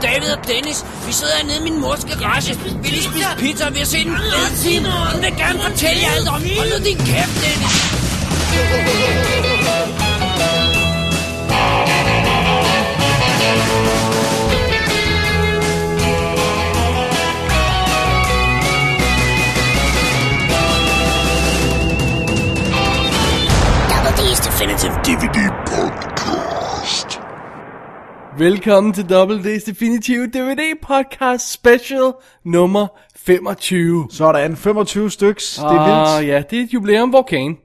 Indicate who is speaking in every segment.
Speaker 1: Dennis. Vi sidder nede i min mors garage. Vi lige spise pizza, og vi har set en fed film. Hun vil gerne fortælle jer alt om. Hold nu din kæft, Dennis.
Speaker 2: Double D's Definitive DVD Podcast.
Speaker 3: Velkommen til Double D's Definitive DVD Podcast Special nummer 25.
Speaker 4: Sådan, 25 styks. Det er
Speaker 3: Ah,
Speaker 4: vildt.
Speaker 3: ja, det er et jubilæum, hvor kagen.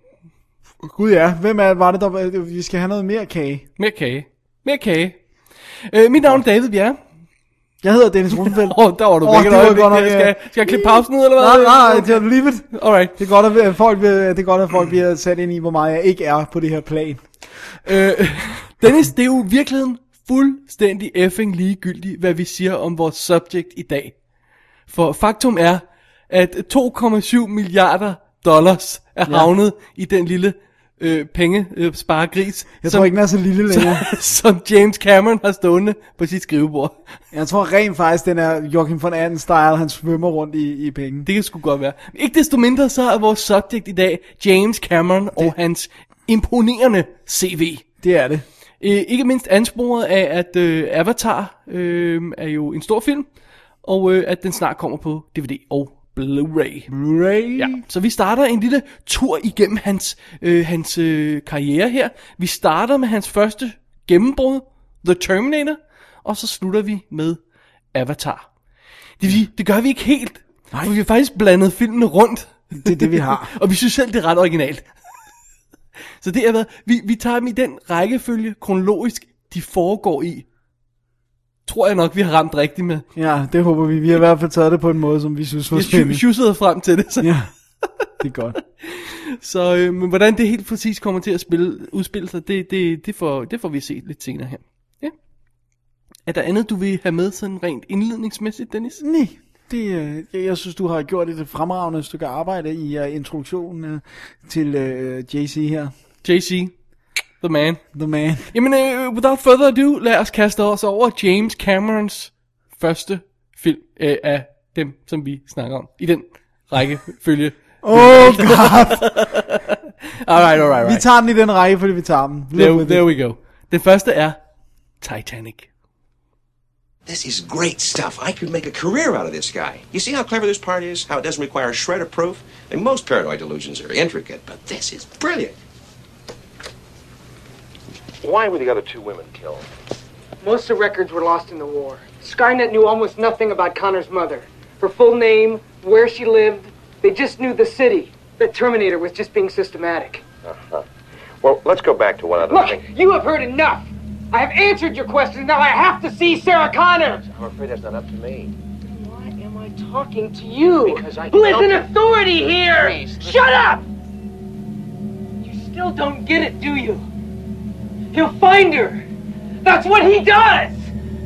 Speaker 3: Ah.
Speaker 4: Gud ja, hvem er, var det, der var- vi skal have noget mere kage?
Speaker 3: Mere kage. Mere kage. Øh, mit navn er David Bjerre.
Speaker 4: Jeg hedder Dennis Rosenfeldt.
Speaker 3: Åh, oh, der var du
Speaker 4: Åh,
Speaker 3: væk et
Speaker 4: det var
Speaker 3: øjeblik.
Speaker 4: godt nok,
Speaker 3: der.
Speaker 4: ja.
Speaker 3: skal, skal jeg klippe pausen ud, eller hvad?
Speaker 4: nej, nej, det er leave it.
Speaker 3: Alright.
Speaker 4: Det er godt, at øh, folk, bliver- det er godt, at folk bliver sat ind i, hvor meget jeg ikke er på det her plan.
Speaker 3: Øh, Dennis, det er jo i virkeligheden fuldstændig effing ligegyldigt, hvad vi siger om vores subject i dag. For faktum er, at 2,7 milliarder dollars er havnet ja. i den lille øh, penge øh, sparegris,
Speaker 4: Jeg
Speaker 3: som,
Speaker 4: tror ikke, den er så lille længere.
Speaker 3: som James Cameron har stående på sit skrivebord.
Speaker 4: Jeg tror rent faktisk, den er Joachim von Anden style, han svømmer rundt i, i penge.
Speaker 3: Det kan sgu godt være. Men ikke desto mindre så er vores subject i dag James Cameron det. og hans imponerende CV.
Speaker 4: Det er det.
Speaker 3: Øh, ikke mindst ansporet af, at øh, Avatar øh, er jo en stor film, og øh, at den snart kommer på DVD og Blu-ray.
Speaker 4: Blu-ray.
Speaker 3: Ja, så vi starter en lille tur igennem hans, øh, hans øh, karriere her. Vi starter med hans første gennembrud, The Terminator, og så slutter vi med Avatar. Det, vi, det gør vi ikke helt, Nej. for vi har faktisk blandet filmene rundt.
Speaker 4: Det er det, vi har.
Speaker 3: og vi synes selv, det er ret originalt. Så det er hvad, vi, vi tager dem i den rækkefølge, kronologisk, de foregår i. Tror jeg nok, vi har ramt rigtigt med.
Speaker 4: Ja, det håber vi. Vi har i hvert fald taget det på en måde, som vi synes var
Speaker 3: Jeg
Speaker 4: spændende.
Speaker 3: sjussede frem til det, så
Speaker 4: Ja, det er godt.
Speaker 3: Så øh, men hvordan det helt præcis kommer til at spille, udspille sig, det, det, det, får, det får vi set lidt senere her. Ja. Er der andet, du vil have med sådan rent indledningsmæssigt, Dennis?
Speaker 4: Nej, det, øh, jeg, jeg synes, du har gjort et fremragende stykke arbejde i uh, introduktionen uh, til uh, JC her.
Speaker 3: JC, the man.
Speaker 4: The man.
Speaker 3: Jamen, øh, without further ado, lad os kaste os over James Camerons første film øh, af dem, som vi snakker om. I den rækkefølge.
Speaker 4: Oh god,
Speaker 3: Alright, alright,
Speaker 4: vi
Speaker 3: alright.
Speaker 4: tager den i den række, fordi vi tager den. Live
Speaker 3: There,
Speaker 4: with
Speaker 3: there
Speaker 4: it.
Speaker 3: we go. Den første er Titanic.
Speaker 5: This is great stuff. I could make a career out of this guy. You see how clever this part is? How it doesn't require a shred of proof? And most paranoid delusions are intricate, but this is brilliant.
Speaker 6: Why were the other two women killed?
Speaker 7: Most of the records were lost in the war. Skynet knew almost nothing about Connor's mother. Her full name, where she lived. They just knew the city. The Terminator was just being systematic.
Speaker 6: Well, let's go back to one other
Speaker 7: Look,
Speaker 6: thing.
Speaker 7: you have heard enough. I have answered your questions. Now I have to see Sarah Connor.
Speaker 6: I'm afraid that's not up to me.
Speaker 7: Why am I talking to you?
Speaker 6: Because I
Speaker 7: Who is an
Speaker 6: felt it.
Speaker 7: authority here?
Speaker 6: Please, listen.
Speaker 7: Shut up! You still don't get it, do you? He'll find her. That's what he does.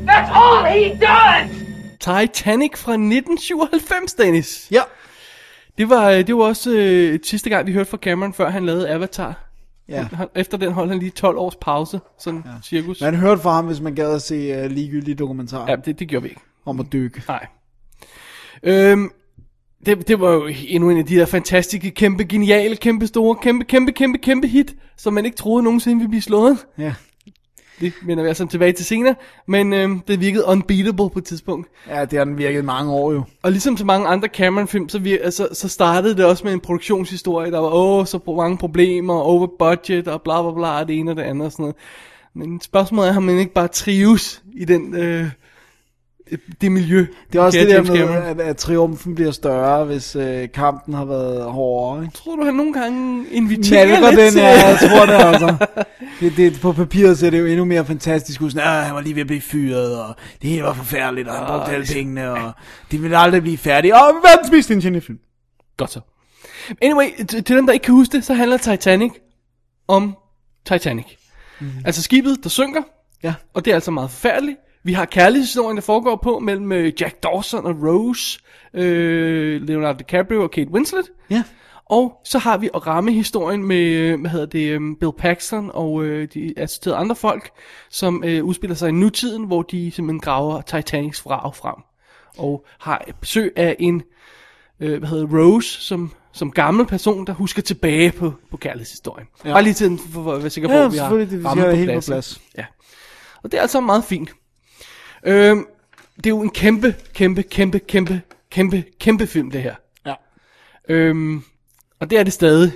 Speaker 7: That's all he does.
Speaker 3: Titanic fra 1997, Dennis.
Speaker 4: Ja,
Speaker 3: Det var, øh, det var også øh, sidste gang, vi hørte fra Cameron, før han lavede Avatar.
Speaker 4: ja.
Speaker 3: Han, efter den holdt han lige 12 års pause, sådan ja. cirkus.
Speaker 4: Man hørte fra ham, hvis man gad at se uh, ligegyldige dokumentarer
Speaker 3: Ja,
Speaker 4: ja.
Speaker 3: det, det gjorde vi ikke.
Speaker 4: om at dykke.
Speaker 3: Nej. Øhm, det, det var jo endnu en af de der fantastiske, kæmpe, geniale, kæmpe store, kæmpe, kæmpe, kæmpe, kæmpe hit, som man ikke troede nogensinde ville blive slået.
Speaker 4: Ja.
Speaker 3: Det vender vi altså tilbage til senere, men øhm, det virkede unbeatable på et tidspunkt.
Speaker 4: ja, det har den virket i mange år jo.
Speaker 3: Og ligesom så mange andre Cameron-film, så, vi, altså, så startede det også med en produktionshistorie, der var åh, så pro- mange problemer, over budget og bla bla bla, og det ene og det andet og sådan noget. Men spørgsmålet er, om man ikke bare trives i den, øh, det miljø.
Speaker 4: Det er også
Speaker 3: kære
Speaker 4: det der
Speaker 3: James
Speaker 4: med,
Speaker 3: Cameron.
Speaker 4: at, at triumfen bliver større, hvis uh, kampen har været hårdere. Ikke?
Speaker 3: Tror du, han nogle gange inviterer
Speaker 4: Malker
Speaker 3: lidt
Speaker 4: den,
Speaker 3: til...
Speaker 4: ja, jeg tror det altså. Det, det, på papiret ser det jo endnu mere fantastisk ud. Sådan, "Ah, han var lige ved at blive fyret, og det hele var forfærdeligt, og han brugte alle pengene, og det ville aldrig blive færdigt. Og verdens mest ingeniefilm.
Speaker 3: Godt så. Anyway, t- til dem, der ikke kan huske det, så handler Titanic om Titanic. Mm. Altså skibet, der synker,
Speaker 4: Ja.
Speaker 3: og det er altså meget forfærdeligt. Vi har kærlighedshistorien, der foregår på mellem øh, Jack Dawson og Rose, øh, Leonardo DiCaprio og Kate Winslet.
Speaker 4: Ja.
Speaker 3: Og så har vi at ramme historien med, øh, hvad hedder det, øhm, Bill Paxton og øh, de assisterede andre folk, som øh, udspiller sig i nutiden, hvor de simpelthen graver Titanics vrag frem. Og har besøg af en, øh, hvad hedder det, Rose, som, som gammel person, der husker tilbage på, på kærlighedshistorien. Ja. Bare lige til den, for, for at være sikker på,
Speaker 4: Ja,
Speaker 3: at vi har
Speaker 4: selvfølgelig, det- vi
Speaker 3: rammen
Speaker 4: har
Speaker 3: på
Speaker 4: helt på
Speaker 3: plads.
Speaker 4: plads.
Speaker 3: Ja. Og det er altså meget fint. Øhm, det er jo en kæmpe, kæmpe, kæmpe, kæmpe, kæmpe, kæmpe film, det her.
Speaker 4: Ja.
Speaker 3: Øhm, og det er det stadig.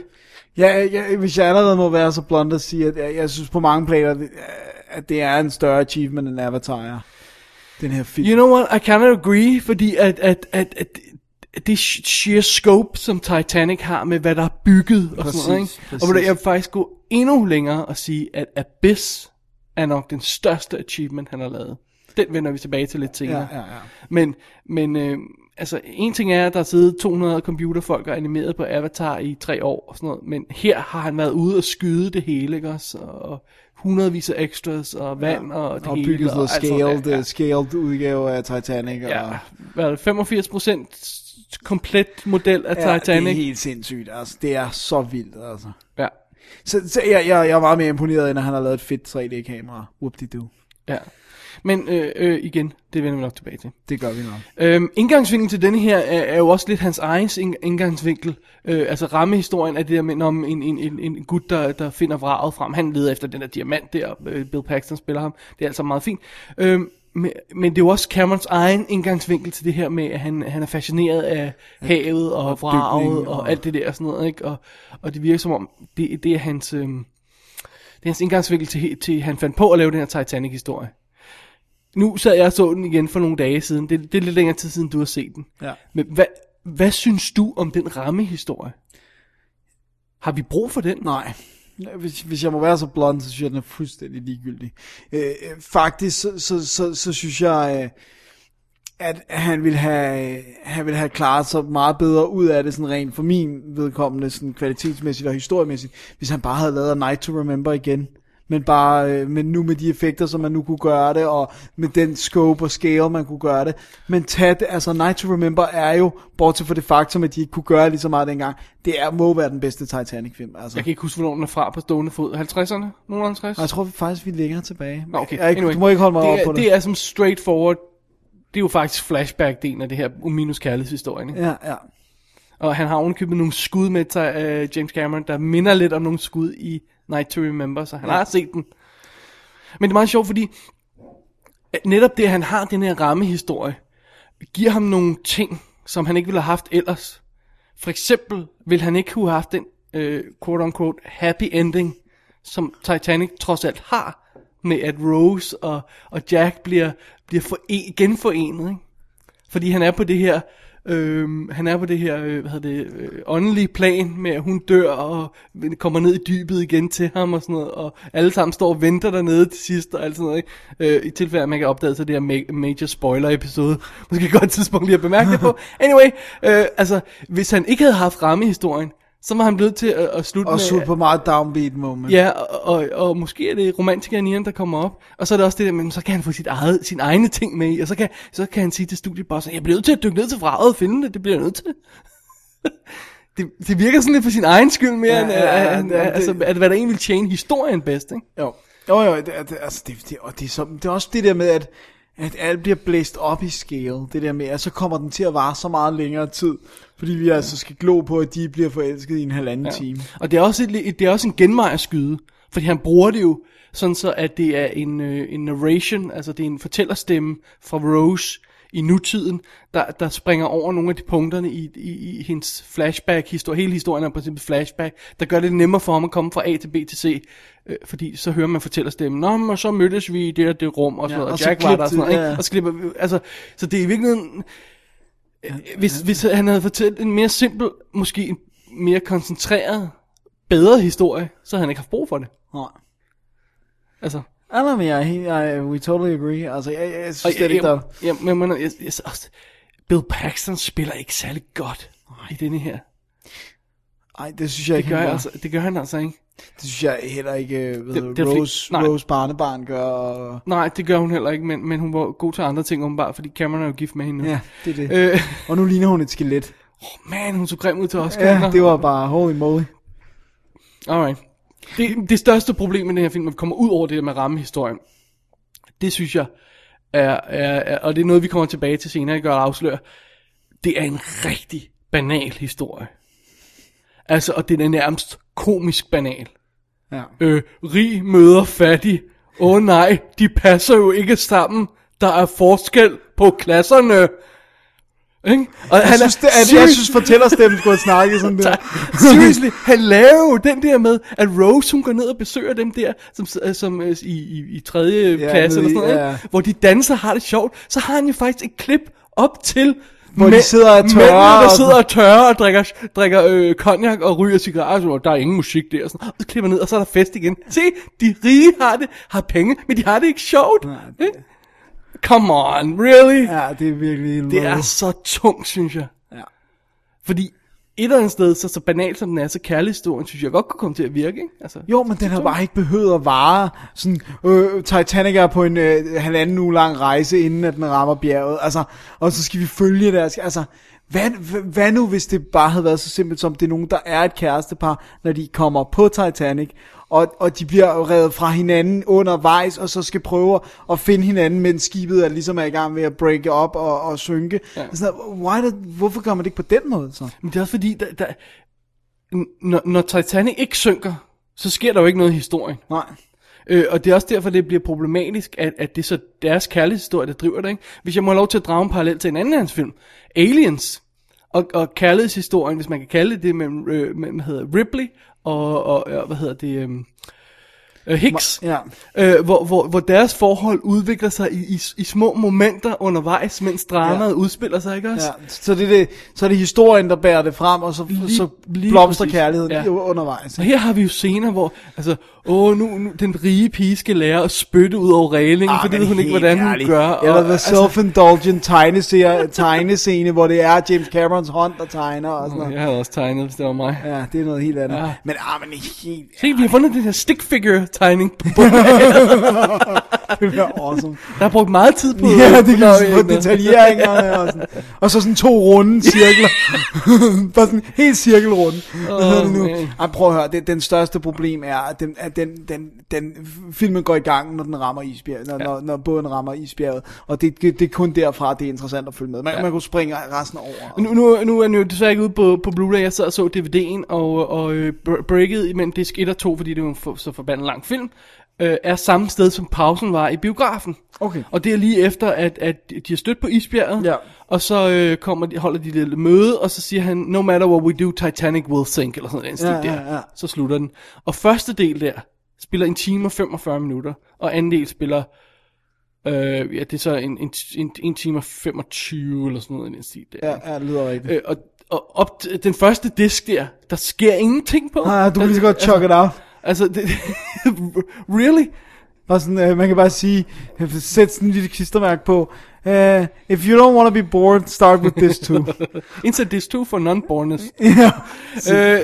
Speaker 4: Ja, ja, hvis jeg allerede må være så blond at sige, at jeg, jeg synes på mange planer, det- at det er en større achievement end Avatar, ja. den her film.
Speaker 3: You know what, I cannot agree, fordi at, at, at, at, at det sh- sheer scope, som Titanic har med, hvad der er bygget og
Speaker 4: Præcis,
Speaker 3: sådan noget, ikke? Og ved du,
Speaker 4: præcis.
Speaker 3: jeg vil faktisk gå endnu længere og sige, at Abyss er nok den største achievement, han har lavet. Den vender vi tilbage til lidt senere.
Speaker 4: ja, ja.
Speaker 3: Men, men øh, altså, en ting er, at der har siddet 200 computerfolk og animeret på Avatar i tre år og sådan noget, men her har han været ude og skyde det hele, ikke også? Og hundredvis af extras og vand ja, og altså, det
Speaker 4: og
Speaker 3: hele.
Speaker 4: bygget sådan noget
Speaker 3: alt sådan noget.
Speaker 4: scaled, øh, ja. scaled udgave af Titanic.
Speaker 3: Ja,
Speaker 4: og,
Speaker 3: hvad er det, 85 komplet model af
Speaker 4: ja det er
Speaker 3: Titanic.
Speaker 4: helt sindssygt. Altså, det er så vildt, altså.
Speaker 3: Ja,
Speaker 4: Så, så jeg, jeg, jeg er meget mere imponeret, end at han har lavet et fedt 3D-kamera. Whoop-de-doo.
Speaker 3: ja. Men øh, øh, igen, det vender vi nok tilbage til.
Speaker 4: Det gør vi nok.
Speaker 3: Øhm, indgangsvinklen til denne her er, er jo også lidt hans egen ind- indgangsvinkel. Øh, altså rammehistorien er det der med om en, en, en, en gut, der, der finder vraget frem. Han leder efter den der diamant der, øh, Bill Paxton spiller ham. Det er altså meget fint. Øhm, men, men det er jo også Camerons egen indgangsvinkel til det her med, at han, han er fascineret af havet og vraget
Speaker 4: dykning
Speaker 3: og,
Speaker 4: og-
Speaker 3: og alt det der og sådan noget. Ikke? Og, og det virker som om, det, det er hans... Øhm, det er hans indgangsvinkel til, til, han fandt på at lave den her Titanic-historie. Nu sad jeg og så den igen for nogle dage siden. Det, det er lidt længere tid siden, du har set den.
Speaker 4: Ja.
Speaker 3: Men hvad, hvad synes du om den rammehistorie? Har vi brug for den?
Speaker 4: Nej. Hvis, hvis jeg må være så blond, så synes jeg, den er fuldstændig ligegyldig. Øh, øh, faktisk, så, så, så, så synes jeg, øh, at han ville, have, han ville have klaret sig meget bedre ud af det, sådan rent for min vedkommende, sådan kvalitetsmæssigt og historiemæssigt, hvis han bare havde lavet A Night to Remember igen. Men, bare, øh, men nu med de effekter, som man nu kunne gøre det, og med den scope og scale, man kunne gøre det. Men tag det, altså Night to Remember er jo, bortset fra det faktum, at de ikke kunne gøre lige så meget dengang, det er, må være den bedste Titanic-film. Altså.
Speaker 3: Jeg kan ikke huske, hvornår den er fra på stående fod. 50'erne? Nogle 50?
Speaker 4: Og Jeg tror faktisk, vi er længere tilbage.
Speaker 3: Nå, okay.
Speaker 4: Altså, Jeg, er ikke, Du må ikke holde mig
Speaker 3: det
Speaker 4: over
Speaker 3: er,
Speaker 4: på det.
Speaker 3: Det er som straightforward. Det er jo faktisk flashback-delen af det her minus kærlighedshistorien. Ikke?
Speaker 4: Ja, ja.
Speaker 3: Og han har ovenkøbet nogle skud med sig, uh, James Cameron, der minder lidt om nogle skud i Night to Remember, så han ja. har set den. Men det er meget sjovt, fordi at netop det, at han har den her rammehistorie, giver ham nogle ting, som han ikke ville have haft ellers. For eksempel vil han ikke kunne have haft den, øh, quote-unquote, happy ending, som Titanic trods alt har, med at Rose og, og Jack bliver, bliver fore- genforenet, ikke? Fordi han er på det her, øh, han er på det her, øh, hvad hedder det, øh, åndelige plan med, at hun dør og kommer ned i dybet igen til ham og sådan noget, og alle sammen står og venter dernede til sidst og alt sådan noget, ikke? Øh, I tilfælde, af, at man kan opdage sig det her ma- major spoiler episode. Måske et godt tidspunkt lige at bemærke det på. Anyway, øh, altså, hvis han ikke havde haft rammehistorien, så var han blevet til at, at slutte
Speaker 4: Og
Speaker 3: med...
Speaker 4: super meget downbeat moment.
Speaker 3: Ja, og, og, og måske er det romantikeren Ian, der kommer op. Og så er det også det der, men så kan han få sit eget, sin egne ting med i. Og så kan, så kan han sige til studiebossen, jeg bliver nødt til at dykke ned til vraget og finde det. Det bliver jeg nødt til. det, det virker sådan lidt for sin egen skyld mere, ja, end,
Speaker 4: ja, ja,
Speaker 3: ja, end,
Speaker 4: ja, det-
Speaker 3: altså, at hvad der egentlig vil tjene historien bedst. Ikke?
Speaker 4: Jo, jo, jo det, er- det, altså det, det, og det er, så, det er også det der med, at, at alt bliver blæst op i scale. Det der med, at så kommer den til at vare så meget længere tid, fordi vi altså skal glo på, at de bliver forelsket i en halvanden ja. time.
Speaker 3: Og det er også, et, et- det er også en genvej at skyde, fordi han bruger det jo sådan så, at det er en, øh, en narration, altså det er en fortællerstemme fra Rose i nutiden, der, der springer over nogle af de punkterne i, i, i hendes flashback-historie. Hele historien er i princippet flashback, der gør det lidt nemmere for ham at komme fra A til B til C, øh, fordi så hører man fortællerstemmen, Nå, men, og så mødtes vi i det og det rum, og, sådan
Speaker 4: Ja,
Speaker 3: noget, og,
Speaker 4: og
Speaker 3: og
Speaker 4: så
Speaker 3: Jack var der, og sådan
Speaker 4: klip til-
Speaker 3: noget, ikke?
Speaker 4: ja.
Speaker 3: Og så klipper vi, altså, så det er i virkeligheden øh, hvis, hvis han havde fortalt en mere simpel, måske en mere koncentreret, bedre historie, så havde han ikke haft brug for det.
Speaker 4: Nej.
Speaker 3: Altså,
Speaker 4: Ah, nej, men jeg, er helt- jeg, we totally agree. Altså, jeg, jeg, jeg synes slet ikke, der...
Speaker 3: jeg, jeg, jeg, mener, jeg, jeg, også, Bill Paxton spiller ikke særlig godt i denne her.
Speaker 4: Ej, det synes jeg
Speaker 3: Det
Speaker 4: ikke,
Speaker 3: gør,
Speaker 4: han
Speaker 3: jeg altså, det gør han altså ikke.
Speaker 4: Det synes jeg heller ikke, øh, hvad
Speaker 3: Det-
Speaker 4: det,
Speaker 3: det er fordi-
Speaker 4: Rose,
Speaker 3: nej.
Speaker 4: Rose barnebarn gør. Og,
Speaker 3: Nej, det gør hun heller ikke, men, men hun var god til andre ting åbenbart, fordi Cameron er jo gift med hende nu.
Speaker 4: ja, det er det.
Speaker 3: Mm. Øh,
Speaker 4: Og nu ligner hun et skelet.
Speaker 3: Man, hun så grim ud til Oscar.
Speaker 4: Ja, det var bare holy moly.
Speaker 3: Alright. Det, det største problem med den her film, når vi kommer ud over det der med rammehistorien, det synes jeg, er, er, er, og det er noget, vi kommer tilbage til senere, jeg gør afsløre, det er en rigtig banal historie. Altså, og den er nærmest komisk banal.
Speaker 4: Ja.
Speaker 3: Øh, rig møder fattig. Åh oh, nej, de passer jo ikke sammen. Der er forskel på klasserne. Ikke? Og
Speaker 4: Jeg synes, det, at, jeg
Speaker 3: seriøst-
Speaker 4: synes fortællerstemmen skulle have snakket sådan der.
Speaker 3: Seriously, han laver jo den der med, at Rose hun går ned og besøger dem der, som, s- som øh, i, i, i tredje
Speaker 4: Ja,
Speaker 3: ja, klasse
Speaker 4: nede
Speaker 3: eller
Speaker 4: i-
Speaker 3: sådan noget,
Speaker 4: ja.
Speaker 3: ja. hvor de danser og har det sjovt, så har han jo faktisk et klip op til,
Speaker 4: Hvor de
Speaker 3: mæ-
Speaker 4: sidder og er
Speaker 3: mændene,
Speaker 4: tørre,
Speaker 3: der
Speaker 4: og-
Speaker 3: sidder og tørre og drikker, drikker øh, cognac og ryger cigaretter, så, og der er ingen musik der, og, sådan, og så klipper han ned, og så er der fest igen. Se, de rige har det, har penge, men de har det ikke sjovt. Nej, det... Come on, really?
Speaker 4: Ja, det er virkelig en
Speaker 3: Det er så tungt, synes jeg.
Speaker 4: Ja.
Speaker 3: Fordi et eller andet sted, så, så banalt som den er, så kærlighedshistorien, synes jeg godt kunne komme til at virke. Ikke? Altså,
Speaker 4: Jo, men den har bare ikke behøvet at vare. Sådan, øh, Titanic er på en øh, halvanden uge lang rejse, inden at den rammer bjerget. Altså, og så skal vi følge deres... Altså, hvad, hvad- hvad nu, hvis det bare havde været så simpelt som, det er nogen, der er et kærestepar, når de kommer på Titanic, og, og de bliver revet fra hinanden undervejs, og så skal prøve at finde hinanden, mens skibet er ligesom er i gang med at break op og, og synke. Ja. Altså, why did, hvorfor gør man det ikke på den måde, så?
Speaker 3: Men det er også fordi, der, der, n- når, når Titanic ikke synker, så sker der jo ikke noget i historien.
Speaker 4: Nej.
Speaker 3: Øh, og det er også derfor, det bliver problematisk, at, at det er så deres kærlighedshistorie, der driver det. Ikke? Hvis jeg må have lov til at drage en parallel til en anden af hans film, Aliens, og, og kærlighedshistorien, hvis man kan kalde det det, mellem, øh, mellem hvad hedder Ripley og, og, og hvad hedder det, øhm, øh, Hicks.
Speaker 4: Ja.
Speaker 3: øh, hvor, hvor, hvor deres forhold udvikler sig i, i, i små momenter undervejs, mens dramaet
Speaker 4: Ja.
Speaker 3: ja. udspiller sig, ikke også?
Speaker 4: Ja, så det er, det, så er det historien, der bærer det frem, og så, lige,
Speaker 3: Lige-
Speaker 4: så
Speaker 3: lige
Speaker 4: blomster
Speaker 3: præcis.
Speaker 4: kærligheden
Speaker 3: Ja.
Speaker 4: ja. undervejs.
Speaker 3: Og her har vi jo scener, hvor altså, åh, nu, nu den rige pige skal lære at spytte ud over
Speaker 4: Ah,
Speaker 3: reglingen, for det ved hun ikke, hvordan hun gør. og-
Speaker 4: Eller The
Speaker 3: altså,
Speaker 4: Self-Indulgent tegnescene, tegnescene, hvor det er James Camerons hånd, der tegner og sådan noget.
Speaker 3: altså, jeg havde også tegnet, hvis det var mig. Ja.
Speaker 4: Ja, det er noget helt andet. Ja.
Speaker 3: Ja.
Speaker 4: Men, ah, men helt
Speaker 3: Se, vi har fundet den her stick figure tegning.
Speaker 4: det er awesome.
Speaker 3: Der har brugt meget tid på
Speaker 4: ja, det kan
Speaker 3: på-
Speaker 4: på detaljeringerne og sådan. Og så sådan to runde cirkler. Bare sådan helt cirkelrunde. Hvad
Speaker 3: Åh,
Speaker 4: hedder det nu?
Speaker 3: man.
Speaker 4: Ej, prøv at høre, det, den største problem er, at, den, at den, den, den, filmen går i gang, når den rammer isbjerget, når, ja. når, når båden rammer isbjerget. Og det, det, det er kun derfra, det er interessant at følge med. Man, ja. man kunne springe resten over.
Speaker 3: Nu, nu, nu er den jo desværre ikke ude på, på Blu-ray. Jeg sad og så DVD'en, og, og øh, br- breaket imellem disk 1 og 2, fordi det er jo en for, så forbandet lang film, øh, er samme sted, som pausen var i biografen.
Speaker 4: Okay.
Speaker 3: Og det er lige efter, at, at de har stødt på Isbjerget,
Speaker 4: Ja.
Speaker 3: og så øh, kommer de, holder de et lille møde, og så siger han, no matter what we do, Titanic will sink, eller sådan noget.
Speaker 4: Ja,
Speaker 3: Ja,
Speaker 4: ja,
Speaker 3: ja,
Speaker 4: ja.
Speaker 3: ja. Så slutter den. Og første del der spiller en time og 45 minutter, og anden del spiller Øh, ja, det er så en, en, en, en time og 25 eller sådan noget i den stil der.
Speaker 4: Ja, ja, det lyder rigtigt.
Speaker 3: Øh, og, og op t- den første disk der, der sker ingenting på.
Speaker 4: Ah, du kan lige så godt chokke it out.
Speaker 3: Altså, det, really?
Speaker 4: Og sådan, øh, man kan bare sige, øh, sæt sådan et lille klistermærke på. Uh, if you don't want to be bored, start with this too.
Speaker 3: Indsæt disk 2 for non-borners.
Speaker 4: ja.
Speaker 3: øh,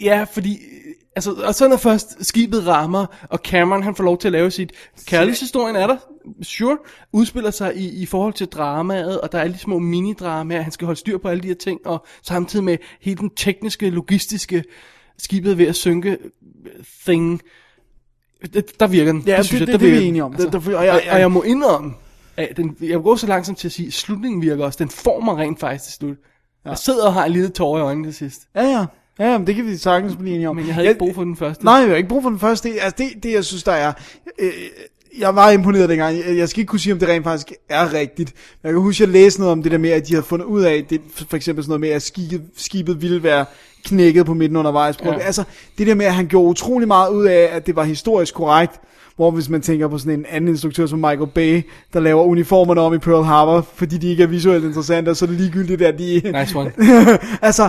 Speaker 3: ja, fordi... øh, Altså, og så når først skibet rammer, og Cameron han får lov til at lave sit kærlighedshistorien er der, sure, udspiller sig i, i forhold til dramaet, og der er lige små minidramaer, han skal holde styr på alle de her ting, og samtidig med hele den tekniske, logistiske skibet er ved at synke øh, thing, Det- der virker den.
Speaker 4: Ja, det- det-
Speaker 3: der
Speaker 4: det er vi
Speaker 3: virker den.
Speaker 4: enige om. Det- der- og
Speaker 3: og,
Speaker 4: jeg-
Speaker 3: jeg,
Speaker 4: jeg-
Speaker 3: og jeg må indrømme, at den, jeg vil gå så langsomt til at sige, at slutningen virker også. Den får mig rent faktisk til slut. Ja. Jeg sidder og har en lille tårer i øjnene til sidst.
Speaker 4: Ja, ja. Ja, men det kan vi sagtens blive enige om.
Speaker 3: Men jeg havde ikke brug for den første.
Speaker 4: Nej, jeg havde ikke brug for den første. Altså, det, det jeg synes, der er... Øh, jeg var imponeret dengang. Jeg jeg skal ikke kunne sige, om det rent faktisk er rigtigt. Men jeg kan huske, at jeg læste noget om det der med, at de havde fundet ud af, det, for eksempel sådan noget med, at skibet, skibet ville være knækket på midten undervejs. Ja.
Speaker 3: Ja.
Speaker 4: Altså, det der med, at han gjorde utrolig meget ud af, at det var historisk korrekt. Hvor hvis man tænker på sådan en anden instruktør som Michael Bay, der laver uniformerne om i Pearl Harbor, fordi de ikke er visuelt interessante, og så er det ligegyldigt, at de...
Speaker 3: Nice one.
Speaker 4: altså,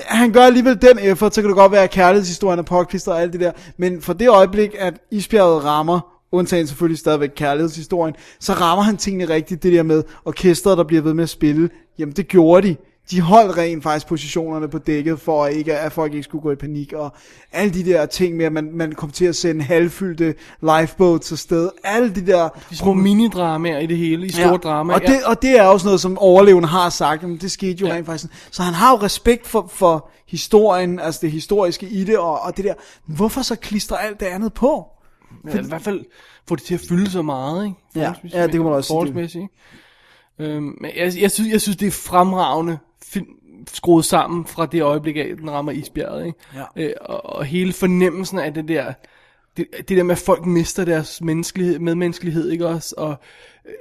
Speaker 4: han gør alligevel den effort, så kan det godt være, at kærlighedshistorien er påklistret og alt det der. Men for det øjeblik, at isbjerget rammer, undtagen selvfølgelig stadigvæk kærlighedshistorien, så rammer han tingene rigtigt, det der med orkestret, der bliver ved med at spille. Jamen, det gjorde de. de holdt rent faktisk positionerne på dækket, for at, ikke, at folk ikke skulle gå i panik, og alle de der ting med, at man, man kom til at sende halvfyldte lifeboats afsted, alle de der...
Speaker 3: De små minidramaer i det hele, i store ja. dramaer.
Speaker 4: Og, det, og det er også noget, som overlevende har sagt, men det skete jo ja. rent faktisk. Så han har jo respekt for, for historien, altså det historiske i det, og, og det der, hvorfor så klistre alt det andet på?
Speaker 3: Men altså, i hvert fald få det til at fylde så meget, ikke?
Speaker 4: Ja, ja, det kan man også sige.
Speaker 3: sige. Øhm, men jeg, jeg, synes, jeg synes, det er fremragende film skruet sammen fra det øjeblik af, den rammer isbjerget, ikke?
Speaker 4: Ja.
Speaker 3: Øh, og, og, hele fornemmelsen af det der, det, det der med, at folk mister deres menneskelighed, medmenneskelighed, ikke også? Og, øh,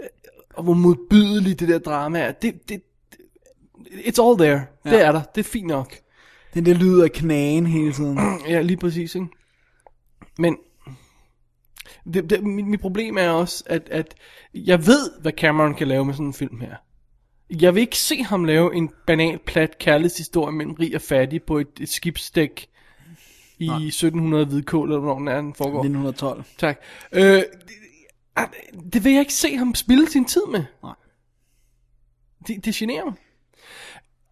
Speaker 3: og hvor modbydeligt det der drama er. Det, det, it's all there. Ja. Det er der. Det er fint nok.
Speaker 4: Den der lyd af knagen hele tiden.
Speaker 3: Ja, lige præcis, ikke? Men det, det, mit, mit problem er også, at, at jeg ved, hvad Cameron kan lave med sådan en film her. Jeg vil ikke se ham lave en banal, plat kærlighedshistorie mellem rig og fattig på et, et skibsdæk i
Speaker 4: Nej.
Speaker 3: 1700 hvidkål, eller hvornår den er, den foregår.
Speaker 4: 1912.
Speaker 3: Tak. Øh, det, ah, det vil jeg ikke se ham spille sin tid med.
Speaker 4: Nej.
Speaker 3: Det, det generer mig.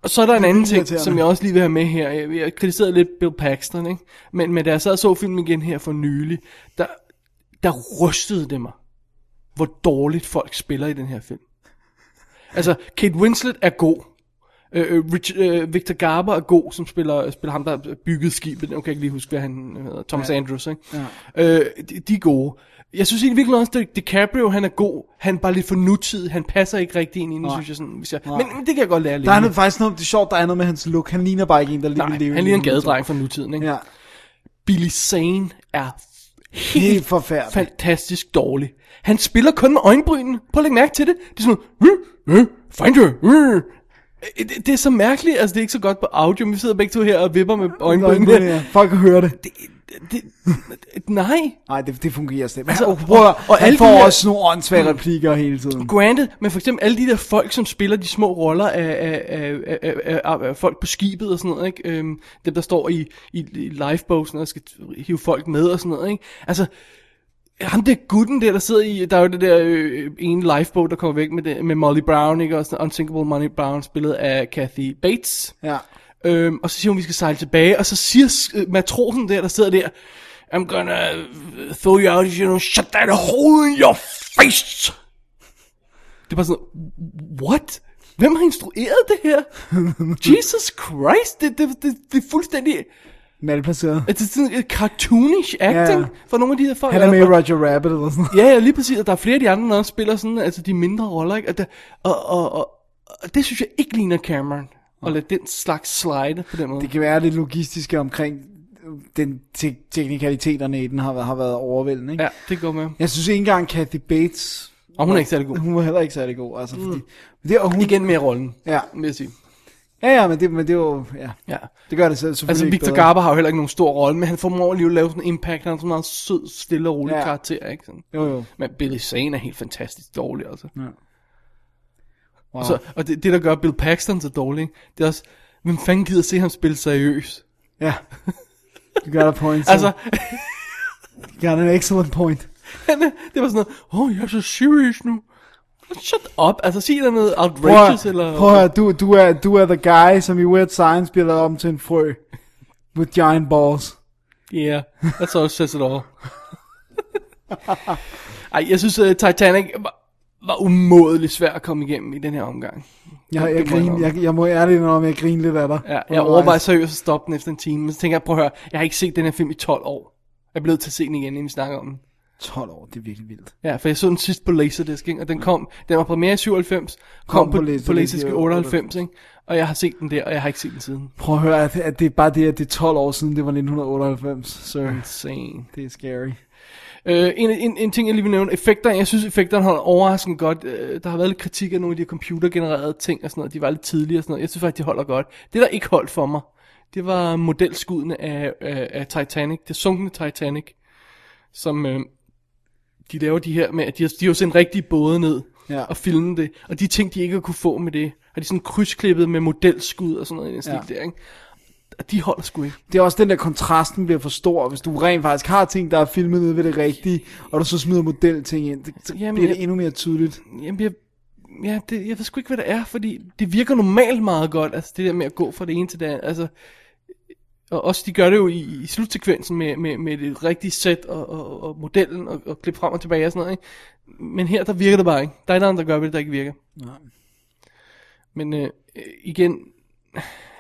Speaker 3: Og så er der en anden ting,
Speaker 4: irriterende.
Speaker 3: som jeg også lige vil have med her. Jeg, jeg kritiserede lidt Bill Paxton, ikke? Men, men da jeg sad og så filmen igen her for nylig, der, der rystede det mig, hvor dårligt folk spiller i den her film. Altså, Kate Winslet er god. Øh, øh, Rich, øh, Victor Garber er god, som spiller, spiller ham, der byggede skibet. Nu kan jeg ikke lige huske, hvad han øh, hedder. Thomas ja. Andrews, ikke? Ja. Øh, de, de er gode. Jeg synes egentlig virkelig også, at DiCaprio, han er god. Han er bare lidt for nutidig. Han passer ikke rigtig ind i den,
Speaker 4: Nej.
Speaker 3: synes jeg. Sådan, hvis jeg men, men det kan jeg godt lære lidt.
Speaker 4: Der er noget, faktisk noget, det er sjovt, der er noget med hans look. Han ligner bare ikke en, der
Speaker 3: Nej,
Speaker 4: lige vil leve
Speaker 3: han
Speaker 4: i
Speaker 3: ligner en gadedreng fra nutiden, ikke?
Speaker 4: Ja.
Speaker 3: Billy Zane er helt,
Speaker 4: Helt forfærdelig.
Speaker 3: fantastisk dårlig. Han spiller kun med øjenbrynene. Prøv at lægge mærke til det. Det er sådan noget, "Øh, øh, find her, øh." Øh, det, det er så mærkeligt, altså det er ikke så godt på audio, men vi sidder begge to her og vipper med øjenbrynene.
Speaker 4: Øjenbrynene, ja. Folk kan høre det.
Speaker 3: Det, det, nej,
Speaker 4: Nej, det, det fungerer slet ikke.
Speaker 3: Altså,
Speaker 4: Altså,
Speaker 3: og-
Speaker 4: og, prøv, og,
Speaker 3: og
Speaker 4: og han
Speaker 3: alle de
Speaker 4: får
Speaker 3: her-
Speaker 4: også nogle åndssvage replikker hele tiden.
Speaker 3: Granted, men for eksempel alle de der folk, som spiller de små roller af, af, af, af, af, af, af folk på skibet og sådan noget, ikke? Øhm, dem der står i, i, i lifeboats og skal hive folk med og sådan noget, ikke? Altså, ham der gutten der, der sidder i, der er jo det der øh, ene lifeboat, der kommer væk med, det, med Molly Brown, ikke? Og sådan Unsinkable Molly Brown, spillet af Kathy Bates.
Speaker 4: Ja.
Speaker 3: Øhm, og så siger hun, vi skal sejle tilbage, og så siger øh, matrosen der, der sidder der, I'm gonna øh, throw you out, you know, shut that hole in your face. Det var sådan, what? Hvem har instrueret det her? Jesus Christ, det, det, det, det er fuldstændig, altså,
Speaker 4: Malplaceret.
Speaker 3: det er sådan et cartoonish acting
Speaker 4: Ja.
Speaker 3: yeah. for nogle af de her folk.
Speaker 4: Han er med i
Speaker 3: Eller-
Speaker 4: Roger Rabbit eller sådan noget.
Speaker 3: Ja, ja, lige præcis. Og der er flere af de andre, der også spiller sådan, altså de mindre roller, ikke? Og, der, og, og, og, og det synes jeg ikke ligner Cameron. Og lade den slags slide på den måde.
Speaker 4: Det kan være det logistiske omkring øh, den te- teknikaliteterne i den har, været- har været overvældende. Ikke?
Speaker 3: Ja, det går med.
Speaker 4: Jeg synes ikke engang Kathy Bates,
Speaker 3: Og hun er ikke særlig god.
Speaker 4: hun var heller ikke særlig god. Altså, fordi,
Speaker 3: Mm.
Speaker 4: det, og hun,
Speaker 3: Igen mere rollen,
Speaker 4: Ja,
Speaker 3: vil jeg sige.
Speaker 4: ja, ja, men det, men det var, ja,
Speaker 3: Ja.
Speaker 4: det gør det selv selvfølgelig
Speaker 3: Altså,
Speaker 4: ikke
Speaker 3: Victor
Speaker 4: bedre.
Speaker 3: Garber har jo heller ikke nogen stor rolle, men han formår alligevel at lave sådan en impact. Han er sådan en meget sød, stille og rolig ja.
Speaker 4: Ja.
Speaker 3: karakter, ikke? Sådan.
Speaker 4: Jo, jo.
Speaker 3: Men Billy Zane er helt fantastisk dårlig, altså.
Speaker 4: Wow.
Speaker 3: Og, så, og det, det, der gør Bill Paxton så dårlig, ikke? det er også, hvem fanden gider se ham spille seriøs?
Speaker 4: Ja. You got a point. sir.
Speaker 3: Altså,
Speaker 4: you got an excellent point.
Speaker 3: han, er- det var sådan noget, åh, oh, jeg er så seriøs nu. Shut up, altså sig der noget
Speaker 4: Prøv,
Speaker 3: outrageous,
Speaker 4: at-
Speaker 3: eller...
Speaker 4: prøv at, høre, du, du, er, du er the guy, som i Weird Science bliver lavet om til en frø. With giant balls.
Speaker 3: Yeah, that's all says it all. Ej, jeg synes, uh, Titanic var, var umådeligt svær at komme igennem i den her omgang.
Speaker 4: Jeg,
Speaker 3: det må
Speaker 4: jeg,
Speaker 3: jeg
Speaker 4: griner,
Speaker 3: indrømme.
Speaker 4: jeg, jeg må ærligt indrømme, jeg griner lidt af dig.
Speaker 3: Ja, jeg overvejede seriøst at stoppe den efter en time, men så tænker jeg, prøv at høre, jeg har ikke set den her film i 12 år. Jeg er blevet til at se den igen, inden vi snakker om den.
Speaker 4: 12 år, det er virkelig vildt.
Speaker 3: Ja, for jeg så den sidst på Laserdisc, ikke? og den kom, den var premiere i 97, kom, kom på, på Laserdisc i 98, ikke? og jeg har set den der, og jeg har ikke set den siden.
Speaker 4: Prøv at høre, at, at det er bare det, at det er 12 år siden, det var 1998. Så
Speaker 3: Insane.
Speaker 4: det er scary.
Speaker 3: Øh, en, en, en ting, jeg lige vil nævne, effekter, jeg synes, effekterne holder overraskende godt. Øh, der har været lidt kritik af nogle af de her computergenererede ting og sådan noget, de var lidt tidlige og sådan noget. Jeg synes faktisk, de holder godt. Det, der ikke holdt for mig, det var modelskudene af, af, af Titanic, det sunkne Titanic, som øh, de laver de her med, at de har, de har jo sendt rigtige både ned
Speaker 4: Ja.
Speaker 3: og filmet det, og de ting, de ikke har kunne få med det, har de sådan krydsklippet med modelskud og sådan noget i den stil
Speaker 4: Ja.
Speaker 3: der, ikke? Og de holder sgu ikke.
Speaker 4: Det er også den der kontrasten bliver for stor, hvis du rent faktisk har ting, der er filmet nede ved det rigtige, og du så smider modelting ind, det, så
Speaker 3: Jamen,
Speaker 4: bliver det
Speaker 3: jeg-
Speaker 4: endnu mere tydeligt.
Speaker 3: Jamen, jeg, ja, det, jeg ved sgu ikke, hvad det er, fordi det virker normalt meget godt, altså det der med at gå fra det ene til det andet, altså, og også de gør det jo i, i slutsekvensen med, med, med det rigtige sæt og, og, og modellen og, og klip frem og tilbage og sådan noget, ikke? Men her, der virker det bare ikke. Der er et andet, der gør ved det, der ikke virker.
Speaker 4: Nej.
Speaker 3: Men øh, øh, igen,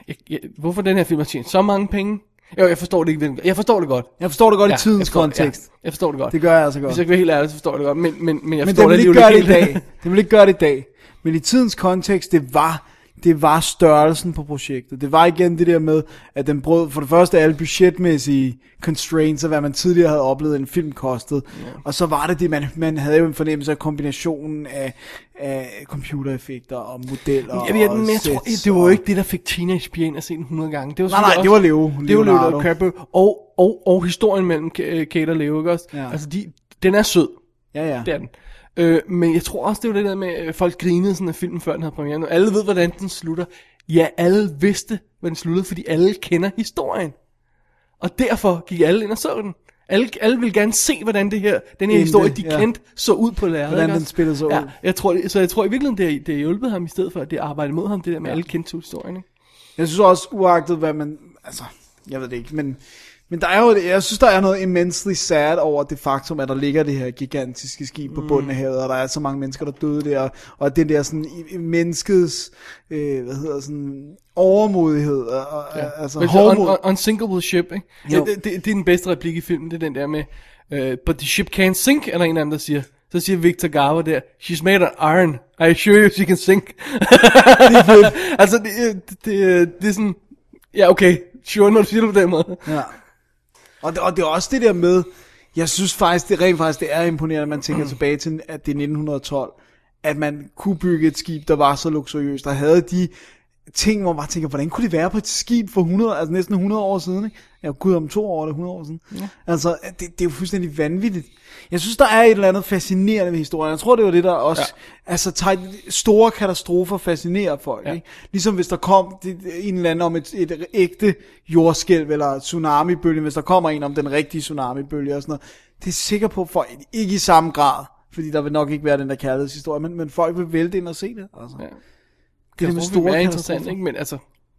Speaker 3: jeg, jeg, hvorfor den her film har tjent så mange penge? Jo, jeg forstår det ikke. hvilken- Jeg forstår det godt.
Speaker 4: Jeg forstår det godt ja, i
Speaker 3: Ja,
Speaker 4: tidens
Speaker 3: jeg forstår-
Speaker 4: kontekst.
Speaker 3: Ja, jeg forstår det godt.
Speaker 4: Det gør jeg altså godt.
Speaker 3: Hvis jeg skal være helt ærlig, så forstår jeg det godt. Men, men, men jeg
Speaker 4: Men
Speaker 3: forstår
Speaker 4: det vil
Speaker 3: det
Speaker 4: ikke gøre det i
Speaker 3: alligevel
Speaker 4: dag. Det vil ikke gøre det i dag. Men i tidens kontekst, det var, det var størrelsen på projektet. Det var igen det der med, at den brød for det første alle budgetmæssige constraints af, hvad man tidligere havde oplevet, en film kostede. Og så var det det, man, man havde jo en fornemmelse af kombinationen af, af computereffekter og modeller
Speaker 3: Jamen, jeg,
Speaker 4: og
Speaker 3: men jeg tror,
Speaker 4: sets
Speaker 3: det var jo
Speaker 4: og-
Speaker 3: ikke det, der fik Teenage Pian at se den 100 gange. Det var
Speaker 4: Nej, nej,
Speaker 3: selvfølgelig
Speaker 4: det var Leo.
Speaker 3: Det var Leo
Speaker 4: Leonardo.
Speaker 3: og Crabbe. Og, og, og historien mellem Ka- øh, Kate og Leo, ikke også?
Speaker 4: Ja.
Speaker 3: Altså, de, den er sød.
Speaker 4: Ja, ja.
Speaker 3: Det er den. Øh, men jeg tror også, det var det der med, at folk grinede sådan af filmen, før den havde premiere. Og alle ved, hvordan den slutter. Ja, alle vidste, hvordan den sluttede, fordi alle kender historien. Og derfor gik alle ind og så den. Alle, alle ville gerne se, hvordan det her, den her
Speaker 4: Endte,
Speaker 3: historie, de
Speaker 4: ja.
Speaker 3: kendte, så ud på lærredet.
Speaker 4: Hvordan
Speaker 3: ikke
Speaker 4: den
Speaker 3: også?
Speaker 4: spillede sig
Speaker 3: ja,
Speaker 4: ud.
Speaker 3: Jeg tror, det- så jeg tror i virkeligheden, det har, det har hjulpet ham, i stedet for at det arbejdede mod ham, det der med, at alle kendte til historien. Ikke?
Speaker 4: Jeg synes også, uagtet hvad man, altså, jeg ved det ikke, men, men der er jo, jeg synes, der er noget immensely sad over det faktum, at der ligger det her gigantiske skib på bunden af havet, og der er så mange mennesker, der døde der, og, og den der sådan, i- i menneskets, øh, hvad hedder sådan, overmodighed, og, og, ja. altså,
Speaker 3: Men så un,
Speaker 4: hårdmod.
Speaker 3: un, unsinkable ship, ikke?
Speaker 4: Jo.
Speaker 3: Det, det, det er den bedste replik i filmen, det er den der med, uh, but the ship can't sink, er der en af dem, der siger. Så siger Victor Garber der, she's made of iron, I assure you she can sink. altså, det, øh, det, det, det er sådan, ja okay, sure, når du siger det på den måde.
Speaker 4: Ja. Og det, og det er også det der med, jeg synes faktisk, det rent faktisk, det er imponerende, at man tænker tilbage til, at det er 1912, at man kunne bygge et skib, der var så luksuriøst, der havde de ting, hvor man bare tænker, hvordan kunne det være på et skib for 100, altså næsten 100 år siden, ikke? Ja, gud, om to år er det 100 år siden. Ja. Altså, det, det, er jo fuldstændig vanvittigt. Jeg synes, der er et eller andet fascinerende ved historien. Jeg tror, det var det, der også, ja. altså, tegn- store katastrofer fascinerer folk, ja. ikke? Ligesom hvis der kom det, det- en eller anden om et, et ægte jordskælv eller tsunamibølge, hvis der kommer en om den rigtige tsunamibølge og sådan noget. Det er jeg sikker på, for ikke i samme grad, fordi der vil nok ikke være den der kærlighedshistorie, men, men folk vil vælte ind og se det, altså. Ja. Det er
Speaker 3: Det
Speaker 4: det med
Speaker 3: er
Speaker 4: store
Speaker 3: være
Speaker 4: interessant,
Speaker 3: interessant, ikke? Men altså,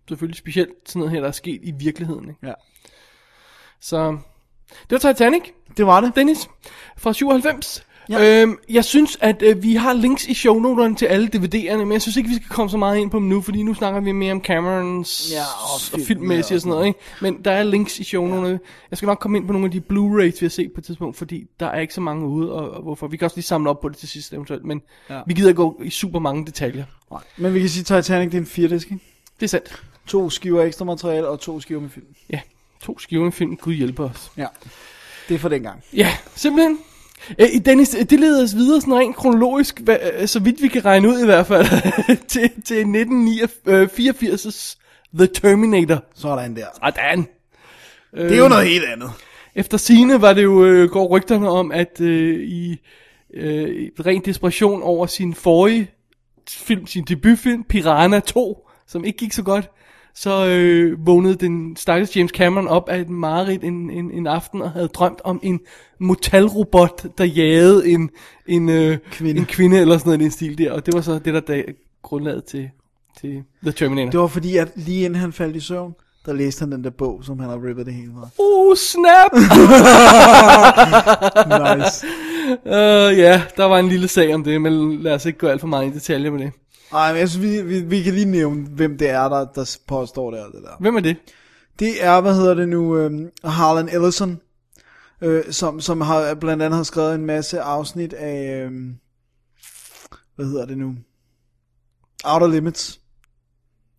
Speaker 3: selvfølgelig specielt sådan noget her, der er sket i virkeligheden, ikke?
Speaker 4: Ja.
Speaker 3: Så, det var Titanic.
Speaker 4: Det var det.
Speaker 3: Dennis fra 97.
Speaker 4: Ja.
Speaker 3: Ja. Øhm, jeg synes, at øh, vi har links i shownoterne til alle DVD'erne, men jeg synes ikke, vi skal komme så meget ind på dem nu, fordi nu snakker vi mere om Camerons
Speaker 4: Ja,
Speaker 3: ja,
Speaker 4: og
Speaker 3: og,
Speaker 4: film,
Speaker 3: og filmmæssigt og sådan noget. Ikke? Men der er links i shownoterne. Jeg skal nok komme ind på nogle af de Blu-rays, vi har set på et tidspunkt, fordi der er ikke så mange ude, og, og hvorfor. Vi kan også lige samle op på det til sidst eventuelt, men
Speaker 4: Ja.
Speaker 3: ja. vi gider gå i super mange detaljer.
Speaker 4: Men vi kan sige, at Titanic det er en firdisk, ikke?
Speaker 3: Det er sandt.
Speaker 4: To skiver ekstra materiale og to skiver med film.
Speaker 3: Ja, to skiver med film, Gud hjælper os.
Speaker 4: Ja. Det er for dengang.
Speaker 3: Ja, simpelthen. Øh, Dennis, øh, det leder os videre sådan rent kronologisk, hva- øh, så vidt vi kan regne ud i hvert fald, til, til 1984's The Terminator.
Speaker 4: Sådan der.
Speaker 3: Sådan.
Speaker 4: Det er jo noget helt andet.
Speaker 3: Efter sine var det jo, øh, går rygterne om, at øh, i øh, i ren desperation over sin forrige film, sin debutfilm, Piranha 2, som ikke gik så godt, så øh, vågnede den stakkels James Cameron op af et mareridt en, en, en aften og havde drømt om en motalrobot, der jagede en, en, øh,
Speaker 4: Kvinde.
Speaker 3: kvinde. en kvinde eller sådan noget i den stil der. Og det var så det, der dag, grundlaget til, til The Terminator.
Speaker 4: Det var fordi, at lige inden han faldt i søvn, der læste han den der bog, som han har rippet det hele fra.
Speaker 3: Oh, snap!
Speaker 4: Nice.
Speaker 3: Øh, ja, der var en lille sag om det, men lad os ikke gå alt for meget i detaljer med det.
Speaker 4: Ej, men jeg synes, vi, vi, vi kan lige nævne, hvem det er, der, der påstår det og det der.
Speaker 3: Hvem er det?
Speaker 4: Det er, hvad hedder det nu, øhm, Harlan Ellison, øh, som, som har, blandt andet har skrevet en masse afsnit af, øhm, hvad hedder det nu, Outer Limits.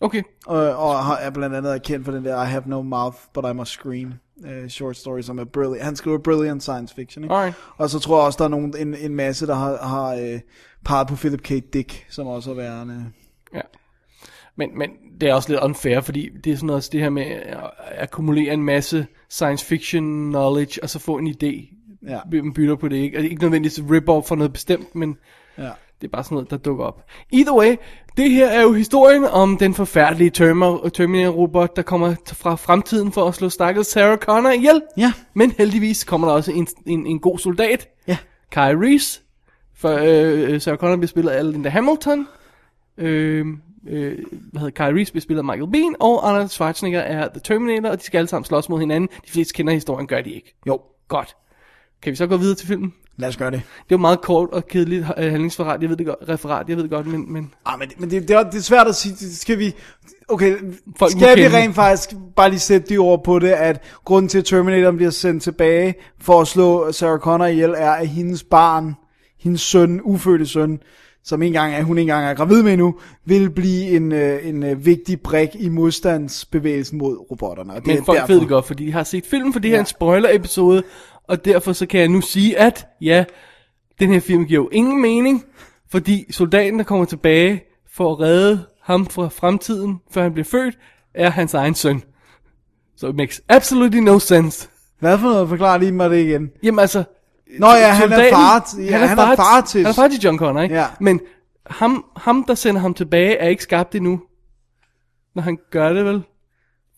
Speaker 3: Okay,
Speaker 4: Og, og har- er blandt andet er kendt for den der I have no mouth, but I must scream uh, short story, som er brilliant. Han skriver brilliant science fiction, ikke?
Speaker 3: Alright.
Speaker 4: Og så tror jeg også, der er nogen, en, en masse, der har, har øh, peget på Philip K. Dick, som også er værende.
Speaker 3: ja. Men, men det er også lidt unfair, fordi det er sådan også det her med at akkumulere en masse science fiction knowledge, og så få en idé.
Speaker 4: Ja.
Speaker 3: Man bytter på det, ikke? Og det er ikke nødvendigvis et rip-off for noget bestemt, men
Speaker 4: Ja.
Speaker 3: det er bare sådan noget, der dukker op. Either way, det her er jo historien om den forfærdelige Terma- Terminator-robot, der kommer t- fra fremtiden for at slå stakkels Sarah Connor ihjel.
Speaker 4: Ja.
Speaker 3: Men heldigvis kommer der også en, en, en god soldat,
Speaker 4: Ja.
Speaker 3: Kai Reese, For øh, Sarah Connor bliver spillet af Linda Hamilton. Øh, øh, hvad hedder Kyle Reese bliver spillet af Michael Bean. Og Arnold Schwarzenegger er The Terminator, og de skal alle sammen slås mod hinanden. De fleste kender historien, gør de ikke.
Speaker 4: Jo,
Speaker 3: Godt. Kan vi så gå videre til filmen?
Speaker 4: lad os gøre det.
Speaker 3: Det var meget kort og kedeligt øh, handlingsreferat, jeg ved det godt, referat, jeg ved det godt, men, men
Speaker 4: Ah, men, men det, det, er, det er svært at sige, det skal vi... Okay,
Speaker 3: Folk
Speaker 4: Folk
Speaker 3: må
Speaker 4: skal vi
Speaker 3: kende.
Speaker 4: rent faktisk bare lige sætte de ord på det, at grunden til, at Terminator bliver sendt tilbage for at slå Sarah Connor ihjel, er, at hendes barn, hendes søn, ufødte søn, som ikke engang er, hun ikke engang er gravid med nu, vil blive en, øh, en øh, vigtig brik i modstandsbevægelsen mod robotterne. Og det
Speaker 3: Men
Speaker 4: er
Speaker 3: folk
Speaker 4: derfor,
Speaker 3: derfor. ved det godt, fordi de har set filmen, for det her er
Speaker 4: Ja.
Speaker 3: en spoiler-episode, og derfor så kan jeg nu sige, at ja, den her film giver jo ingen mening, fordi soldaten, der kommer tilbage for at redde ham fra fremtiden, før han bliver født, er hans egen søn. Så it makes absolutely no sense.
Speaker 4: Hvad for noget? Forklar lige mig det igen.
Speaker 3: Jamen altså...
Speaker 4: Nå ja, han er
Speaker 3: soldaten-
Speaker 4: far til- ja, han er far til-
Speaker 3: Han er far til John Connor, ikke?
Speaker 4: Ja.
Speaker 3: Men ham, ham, der sender ham tilbage, er ikke skabt endnu, når han gør det, vel?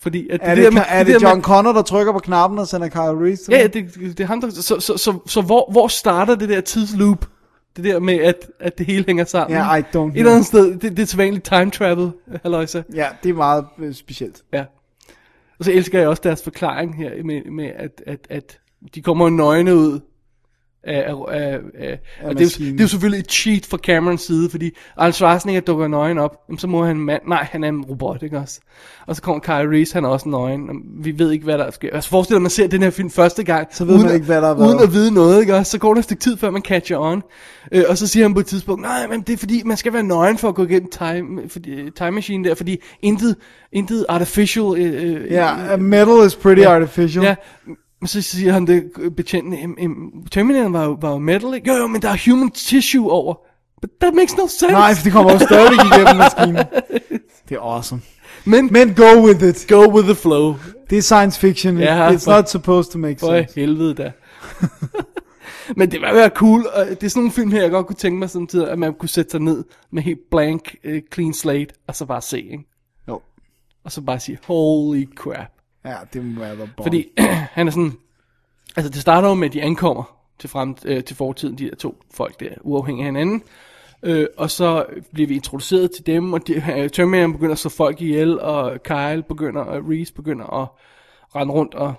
Speaker 3: Fordi at
Speaker 4: Er
Speaker 3: der
Speaker 4: det,
Speaker 3: med-
Speaker 4: er
Speaker 3: der
Speaker 4: det
Speaker 3: med-
Speaker 4: John Connor, der trykker på knappen og sender Kyle Reese?
Speaker 3: Ja, ja det, det er ham, der... Så, så, så, så, hvor, hvor starter det der tidsloop? Det der med, at, at det hele hænger sammen.
Speaker 4: Ja, I don't
Speaker 3: Et
Speaker 4: know.
Speaker 3: eller andet sted, det, det er til vanligt time travel, halløjsa.
Speaker 4: ja, det er meget øh, specielt.
Speaker 3: Ja. Og så elsker jeg også deres forklaring her med, med at, at, at de kommer nøgne ud. Af, af, af, af, og det er, jo,
Speaker 4: maskinen.
Speaker 3: det er jo selvfølgelig et cheat fra Camerons side, fordi Arnold Schwarzenegger dukker nøgen op, jamen, så må han en mand, nej, han er en robot, ikke også? Og så kommer Kyle Reese, han er også nøgen, og vi ved ikke, hvad der sker. Altså forestil dig, at man ser den her film første gang,
Speaker 4: Så ved man ikke, hvad der har været.
Speaker 3: uden at vide noget, ikke også? Så går der et stykke tid, før man catcher on. Øh, og så siger han på et tidspunkt, nej, men det er fordi, man skal være nøgen for at gå igennem time, fordi, time machine der, fordi intet, intet artificial... Øh, øh,
Speaker 4: Ja, yeah, metal is pretty artificial.
Speaker 3: Ja, men så siger han det øh, betjenten, em, em, Terminator var, jo- var jo metal, ikke? Jo, jo, men der er human tissue over. But that makes no sense.
Speaker 4: Nej, for det kommer jo stadig igennem maskinen. Det er awesome.
Speaker 3: men, men
Speaker 4: Men go with it.
Speaker 3: go with the flow.
Speaker 4: Det er science fiction.
Speaker 3: Ja,
Speaker 4: It's
Speaker 3: for-
Speaker 4: not supposed to make
Speaker 3: For
Speaker 4: sense.
Speaker 3: helvede da. Men det var være cool, og det er sådan nogle film her, jeg godt kunne tænke mig samtidig, at man kunne sætte sig ned med helt blank, øh, clean slate, og så bare se, ikke?
Speaker 4: Jo.
Speaker 3: Og så bare sige, holy crap.
Speaker 4: Ja, det må være bond.
Speaker 3: Fordi han er sådan... Altså, det starter jo med, at de ankommer til, frem, øh, til fortiden, de der to folk der, uafhængig af hinanden. Øh, og så bliver vi introduceret til dem, og de, øh, Terminator begynder at slå folk ihjel, og Kyle begynder, og Reese begynder at rende rundt og,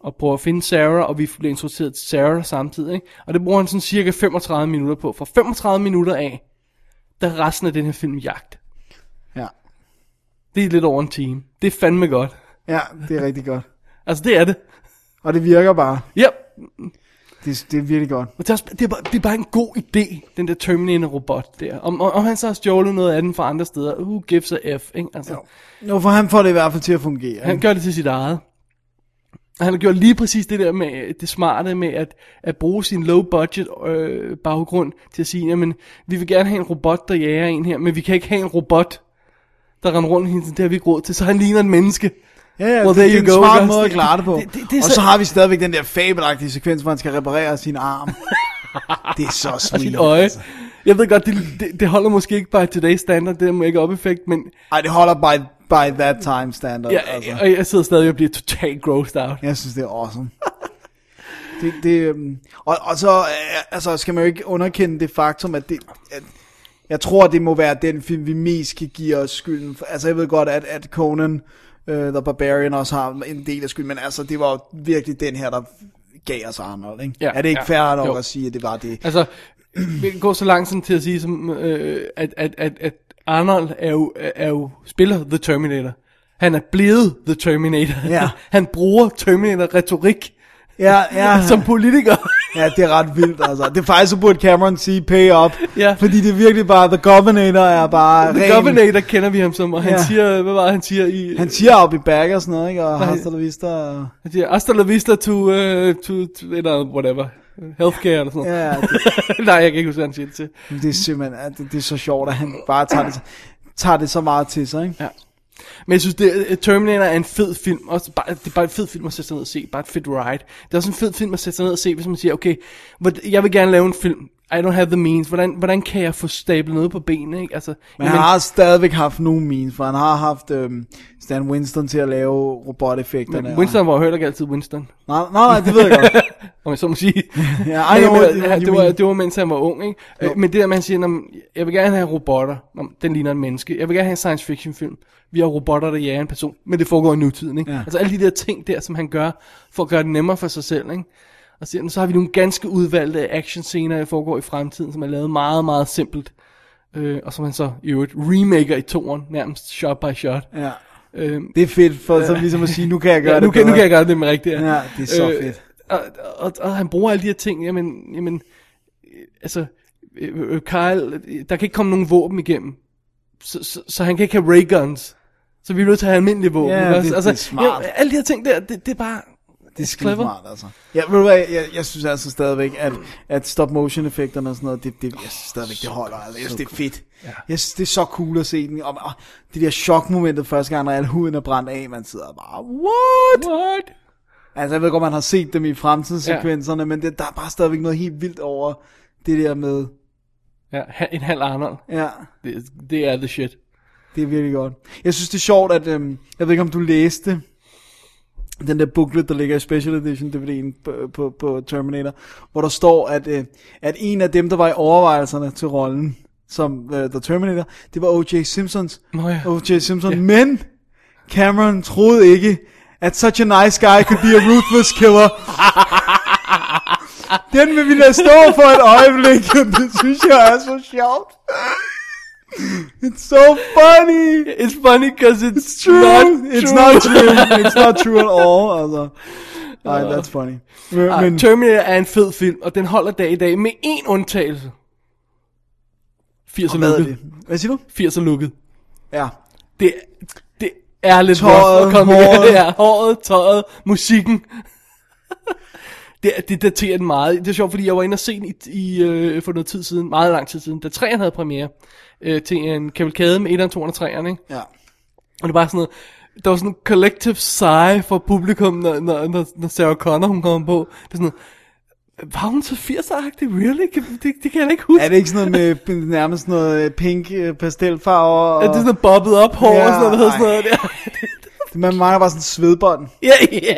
Speaker 3: og prøve at finde Sarah, og vi bliver introduceret til Sarah samtidig. Ikke? Og det bruger han sådan cirka 35 minutter på. Fra 35 minutter af, der er resten af den her film jagt.
Speaker 4: Ja.
Speaker 3: Det er lidt over en time. Det er fandme godt.
Speaker 4: ja, det er rigtig godt.
Speaker 3: Altså, det er det.
Speaker 4: Og det virker bare.
Speaker 3: Yep.
Speaker 4: Det, det er virkelig godt.
Speaker 3: Men det er, også, det, er bare, det er bare en god idé, den der Terminator-robot der. Om, om, om han så har stjålet noget af den fra andre steder, who gives a F, ikke? Altså,
Speaker 4: Jo, for han får det i hvert fald til at fungere.
Speaker 3: han
Speaker 4: ikke?
Speaker 3: gør det til sit eget. Og han har gjort lige præcis det der med øh, det smarte med at, at bruge sin low budget øh, baggrund til at sige, jamen vi vil gerne have en robot, der jager en her, men vi kan ikke have en robot, der render rundt hele tiden, det har vi ikke råd til, så han ligner en menneske.
Speaker 4: Ja, ja,
Speaker 3: Well,
Speaker 4: det,
Speaker 3: there
Speaker 4: det er
Speaker 3: you
Speaker 4: en
Speaker 3: go,
Speaker 4: smart
Speaker 3: ikke også?
Speaker 4: måde at
Speaker 3: Det-
Speaker 4: klare det på.
Speaker 3: det- det- det er
Speaker 4: og
Speaker 3: så-
Speaker 4: så har vi stadigvæk den der fabelagtige sekvens, hvor han skal reparere sin arm. det er så
Speaker 3: Og sit
Speaker 4: sweet.
Speaker 3: øje. Jeg ved godt, det, det, det holder måske ikke bare today's standard, det der make-up-effekt, men
Speaker 4: Ej, det holder by, by that time standard.
Speaker 3: jeg,
Speaker 4: altså.
Speaker 3: jeg, og jeg sidder stadig og bliver totalt grossed out.
Speaker 4: Jeg synes, det er awesome. det, det, øhm, og, og så øh, altså, skal man jo ikke underkende det faktum, at, det, at jeg tror, det må være den film, vi mest kan give os skylden. For, altså, jeg ved godt, at, at Conan uh, The Barbarian også har en del af skylden, men altså, det var jo virkelig den her, der gav os Arnold, ikke?
Speaker 3: Ja,
Speaker 4: er det ikke
Speaker 3: ja,
Speaker 4: fair nok
Speaker 3: jo.
Speaker 4: at sige, at det var det?
Speaker 3: Altså, vi kan gå så langt sådan til at sige, som, øh, at, at, at, at Arnold er jo, er jo spiller The Terminator. Han er blevet The Terminator.
Speaker 4: Ja.
Speaker 3: Han bruger Terminator-retorik
Speaker 4: Ja, ja,
Speaker 3: som politiker.
Speaker 4: ja, det er ret vildt, altså. Det er faktisk, så burde Cameron sige pay up,
Speaker 3: Ja.
Speaker 4: fordi det er virkelig bare, The Governator er bare
Speaker 3: The
Speaker 4: ren-
Speaker 3: Governator kender vi ham som, og han
Speaker 4: Ja.
Speaker 3: siger, hvad var det, han siger i...
Speaker 4: Han siger op i back og sådan noget, ikke? Og
Speaker 3: Nej.
Speaker 4: hasta la vista. og-
Speaker 3: han siger, hasta la vista to, uh, to, to eller whatever. Healthcare eller sådan noget.
Speaker 4: Ja, det,
Speaker 3: Nej, jeg kan ikke huske, hvad han siger det til.
Speaker 4: det er simpelthen, ja, det, det er så sjovt, at han bare tager det, tager det så meget til sig, ikke?
Speaker 3: Ja. Men jeg synes, det, øh, Terminator er en fed film. Også bare, det er bare en fed film at sætte sig ned og se. Bare et fedt ride. Det er også en fed film at sætte sig ned og se, hvis man siger, okay, hvor- jeg vil gerne lave en film. I don't have the means. Hvordan, hvordan kan jeg få stablet noget på benene? Ikke? Altså,
Speaker 4: Men han har stadigvæk haft nogle memes, for han har haft øhm, Stan Winston til at lave roboteffekterne.
Speaker 3: Men
Speaker 4: og-
Speaker 3: Winston var jo heller ikke altid Winston.
Speaker 4: Nej, nej, nej, det ved jeg godt.
Speaker 3: Om jeg så må sige.
Speaker 4: Ja,
Speaker 3: Nej,
Speaker 4: I know what
Speaker 3: men,
Speaker 4: you
Speaker 3: ja, det, var,
Speaker 4: mean.
Speaker 3: det var mens han var ung, ikke? Øh, Men det der med, at han siger, "Nå, men jeg vil gerne have robotter. Nå, men den ligner en menneske. Jeg vil gerne have en science fiction film. Vi har robotter, der jager en person. Men det foregår i nutiden, ikke?
Speaker 4: Ja.
Speaker 3: Ja. Altså alle de der ting der, som han gør, for at gøre det nemmere for sig selv, ikke? Og siger, "Nå, så har vi nogle ganske udvalgte actionscener, der foregår i fremtiden, som er lavet meget, meget simpelt. Øh, og som han så i øvrigt remaker i toren, nærmest shot by shot.
Speaker 4: Ja.
Speaker 3: Øh,
Speaker 4: Det er fedt, for så ligesom at sige, nu kan jeg gøre
Speaker 3: ja,
Speaker 4: det
Speaker 3: nu, kan, nu
Speaker 4: bedre.
Speaker 3: kan jeg gøre det med rigtigt. Øh,
Speaker 4: Ja, det er så fedt.
Speaker 3: Og, og, og han bruger alle de her ting, jamen, jamen øh, altså, øh, øh, Kyle, øh, der kan ikke komme nogen våben igennem, så, så, så han kan ikke have ray guns, så vi er nødt til at have almindelige våben.
Speaker 4: Ja,
Speaker 3: ikke
Speaker 4: det-
Speaker 3: også? Altså,
Speaker 4: det er smart.
Speaker 3: jamen, alle de her ting der, det, det er bare,
Speaker 4: Det er skide
Speaker 3: clever.
Speaker 4: smart, altså. Ja, ved du hvad, jeg, jeg synes altså stadigvæk, at, at stop motion effekterne og sådan noget, det, det, jeg synes stadigvæk, det holder. Altså. Jeg synes, det er fedt. Jeg synes, det er så cool at se den. Og, og det der chokmomentet første gang, når al huden er brændt af, man sidder bare, what?
Speaker 3: what?
Speaker 4: Altså, jeg ved godt, man har set dem i fremtidssekvenserne, ja. men det, der er bare stadigvæk noget helt vildt over det der med,
Speaker 3: Ja, ha- en halv Arnold,
Speaker 4: ja,
Speaker 3: det, det er the shit.
Speaker 4: det er virkelig godt. Jeg synes, det er sjovt, at, øhm, jeg ved ikke, om du læste den der booklet, der ligger i Special Edition DVD'en på, på, på Terminator, hvor der står, at, øh, at en af dem, der var i overvejelserne til rollen som øh, The Terminator, det var O.J. Simpsons.
Speaker 3: Nå ja.
Speaker 4: O.J. Simpson, men Cameron troede ikke, at such a nice guy could be a ruthless killer. Den vil vi lade stå for et øjeblik, og det synes jeg er så sjovt. It's so funny.
Speaker 3: It's funny, because it's,
Speaker 4: It's true. it's not true. It's not true at all. Altså. Nej, that's funny. Men,
Speaker 3: Ej,
Speaker 4: men
Speaker 3: Ah, Terminator er en fed film, og den holder dag i dag med én undtagelse. 80'er
Speaker 4: hvad er
Speaker 3: lukket.
Speaker 4: det? Hvad siger du?
Speaker 3: 80'er lukket.
Speaker 4: Ja.
Speaker 3: Det, det er lidt
Speaker 4: Tøjet,
Speaker 3: rough at komme
Speaker 4: håret.
Speaker 3: håret. Ja, håret, tøjet, musikken. det, det daterer den meget. Det er sjovt, fordi jeg var inde og se den i, i, øh, for noget tid siden, meget lang tid siden, da 3'eren havde premiere, øh, til en kavalkade med 1'eren, 2'eren og 3'eren, ikke?
Speaker 4: Ja.
Speaker 3: Og det var sådan noget, der var sådan en collective sigh for publikum, når, når, når, når Sarah Connor hun kom på. Det er sådan noget, var hun så 80'er-agtig? Really? Kan, det, det kan jeg da ikke huske.
Speaker 4: Er det ikke sådan noget med nærmest noget øh, pink øh, pastelfarver? Og...
Speaker 3: er det sådan noget bobbet op hår
Speaker 4: Ja,
Speaker 3: og sådan noget, der hedder sådan
Speaker 4: ej.
Speaker 3: noget der?
Speaker 4: Man mangler bare sådan et svedbånd.
Speaker 3: Ja, ja.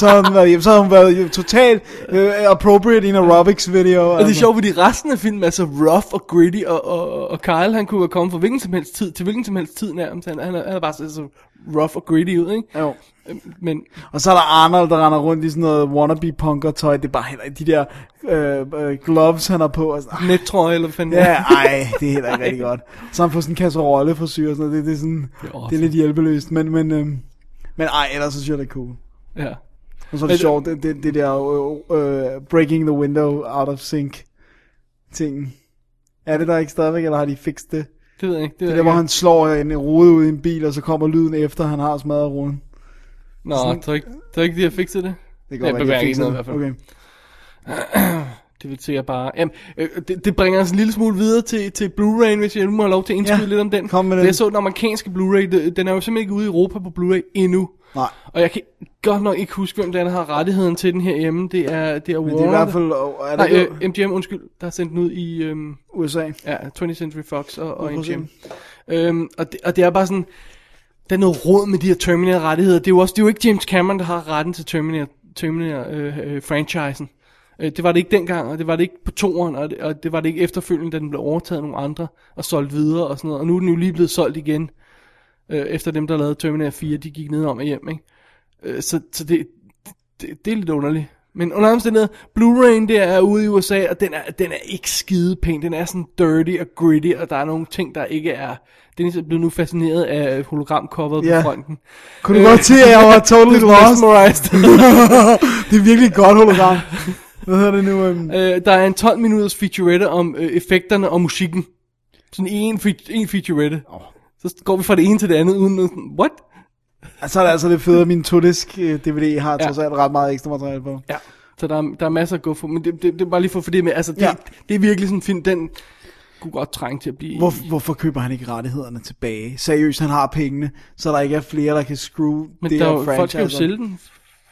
Speaker 4: Så har hun været, jamen, så har hun været jo totalt øh, appropriate i en aerobics video. altså.
Speaker 3: Og det er sjovt, fordi resten af filmen er så rough og gritty, og, og, og Kyle han kunne være kommet fra hvilken som helst tid til hvilken som helst tid nærmest. Han, han, er- han er bare så, så rough og gritty ud, ikke? Øhm,
Speaker 4: Jo.
Speaker 3: Men
Speaker 4: Og så er der Arnold, der render rundt i sådan noget wannabe punker tøj. Det er bare heller ikke de der øh, øh, gloves, han har på. Og sådan, ah,
Speaker 3: nettrøje eller hvad fanden
Speaker 4: ja, ej, det er heller ikke rigtig godt. Så har han får sådan en kasserolle for syre og sådan noget. Det, det er sådan, det er,
Speaker 3: awesome.
Speaker 4: det er lidt hjælpeløst. Men, men, øh, men ej, ellers så synes jeg, det er cool.
Speaker 3: ja.
Speaker 4: Og så er det
Speaker 3: Men-
Speaker 4: sjovt, det, det, det der øh, øh, breaking the window out of sync ting. Er det der ikke stadigvæk, eller har de fikset det?
Speaker 3: Det ved jeg ikke. Det, ved
Speaker 4: Det
Speaker 3: jeg
Speaker 4: der,
Speaker 3: ikke.
Speaker 4: hvor han slår en rude ud i en bil, og så kommer lyden efter, han har smadret ruden.
Speaker 3: Nå, sådan... tror du ikke, tror du ikke, de har fikset det?
Speaker 4: Det
Speaker 3: Ja,
Speaker 4: de
Speaker 3: bevæger
Speaker 4: fik
Speaker 3: ikke noget
Speaker 4: sådan-
Speaker 3: i hvert Det vil sige bare... Jamen, øh, det, det, bringer os en lille smule videre til, til Blu-ray, hvis jeg nu må have lov til at indskyde
Speaker 4: Ja,
Speaker 3: lidt om den.
Speaker 4: kom med
Speaker 3: For
Speaker 4: den.
Speaker 3: Jeg så den amerikanske Blu-ray, det- den er jo simpelthen ikke ude i Europa på Blu-ray endnu.
Speaker 4: Nej.
Speaker 3: Og jeg kan godt nok ikke huske, hvem der er, der har rettigheden til den her hjemme. Det er, det er
Speaker 4: Men
Speaker 3: Warner.
Speaker 4: det er i hvert fald, og er det
Speaker 3: Nej,
Speaker 4: ikke
Speaker 3: øh, MGM, undskyld, der har sendt den ud i øhm,
Speaker 4: USA?
Speaker 3: ja, 20th Century Fox og, og
Speaker 4: 100%.
Speaker 3: MGM. Øhm, og, det, og det er bare sådan, der er noget råd med de her Terminator-rettigheder. Det er jo, også, det er jo ikke James Cameron, der har retten til Terminator-franchisen. Terminator, øh, øh, franchisen. øh, det var det ikke dengang, og det var det ikke på toeren, og det, og det var det ikke efterfølgende, da den blev overtaget af nogle andre og solgt videre og sådan noget. Og nu er den jo lige blevet solgt igen, øh, efter dem, der lavede Terminator 4, de gik ned om og hjem, ikke? Øh, så, så det, det, det er lidt underligt. Men under alle omstændigheder, Blu-ray'en der er ude i USA, og den er, den er ikke skide pæn. Den er sådan dirty og gritty, og der er nogle ting, der ikke er... Dennis er blevet nu fascineret af hologramcoveret
Speaker 4: Ja.
Speaker 3: på fronten.
Speaker 4: Kunne du godt se, at jeg var totally lost?
Speaker 3: Mesmerized.
Speaker 4: det er virkelig et godt hologram. Hvad hedder det nu? øhm?
Speaker 3: øh, der er en 12 minutters featurette om øh, effekterne og musikken. Sådan en, fe- en featurette. Oh. Så går vi fra det ene til det andet, uden noget sådan, what?
Speaker 4: Så er det altså det fede, at min øh, tonisk DVD har trods
Speaker 3: Ja.
Speaker 4: alt ret meget ekstra materiale på.
Speaker 3: Ja. Så der er, der er masser at gå for, men det, det, det er bare lige for, for det med, altså det,
Speaker 4: Ja.
Speaker 3: ja. det er virkelig sådan en film, den kunne godt trænge til at blive...
Speaker 4: Hvor, hvorfor køber han ikke rettighederne tilbage? Seriøst, han har pengene, så der ikke er flere, der kan screw
Speaker 3: Men
Speaker 4: det
Speaker 3: der er
Speaker 4: her
Speaker 3: jo, folk skal jo
Speaker 4: franchise.
Speaker 3: sælge den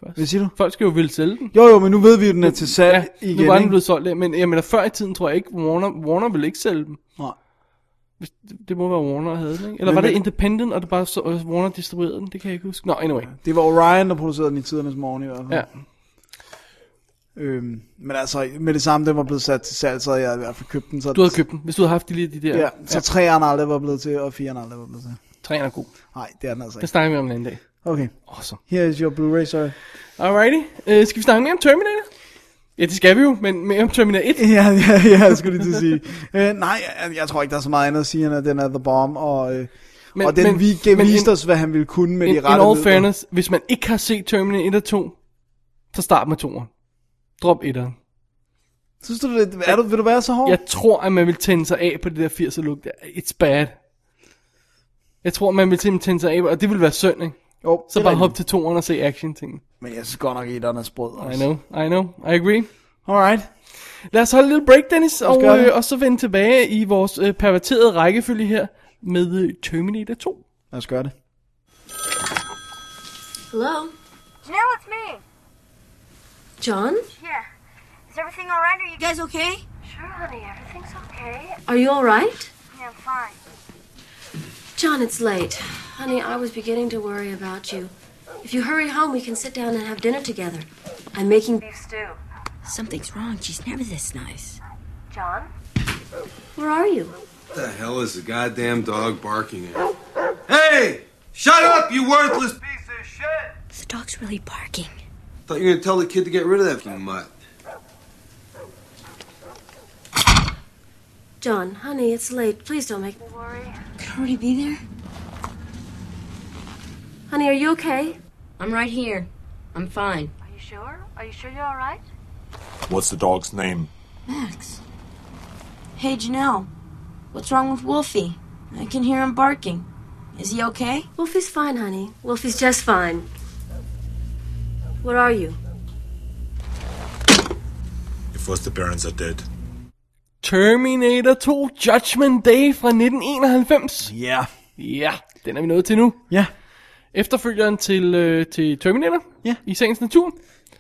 Speaker 3: først.
Speaker 4: Hvad siger du?
Speaker 3: Folk skal jo ville sælge den.
Speaker 4: Jo, jo, men nu ved vi, at den er til salg
Speaker 3: Ja,
Speaker 4: igen.
Speaker 3: nu var den
Speaker 4: ikke?
Speaker 3: blevet solgt, men jeg mener, før i tiden tror jeg ikke, Warner, Warner ville ikke sælge dem.
Speaker 4: Nej.
Speaker 3: Hvis- Det må være Warner, der havde den, ikke? Eller var
Speaker 4: Men-
Speaker 3: det Independent, og det bare så, og Warner distribuerede den? Det kan jeg ikke huske. Nå, anyway.
Speaker 4: Det var Orion, der producerede den i tidernes morgen i hvert fald.
Speaker 3: Ja.
Speaker 4: Øhm, men altså, med det samme, den var blevet sat til salg, så havde jeg i hvert fald købt den. Så
Speaker 3: Du havde købt den, hvis du havde haft de lige de der.
Speaker 4: Ja, så træerne aldrig var blevet til, og fireren aldrig var blevet til.
Speaker 3: Træen er god.
Speaker 4: Nej, det er den altså
Speaker 3: Det
Speaker 4: ikke.
Speaker 3: snakker vi om en anden dag.
Speaker 4: Okay,
Speaker 3: Awesome.
Speaker 4: here is your Blu-ray, sorry.
Speaker 3: Alrighty. Øh, skal vi snakke mere om Terminator? Ja, det skal vi jo, men mere om Terminator 1.
Speaker 4: Ja, ja, ja, jeg skulle lige til at sige. Øh, nej, jeg, jeg tror ikke, der er så meget andet at sige, end at den er The Bomb, og, øh,
Speaker 3: Men-
Speaker 4: men, og den
Speaker 3: men-
Speaker 4: men, weekend
Speaker 3: men
Speaker 4: viste
Speaker 3: in-
Speaker 4: os, hvad han ville kunne med
Speaker 3: In,
Speaker 4: de
Speaker 3: in
Speaker 4: rette
Speaker 3: all
Speaker 4: midler.
Speaker 3: fairness, hvis man ikke har set Terminator 1 og 2, så start med 2'eren. Drop 1'eren.
Speaker 4: Synes du, det, er du, vil du være så hård?
Speaker 3: Jeg tror, at man vil tænde sig af på det der 80'er look. der. It's bad. Jeg tror, man vil simpelthen tænde sig af, og det vil være synd, ikke?
Speaker 4: jo,
Speaker 3: Så
Speaker 4: det
Speaker 3: bare
Speaker 4: er rigtigt.
Speaker 3: hop til toeren og se action ting.
Speaker 4: Men jeg synes godt nok, at den er sprød.
Speaker 3: I
Speaker 4: Også.
Speaker 3: know, I know, I agree.
Speaker 4: Alright.
Speaker 3: Lad os holde en lille break, Dennis, og,
Speaker 4: gøre det.
Speaker 3: øh, og så vende tilbage i vores øh, perverterede rækkefølge her med øh, Terminator 2.
Speaker 4: Lad os gøre det.
Speaker 8: Hello?
Speaker 9: Janelle, it's me.
Speaker 8: John?
Speaker 9: Yeah. Is everything all right? Are you
Speaker 8: You guys okay?
Speaker 9: sure, honey? Everything's okay.
Speaker 8: Are you alright?
Speaker 9: Yeah, I'm fine.
Speaker 8: John, it's late. Honey, I was beginning to worry about you. If you hurry home, we can sit down and have dinner together. I'm making.
Speaker 9: Beef stew.
Speaker 10: Something's wrong. She's never this nice.
Speaker 9: John?
Speaker 8: Where are you?
Speaker 11: What the hell is the goddamn dog barking at? Hey! Shut up, you worthless piece of shit!
Speaker 10: The dog's really barking.
Speaker 11: Thought you were gonna tell the kid to get rid of that mutt.
Speaker 8: John, honey, it's late. Please don't make.
Speaker 9: Worry?
Speaker 10: Could already be there.
Speaker 8: Honey, are you okay?
Speaker 10: I'm right here. I'm fine.
Speaker 9: Are you sure? Are you sure you're all right?
Speaker 2: What's the dog's name?
Speaker 10: Max. Hey, Janelle. What's wrong with Wolfie? I can hear him barking. Is he okay?
Speaker 8: Wolfie's fine, honey. Wolfie's just fine. Where are you?
Speaker 2: Your foster parents are dead.
Speaker 3: Terminator 2 Judgment Day fra 1991.
Speaker 4: Ja. Yeah.
Speaker 3: Ja, den er vi nået til nu.
Speaker 4: Ja,
Speaker 3: Efterfølgeren til, øh, til Terminator
Speaker 4: Ja.
Speaker 3: i sagens natur.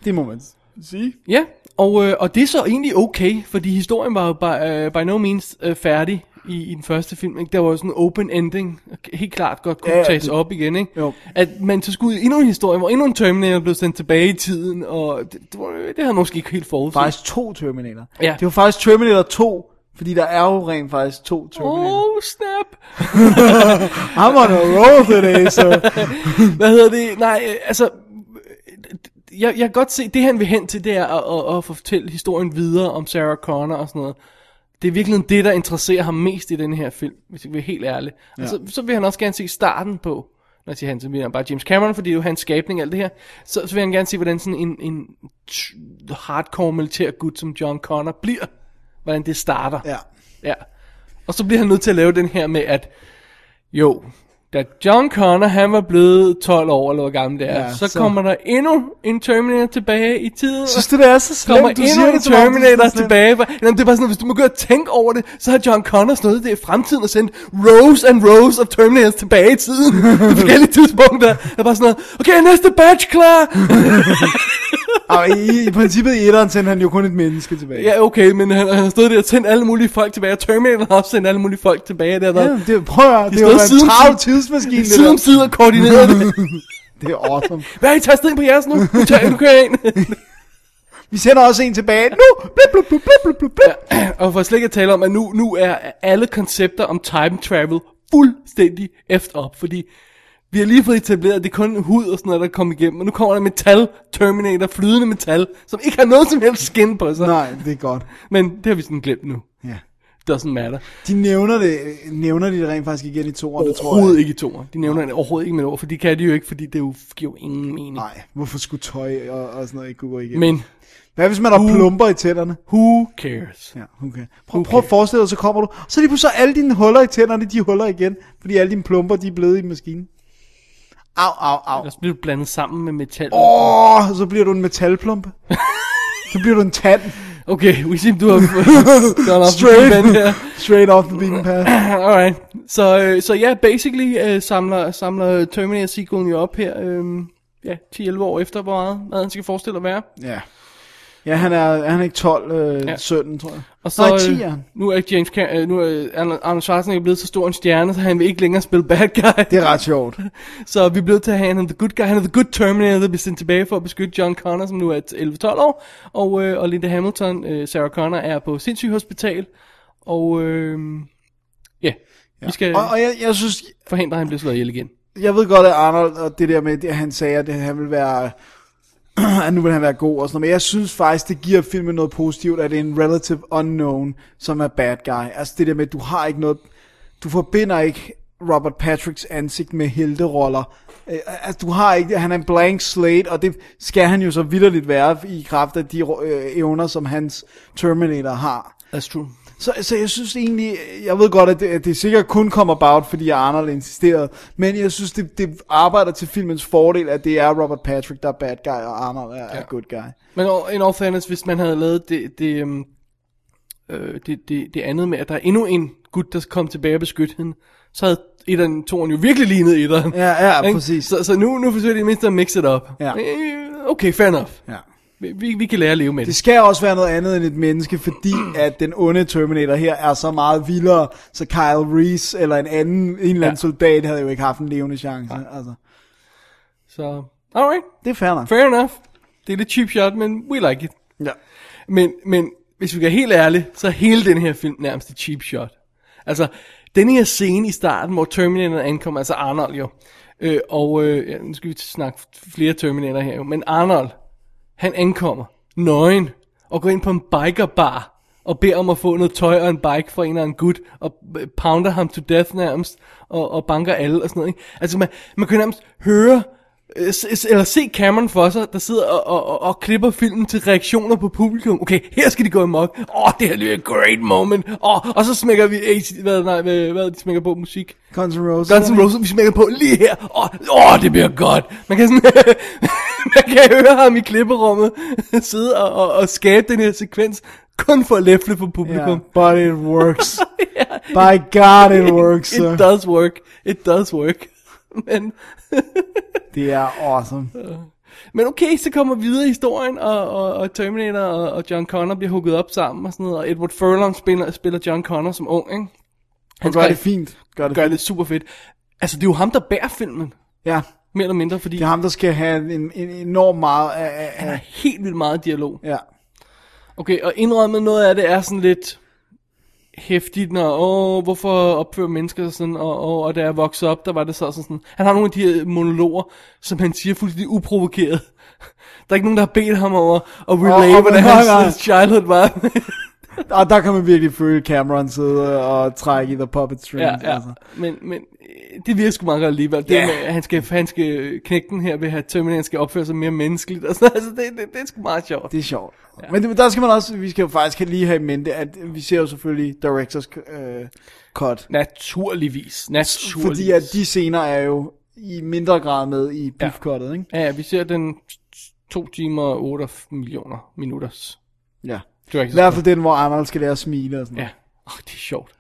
Speaker 4: det må man sige.
Speaker 3: Ja, og, øh, og det er så egentlig okay, fordi historien var jo by, øh, by no means øh, færdig i, i den første film. Ikke? Der var jo sådan en open ending, og k- helt klart godt kunne
Speaker 4: Ja,
Speaker 3: ja,
Speaker 4: ja,
Speaker 3: tages
Speaker 4: det-
Speaker 3: op igen. Ikke?
Speaker 4: Jo.
Speaker 3: At man så skulle ud i endnu en historie, hvor endnu en Terminator blev sendt tilbage i tiden, og det, det, var, det havde jeg måske ikke helt forudset.
Speaker 4: Faktisk to Terminator.
Speaker 3: Ja.
Speaker 4: Det var faktisk Terminator 2, fordi der er jo rent faktisk to Terminator.
Speaker 3: Oh snap Oh.
Speaker 4: I'm on a roll today, so...
Speaker 3: Hvad hedder det Nej øh, altså øh, jeg, jeg kan godt se Det han vil hen til Det er at, at, at fortælle historien videre Om Sarah Connor og sådan noget Det er virkelig det der interesserer ham mest I den her film Hvis jeg vil være helt ærlig ja. Og så, så vil han også gerne se starten på Når jeg siger han Så mener jeg bare James Cameron For det er jo hans skabning og Alt det her Så, så vil han gerne se Hvordan sådan en, en t- Hardcore militær gut Som John Connor bliver Hvordan det starter
Speaker 4: ja.
Speaker 3: Ja. Og så bliver han nødt til at lave den her med, at jo, da John Connor han var blevet 12 år, eller hvor gammel det er, ja,
Speaker 4: Ja,
Speaker 3: så, så
Speaker 4: så-
Speaker 3: kommer der endnu en Terminator tilbage i tiden.
Speaker 4: Synes du, det er så
Speaker 3: kommer
Speaker 4: slemt? Du siger
Speaker 3: endnu en
Speaker 4: det, som om det er
Speaker 3: Terminator
Speaker 4: så slemt.
Speaker 3: tilbage. Hvor- Jamen, det er bare sådan, at hvis du må gå og tænke over det, så har John Connor stået det i fremtiden og sendt rows and rows of Terminators tilbage i tiden. på forskellige tidspunkter. Der er bare sådan noget, okay, næste batch klar.
Speaker 4: Og i, i princippet i etteren sendte han jo kun et menneske tilbage.
Speaker 3: ja, okay, men han, han har stået der og sendt alle mulige folk tilbage, og Terminator har også sendt alle mulige folk tilbage. Det har været
Speaker 4: Ja, det, prøv at høre, det
Speaker 3: stod
Speaker 4: var en
Speaker 3: siden-
Speaker 4: travl tidsmaskine, det
Speaker 3: side om
Speaker 4: der.
Speaker 3: side og koordineret det.
Speaker 4: Det er awesome.
Speaker 3: Hvad har I tastet ind på jeres nu? Nu, tager, nu kører jeg ind.
Speaker 4: Vi sender også en tilbage nu. Blip, blip, blip, blip, blip, blip, blip.
Speaker 3: og for slet ikke at tale om, at nu, nu er alle koncepter om time travel fuldstændig efter op, fordi vi har lige fået etableret, at det er kun hud og sådan noget, der kommer igennem, og nu kommer der metal Terminator, flydende metal, som ikke har noget som helst skin på sig.
Speaker 4: Nej, det er godt.
Speaker 3: Men det har vi sådan glemt nu.
Speaker 4: Ja.
Speaker 3: Doesn't matter.
Speaker 4: De nævner det, nævner de det rent faktisk igen i toeren, det tror
Speaker 3: Overhovedet
Speaker 4: jeg.
Speaker 3: ikke i toer. De nævner det overhovedet ikke med et ord, for det kan de jo ikke, fordi det jo, giver jo ingen mening.
Speaker 4: Nej, hvorfor skulle tøj og, og sådan noget ikke kunne gå igennem?
Speaker 3: Men
Speaker 4: Hvad hvis man har plumper i tænderne?
Speaker 3: who cares?
Speaker 4: Ja, okay. Prøv, okay. prøv at forestille dig, så kommer du. Så lige pludselig er alle dine huller i tænderne, de er huller igen. Fordi alle dine plumper, de er blevet i maskinen. Au, au, au.
Speaker 3: Ellers bliver du blandet sammen med metal.
Speaker 4: Åh, oh, så bliver du en metalplumpe. så bliver du en tand.
Speaker 3: Okay, we seem to have øh, gone off
Speaker 4: Straight.
Speaker 3: the deep end her.
Speaker 4: Straight off the beaten path.
Speaker 3: Alright. Så, øh, så ja, basically øh, samler, samler Terminator øhm, sequelen jo op her. Øh, ja, 10-11 år efter, hvor meget, hvad han skal forestille at være.
Speaker 4: Ja. Ja, han er, han er ikke 12, øh, ja. 17, tror jeg.
Speaker 3: Og så,
Speaker 4: Nej, 10 er
Speaker 3: øh,
Speaker 4: han.
Speaker 3: nu er James Cam- øh, nu er Arnold- Arnold Schwarzenegger blevet så stor en stjerne, så han vil ikke længere spille bad guy.
Speaker 4: Det er ret sjovt.
Speaker 3: Øh. så vi er blevet til at have han er the good guy. Han er the good Terminator, der bliver sendt tilbage for at beskytte John Connor, som nu er 11-12 år. Og, øh, og Linda Hamilton, øh, Sarah Connor, er på sindssyg hospital. Og øh, ja, ja, vi skal
Speaker 4: Og, og jeg, jeg synes,
Speaker 3: forhindre, at han bliver slået ihjel igen.
Speaker 4: jeg ved godt, at Arnold, og det der med, at han sagde, at han ville være, at nu vil han være god og sådan noget, men jeg synes faktisk, det giver filmen noget positivt, at det er en relative unknown, som er bad guy. Altså det der med, at du har ikke noget, du forbinder ikke Robert Patricks ansigt med helteroller. Øh, Altså, du har ikke, han er en blank slate, og det skal han jo så vidderligt være i kraft af de øh, evner, som hans Terminator har.
Speaker 3: That's true.
Speaker 4: Så, så jeg synes egentlig, jeg ved godt, at det, at det sikkert kun kom about, fordi Arnold insisterede, men jeg synes, det, det arbejder til filmens fordel, at det er Robert Patrick, der er bad guy, og Arnold er, ja. er good guy.
Speaker 3: Men o- in all fairness, hvis man havde lavet det, det, øhm, øh, det, det, det andet med, at der er endnu en gut, der kom tilbage og beskytte hende, så havde etteren, toeren jo virkelig lignet etteren.
Speaker 4: Ja, ja,
Speaker 3: Ikke?
Speaker 4: præcis.
Speaker 3: Så, så nu, nu forsøger de mindst at mix it up.
Speaker 4: Ja.
Speaker 3: Øh, Okay, fair enough.
Speaker 4: Ja.
Speaker 3: Vi- Vi, vi kan lære at leve med det.
Speaker 4: Det skal også være noget andet end et menneske, fordi at den onde Terminator her er så meget vildere, så Kyle Reese eller en anden, en eller anden
Speaker 3: Ja.
Speaker 4: ja. soldat havde jo ikke haft en levende chance. Ja. Altså,
Speaker 3: Så, alright.
Speaker 4: det er fair nok.
Speaker 3: Fair enough. Det er lidt cheap shot, men we like it.
Speaker 4: Ja.
Speaker 3: Men, men hvis vi er helt ærlige, så er hele den her film nærmest et cheap shot. Altså, den her scene i starten, hvor Terminator ankommer, altså Arnold jo, øh, og øh, ja, nu skal vi snakke flere Terminator her jo, men Arnold, han ankommer, nøgen, og går ind på en bikerbar, og beder om at få noget tøj og en bike fra en eller anden gut, og øh, pounder ham to death nærmest, og, og banker alle og sådan noget. Ikke? Altså, man, man kan nærmest høre øh, s- s- eller se Cameron for sig, der sidder og, og, og, og klipper filmen til reaktioner på publikum. Okay, her skal de gå amok. Åh, oh, det her lyder et great moment. Oh, og så smækker vi AC, hvad, nej, hvad, hvad de smækker på musik.
Speaker 4: Guns N' Roses.
Speaker 3: Guns N' Roses, vi smækker på lige her. Åh, oh, oh, det bliver godt. Man kan, sådan, man kan høre ham i klipperummet sidde og, og, og skabe den her sekvens, kun for at læfle på
Speaker 4: Yeah,
Speaker 3: publikum.
Speaker 4: but it works. By God, it works.
Speaker 3: It,
Speaker 4: uh. sir.
Speaker 3: it does work. It does work. Men...
Speaker 4: Det er awesome.
Speaker 3: Men okay, så kommer vi videre i historien, og, og, og Terminator og, og John Connor bliver hugget op sammen og sådan noget, og Edward Furlong spiller, spiller John Connor som ung, ikke?
Speaker 4: Han gør
Speaker 3: skrev-
Speaker 4: det fint. Gør det
Speaker 3: Gør
Speaker 4: fint.
Speaker 3: det super fedt. Altså, det er jo ham, der bærer filmen,
Speaker 4: Ja.
Speaker 3: mere eller mindre, fordi
Speaker 4: Det er ham, der skal have en, en enorm meget af, af,
Speaker 3: han har
Speaker 4: af
Speaker 3: helt vildt meget dialog.
Speaker 4: ja.
Speaker 3: Okay, og indrømmet noget af det er sådan lidt hæftigt, når, åh, hvorfor opfører mennesker sig sådan, og, og, og da jeg voksede op, der var det så sådan, sådan. Han har nogle af de her monologer, som han siger fuldstændig uprovokeret. Der er ikke nogen, der har bedt ham over at relate,
Speaker 4: og-
Speaker 3: oh, hvordan
Speaker 4: nej, nej.
Speaker 3: hans childhood var.
Speaker 4: Og der kan man virkelig føle Cameron sidde og trække i the puppet strings.
Speaker 3: ja, ja.
Speaker 4: Altså.
Speaker 3: Men, men øh, det virker sgu meget godt alligevel. Det
Speaker 4: Ja.
Speaker 3: med, at han skal, han skal knække den her ved at Terminator skal opføre sig mere menneskeligt. Og sådan, altså, det, det, det er sgu meget sjovt.
Speaker 4: Det er sjovt. Ja. Men det- der skal man også, vi skal jo faktisk lige have i mente, at vi ser jo selvfølgelig director's øh, cut.
Speaker 3: Naturligvis. Naturligvis.
Speaker 4: Fordi at de scener er jo i mindre grad med i
Speaker 3: Ja.
Speaker 4: beef cuttet, ikke?
Speaker 3: Ja, ja, vi ser den 2 timer og 8 millioner minutters.
Speaker 4: Ja. I
Speaker 3: Directors
Speaker 4: hvert fald den, hvor Arnold skal lære at smile og sådan
Speaker 3: Ja. Åh, det er sjovt.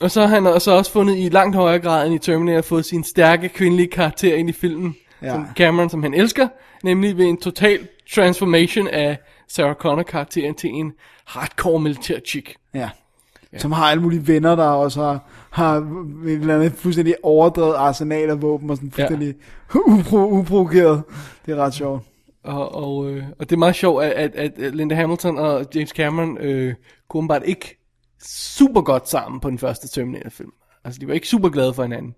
Speaker 3: Og så har han også, også fundet i langt højere grad end i Terminator fået sin stærke kvindelige karakter ind i filmen. Ja.
Speaker 4: Ja.
Speaker 3: Som Cameron, som han elsker. Nemlig ved en total transformation af Sarah Connor karakteren til en hardcore militær chick.
Speaker 4: Ja. ja. Som har alle mulige venner, der også har, har et eller andet fuldstændig overdrevet arsenal af våben og sådan fuldstændig ja. upro- uprovokeret. Det er ret sjovt.
Speaker 3: Og, og, øh, og det er meget sjovt, at, at, at Linda Hamilton og James Cameron øh, kunne åbenbart ikke super godt sammen på den første Terminator-film. Altså, de var ikke super glade for hinanden.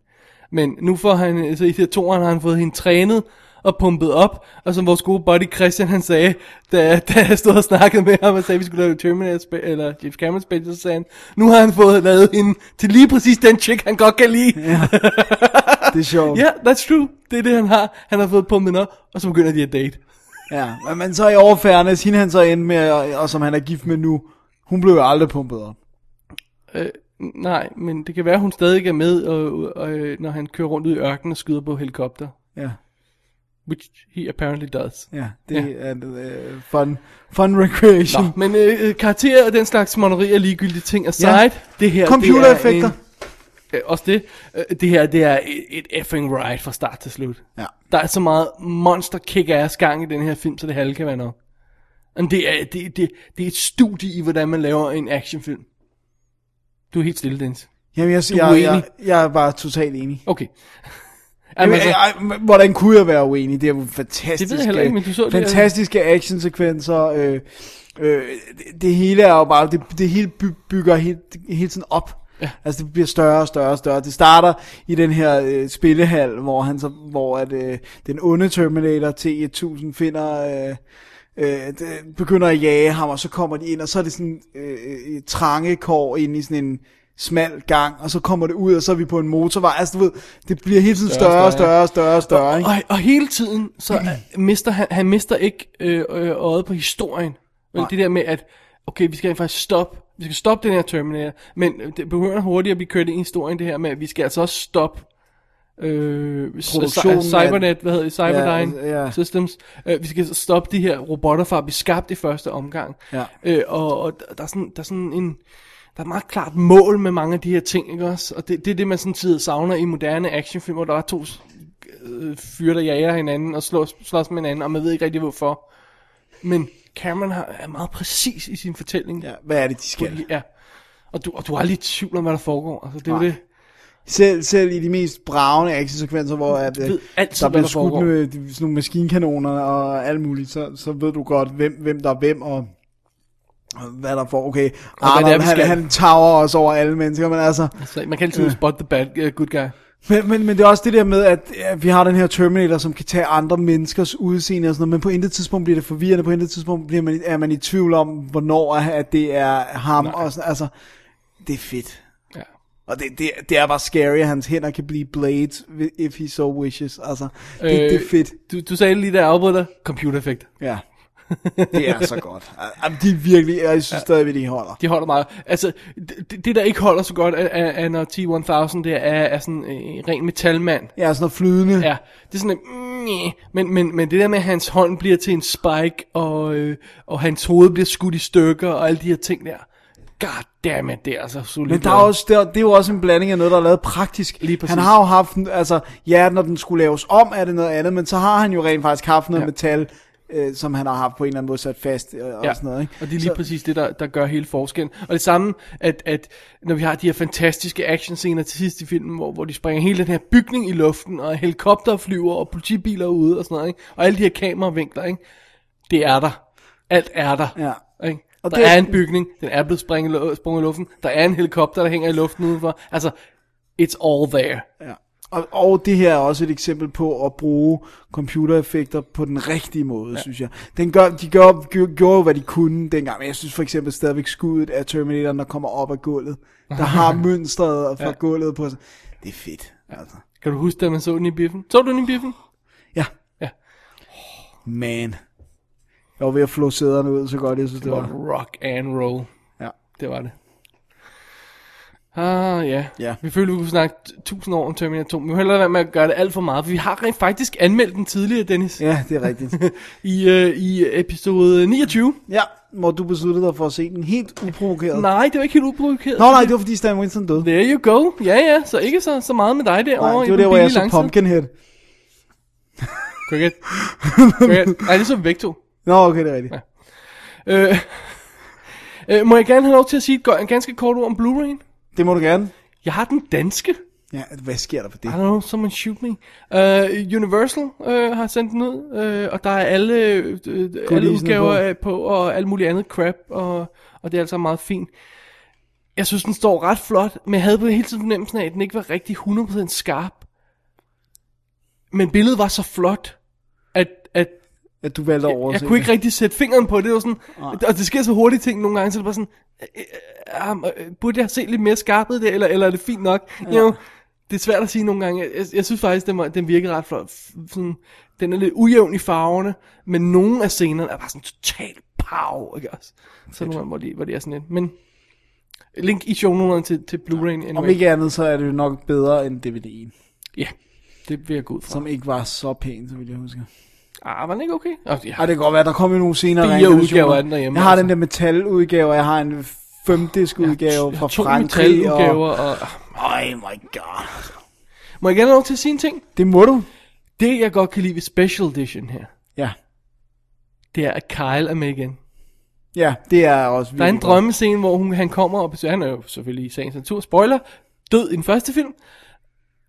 Speaker 3: Men nu får han, altså i det toeren har han fået hende trænet og pumpet op, og som vores gode buddy Christian han sagde, da, da jeg stod og snakkede med ham og sagde, at vi skulle lave Terminator, spe- eller James Cameron special, så sagde han, nu har han fået lavet hende til lige præcis den chick, han godt kan lide. Ja,
Speaker 4: Det er sjovt.
Speaker 3: yeah, that's true. Det er det, han har. Han har fået pumpet op, og så begynder de at date.
Speaker 4: ja. Men- Men så i overfærdenes, hende han så endte med, og, og som han er gift med nu, hun blev jo aldrig pumpet op.
Speaker 3: Øh, nej, men det kan være, hun stadig er med, og, og, øh, når han kører rundt ud i ørkenen og skyder på helikopter.
Speaker 4: Ja,
Speaker 3: Which he apparently does.
Speaker 4: ja. Det er en uh, fun, fun recreation.
Speaker 3: Nå, men øh, øh, karakterer og den slags moneri og ligegyldige ting aside, ja.
Speaker 4: Ja.
Speaker 3: det her...
Speaker 4: Computereffekter.
Speaker 3: Det er en, øh, også det. Øh, det her, det er et, et effing ride fra start til slut.
Speaker 4: Ja.
Speaker 3: Der er så meget monster kick-ass gang i den her film, så det halve kan være nok. Men Det er, det, det, det er et studie i, hvordan man laver en actionfilm. Du er helt stille, Dennis.
Speaker 4: Jamen, jeg,
Speaker 3: Du er
Speaker 4: jeg, jeg,
Speaker 3: uenig.
Speaker 4: jeg er bare totalt enig.
Speaker 3: Okay.
Speaker 4: Jamen,
Speaker 3: altså-
Speaker 4: altså, jeg, jeg, hvordan kunne jeg være uenig? Det er jo fantastiske,
Speaker 3: Det ved jeg heller ikke, men du så det her.
Speaker 4: fantastiske actionsekvenser. Øh, øh, det, det hele er jo bare, det, det hele by, bygger hele, hele tiden op. Ja. Altså det bliver større og større og større. Det starter i den her øh, spillehal, hvor han så, hvor at, øh, den onde Terminator T1000 finder øh, øh, det- begynder at jage ham, og så kommer de ind, og så er det sådan øh, øh, trange kår ind i sådan en smal gang, og så kommer det ud, og så er vi på en motorvej. Altså du ved, det bliver hele tiden større og større og større og større. Ikke?
Speaker 3: Og, og hele tiden, så øh, mister han, han mister ikke øh, øh, øjet på historien. Men det der med, at okay, vi skal rent faktisk stoppe, vi skal stoppe den her Terminator, men øh, det begynder hurtigt at blive kørt ind i historien, det her med, at vi skal altså også stoppe øh, c-
Speaker 4: Produktionen af-
Speaker 3: Cybernet, hvad hedder det, Cyberdyne
Speaker 4: Ja, ja.
Speaker 3: Systems. Øh, vi skal stoppe de her robotter fra at blive skabt i første omgang.
Speaker 4: Ja.
Speaker 3: Øh, og og der, der, er sådan, der er sådan en... Der er et meget klart mål med mange af de her ting, ikke også? Og det, det er det, man sådan tid savner i moderne actionfilm, hvor der er to øh, fyre, der jager hinanden og slås, slås med hinanden, og man ved ikke rigtig hvorfor. Men Cameron har, er meget præcis i sin fortælling. Ja,
Speaker 4: hvad er det, de skal?
Speaker 3: Ja. Og du, og du er aldrig i tvivl om, hvad der foregår. Altså, det er jo
Speaker 4: Nej.
Speaker 3: det.
Speaker 4: Selv, selv i de mest bravende actionsekvenser, hvor at,
Speaker 3: Du ved
Speaker 4: øh,
Speaker 3: altid,
Speaker 4: der
Speaker 3: hvad
Speaker 4: bliver
Speaker 3: der foregår.
Speaker 4: skudt med de- sådan nogle maskinkanoner og alt muligt, så, så ved du godt, hvem, hvem der er hvem, og, og hvad der får. Okay,
Speaker 3: Og hvad det er,
Speaker 4: Arnold,
Speaker 3: vi
Speaker 4: han,
Speaker 3: skal.
Speaker 4: han tager os over alle mennesker, men altså...
Speaker 3: Altså, man kan altid
Speaker 4: Øh.
Speaker 3: spot the bad uh, good guy.
Speaker 4: Men, men, men det er også det der med, at, at vi har den her Terminator, som kan tage andre menneskers udseende og sådan noget, men på intet tidspunkt bliver det forvirrende, på intet tidspunkt bliver man, er man i tvivl om, hvornår er- at det er ham. Og sådan, altså, det er fedt.
Speaker 3: Ja.
Speaker 4: Og det, det, det er bare scary, at hans hænder kan blive blades, if he so wishes. Altså, det, øh, det er fedt.
Speaker 3: Du, du sagde lige der afbrød dig, computereffekt.
Speaker 4: Ja. Det er så godt. Jamen, de er virkelig, jeg synes stadigvæk, de holder.
Speaker 3: De holder meget. Altså, det, det der ikke holder så godt, er, er, er når T-1000 det er, er sådan en ren metalmand.
Speaker 4: Ja, sådan noget flydende.
Speaker 3: Ja, det er sådan et, mm, næh. men, men, men det der med, at hans hånd bliver til en spike, og, øh, og hans hoved bliver skudt i stykker, og alle de her ting der. God damn it, det er altså solidt.
Speaker 4: Men der er også, der, det er jo også en blanding af noget, der er lavet praktisk. Lige
Speaker 3: præcis.
Speaker 4: Han har jo haft, en- altså, ja, når den skulle laves om, er det noget andet, men så har han jo rent faktisk haft noget
Speaker 3: Ja.
Speaker 4: ja. metal, øh, som han har haft på en eller anden måde sat fast øh, og sådan noget. Ikke?
Speaker 3: Og det er lige så... præcis det, der, der gør hele forskellen. Og det samme, at, at når vi har de her fantastiske actionscener til sidst i filmen, hvor, hvor de springer hele den her bygning i luften, og helikopter flyver, og politibiler er ude og sådan noget, ikke? og alle de her kameravinkler, ikke? det er der. Alt er der.
Speaker 4: Ja.
Speaker 3: Ikke? Og
Speaker 4: Og
Speaker 3: der
Speaker 4: det-
Speaker 3: er en bygning, den er blevet sprænget, i lu- sprunget i luften, der er en helikopter, der hænger i luften udenfor. Altså, it's all there.
Speaker 4: Ja. Og, og det her er også et eksempel på at bruge computereffekter på den rigtige måde, ja. synes jeg. Den gør, de gør, gjorde, gjorde jo, hvad de kunne dengang, men jeg synes for eksempel stadigvæk skuddet af Terminator, der kommer op af gulvet, der har mønstret fra
Speaker 3: Ja.
Speaker 4: ja. gulvet på sig. Det er fedt. Altså.
Speaker 3: Kan du huske, da man så den i biffen? Så du den i biffen?
Speaker 4: Ja. Oh,
Speaker 3: Ja.
Speaker 4: Man. Jeg var ved at flå sæderne ud, så godt jeg synes, det
Speaker 3: Det var
Speaker 4: var.
Speaker 3: rock and roll.
Speaker 4: Ja.
Speaker 3: Det var det. Ah, ja.
Speaker 4: Ja.
Speaker 3: Vi følte, vi kunne snakke t- tusind år om Terminator 2, men vi må hellere være med at gøre det alt for meget, for vi har rent faktisk anmeldt den tidligere, Dennis.
Speaker 4: Ja, det er rigtigt.
Speaker 3: I, øh, I episode 29.
Speaker 4: ja, hvor du besluttede dig for at se den helt uprovokeret.
Speaker 3: Nej, det var ikke helt uprovokeret.
Speaker 4: Nå nej, det var fordi Stan Winston døde.
Speaker 3: There you go. Ja, ja, så ikke så, så meget med dig derovre.
Speaker 4: Nej,
Speaker 3: i
Speaker 4: det var
Speaker 3: den
Speaker 4: der, hvor jeg
Speaker 3: billige
Speaker 4: så
Speaker 3: langside.
Speaker 4: Pumpkinhead.
Speaker 3: Cricket. Cricket. Nej, det er så Vecto.
Speaker 4: Nå, okay, det er rigtigt.
Speaker 3: Ja. Øh, øh, må jeg gerne have lov til at sige et go- en ganske kort ord om Blu-ray'en?
Speaker 4: Det må du gerne.
Speaker 3: Jeg har den danske.
Speaker 4: Ja, hvad sker der for
Speaker 3: I
Speaker 4: det?
Speaker 3: don't know, someone shoot me. Uh, Universal uh, har sendt den ud, uh, og der er alle, uh, alle
Speaker 4: Goodiesene
Speaker 3: udgaver
Speaker 4: på.
Speaker 3: af- på, og alt muligt andet crap, og, og det er altså meget fint. Jeg synes, den står ret flot, men jeg havde på hele tiden fornemmelsen af, at den ikke var rigtig 100% skarp. Men billedet var så flot, at, at
Speaker 4: At du valgte at overse
Speaker 3: jeg kunne ikke
Speaker 4: det.
Speaker 3: rigtig sætte fingeren på det. det var sådan, og det sker så hurtigt ting nogle gange, så det var sådan, øh, øh, øh, øh, burde jeg have set lidt mere skarpet det, eller, eller er det fint nok? Ja. You know, det er svært at sige nogle gange. Jeg, jeg, jeg synes faktisk, den, var, den virkede ret flot. F- Sådan, den er lidt ujævn i farverne, men nogle af scenerne er bare sådan totalt pow, ikke også? Så nogle gange, hvor de, hvor de er sådan lidt. Men link i shownoterne til, til Blu-ray'en.
Speaker 4: Om
Speaker 3: Anyway.
Speaker 4: ikke andet, så er det jo nok bedre end DVD'en,
Speaker 3: Ja, det vil jeg gå ud fra.
Speaker 4: som ikke var så pæn, så vil jeg huske.
Speaker 3: Ah, var den ikke okay? Oh, ja.
Speaker 4: Ej, det kan godt være, der kom jo nogle senere
Speaker 3: Fire
Speaker 4: reinkarnationer.
Speaker 3: udgaver af den derhjemme,
Speaker 4: Jeg har
Speaker 3: altså.
Speaker 4: den der metaludgave, og jeg har en femdisk udgave fra
Speaker 3: To
Speaker 4: Frankrig.
Speaker 3: metaludgaver
Speaker 4: Og...
Speaker 3: og...
Speaker 4: Oh my god.
Speaker 3: Må jeg gerne have lov til at sige en ting?
Speaker 4: Det må du.
Speaker 3: Det jeg godt kan lide ved Special Edition her,
Speaker 4: Ja.
Speaker 3: det er, at Kyle er med igen.
Speaker 4: Ja, det er også
Speaker 3: Der er en
Speaker 4: virkelig godt.
Speaker 3: drømmescene, hvor hun, han kommer og besøger, han er jo selvfølgelig i sagens natur, spoiler, død i den første film,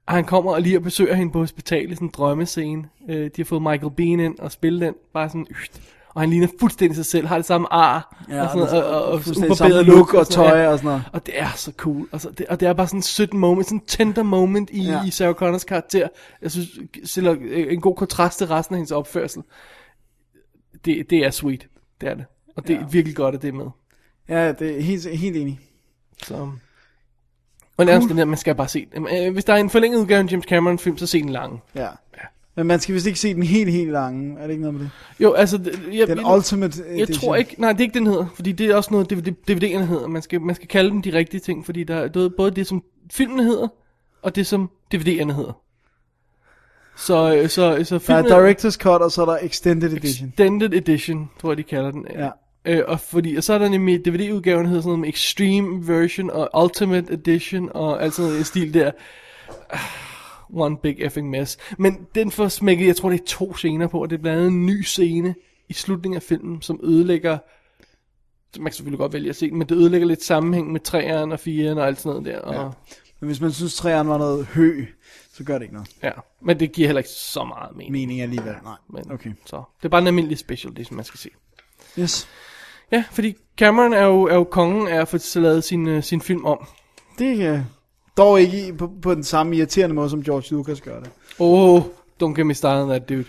Speaker 3: og han kommer og lige og besøger hende på hospitalet, sådan en drømmescene. Øh, de har fået Michael Bean ind og spille den, bare sådan, yst. og han ligner fuldstændig sig selv, har det samme ar,
Speaker 4: Ja,
Speaker 3: og sådan noget,
Speaker 4: det er
Speaker 3: og, og, og
Speaker 4: fuldstændig
Speaker 3: uforbedret
Speaker 4: samme look og
Speaker 3: sådan noget,
Speaker 4: tøj
Speaker 3: ja.
Speaker 4: og sådan noget.
Speaker 3: Og det er så cool, og, så, det, og det er bare sådan en sødt moment, sådan en tender moment i,
Speaker 4: Ja.
Speaker 3: ja. i Sarah Connors karakter. Jeg synes, stiller øh, en god kontrast til resten af hendes opførsel. Det, det er sweet, det er det. Og det er virkelig godt, at det er med.
Speaker 4: Ja, det er helt, helt enig.
Speaker 3: Så... øhm. Og nærmest cool. man skal bare se den. Øh, Hvis der er en forlænget udgave af en James Cameron film, så se den lange.
Speaker 4: Ja. Men man skal vist ikke se den helt, helt lange. Er det ikke noget med det?
Speaker 3: Jo, altså... d- Jeg,
Speaker 4: Den
Speaker 3: jeg,
Speaker 4: Ultimate
Speaker 3: Jeg
Speaker 4: Edition.
Speaker 3: tror ikke... Nej, det er ikke den hedder. Fordi det er også noget, DVD DVD'erne hedder. Man skal, man skal kalde dem de rigtige ting, fordi der er både- både det, som filmen hedder, og det, som DVD'erne hedder. Så, øh, så, så
Speaker 4: Der er
Speaker 3: filmen...
Speaker 4: Director's Cut, og så er der Extended Edition.
Speaker 3: Extended Edition, tror jeg, de kalder den.
Speaker 4: Ja.
Speaker 3: Øh, og, fordi, og så er der nemlig DVD-udgaven, der hedder sådan noget med Extreme Version og Ultimate Edition og alt sådan noget i den stil der. Ah, One big effing mess. Men den får smækket, jeg tror det er to scener på, og det er blandt andet en ny scene i slutningen af filmen, som ødelægger man kan selvfølgelig godt vælge at se den, men det ødelægger lidt sammenhæng med 3'eren og 4'eren og alt sådan noget der. Og, ja.
Speaker 4: Men hvis man synes, træerne var noget hø, så gør det ikke noget.
Speaker 3: ja. Men det giver heller ikke så meget mening.
Speaker 4: Mening alligevel, nej.
Speaker 3: Men,
Speaker 4: Okay.
Speaker 3: Så det er bare en almindelig special, det som man skal se.
Speaker 4: Yes.
Speaker 3: Ja, fordi Cameron er jo, er jo kongen af at få lavet sin, øh, sin film om.
Speaker 4: Det er dog ikke i- på, på den samme irriterende måde, som George Lucas gør det.
Speaker 3: Oh, don't get me started on that dude.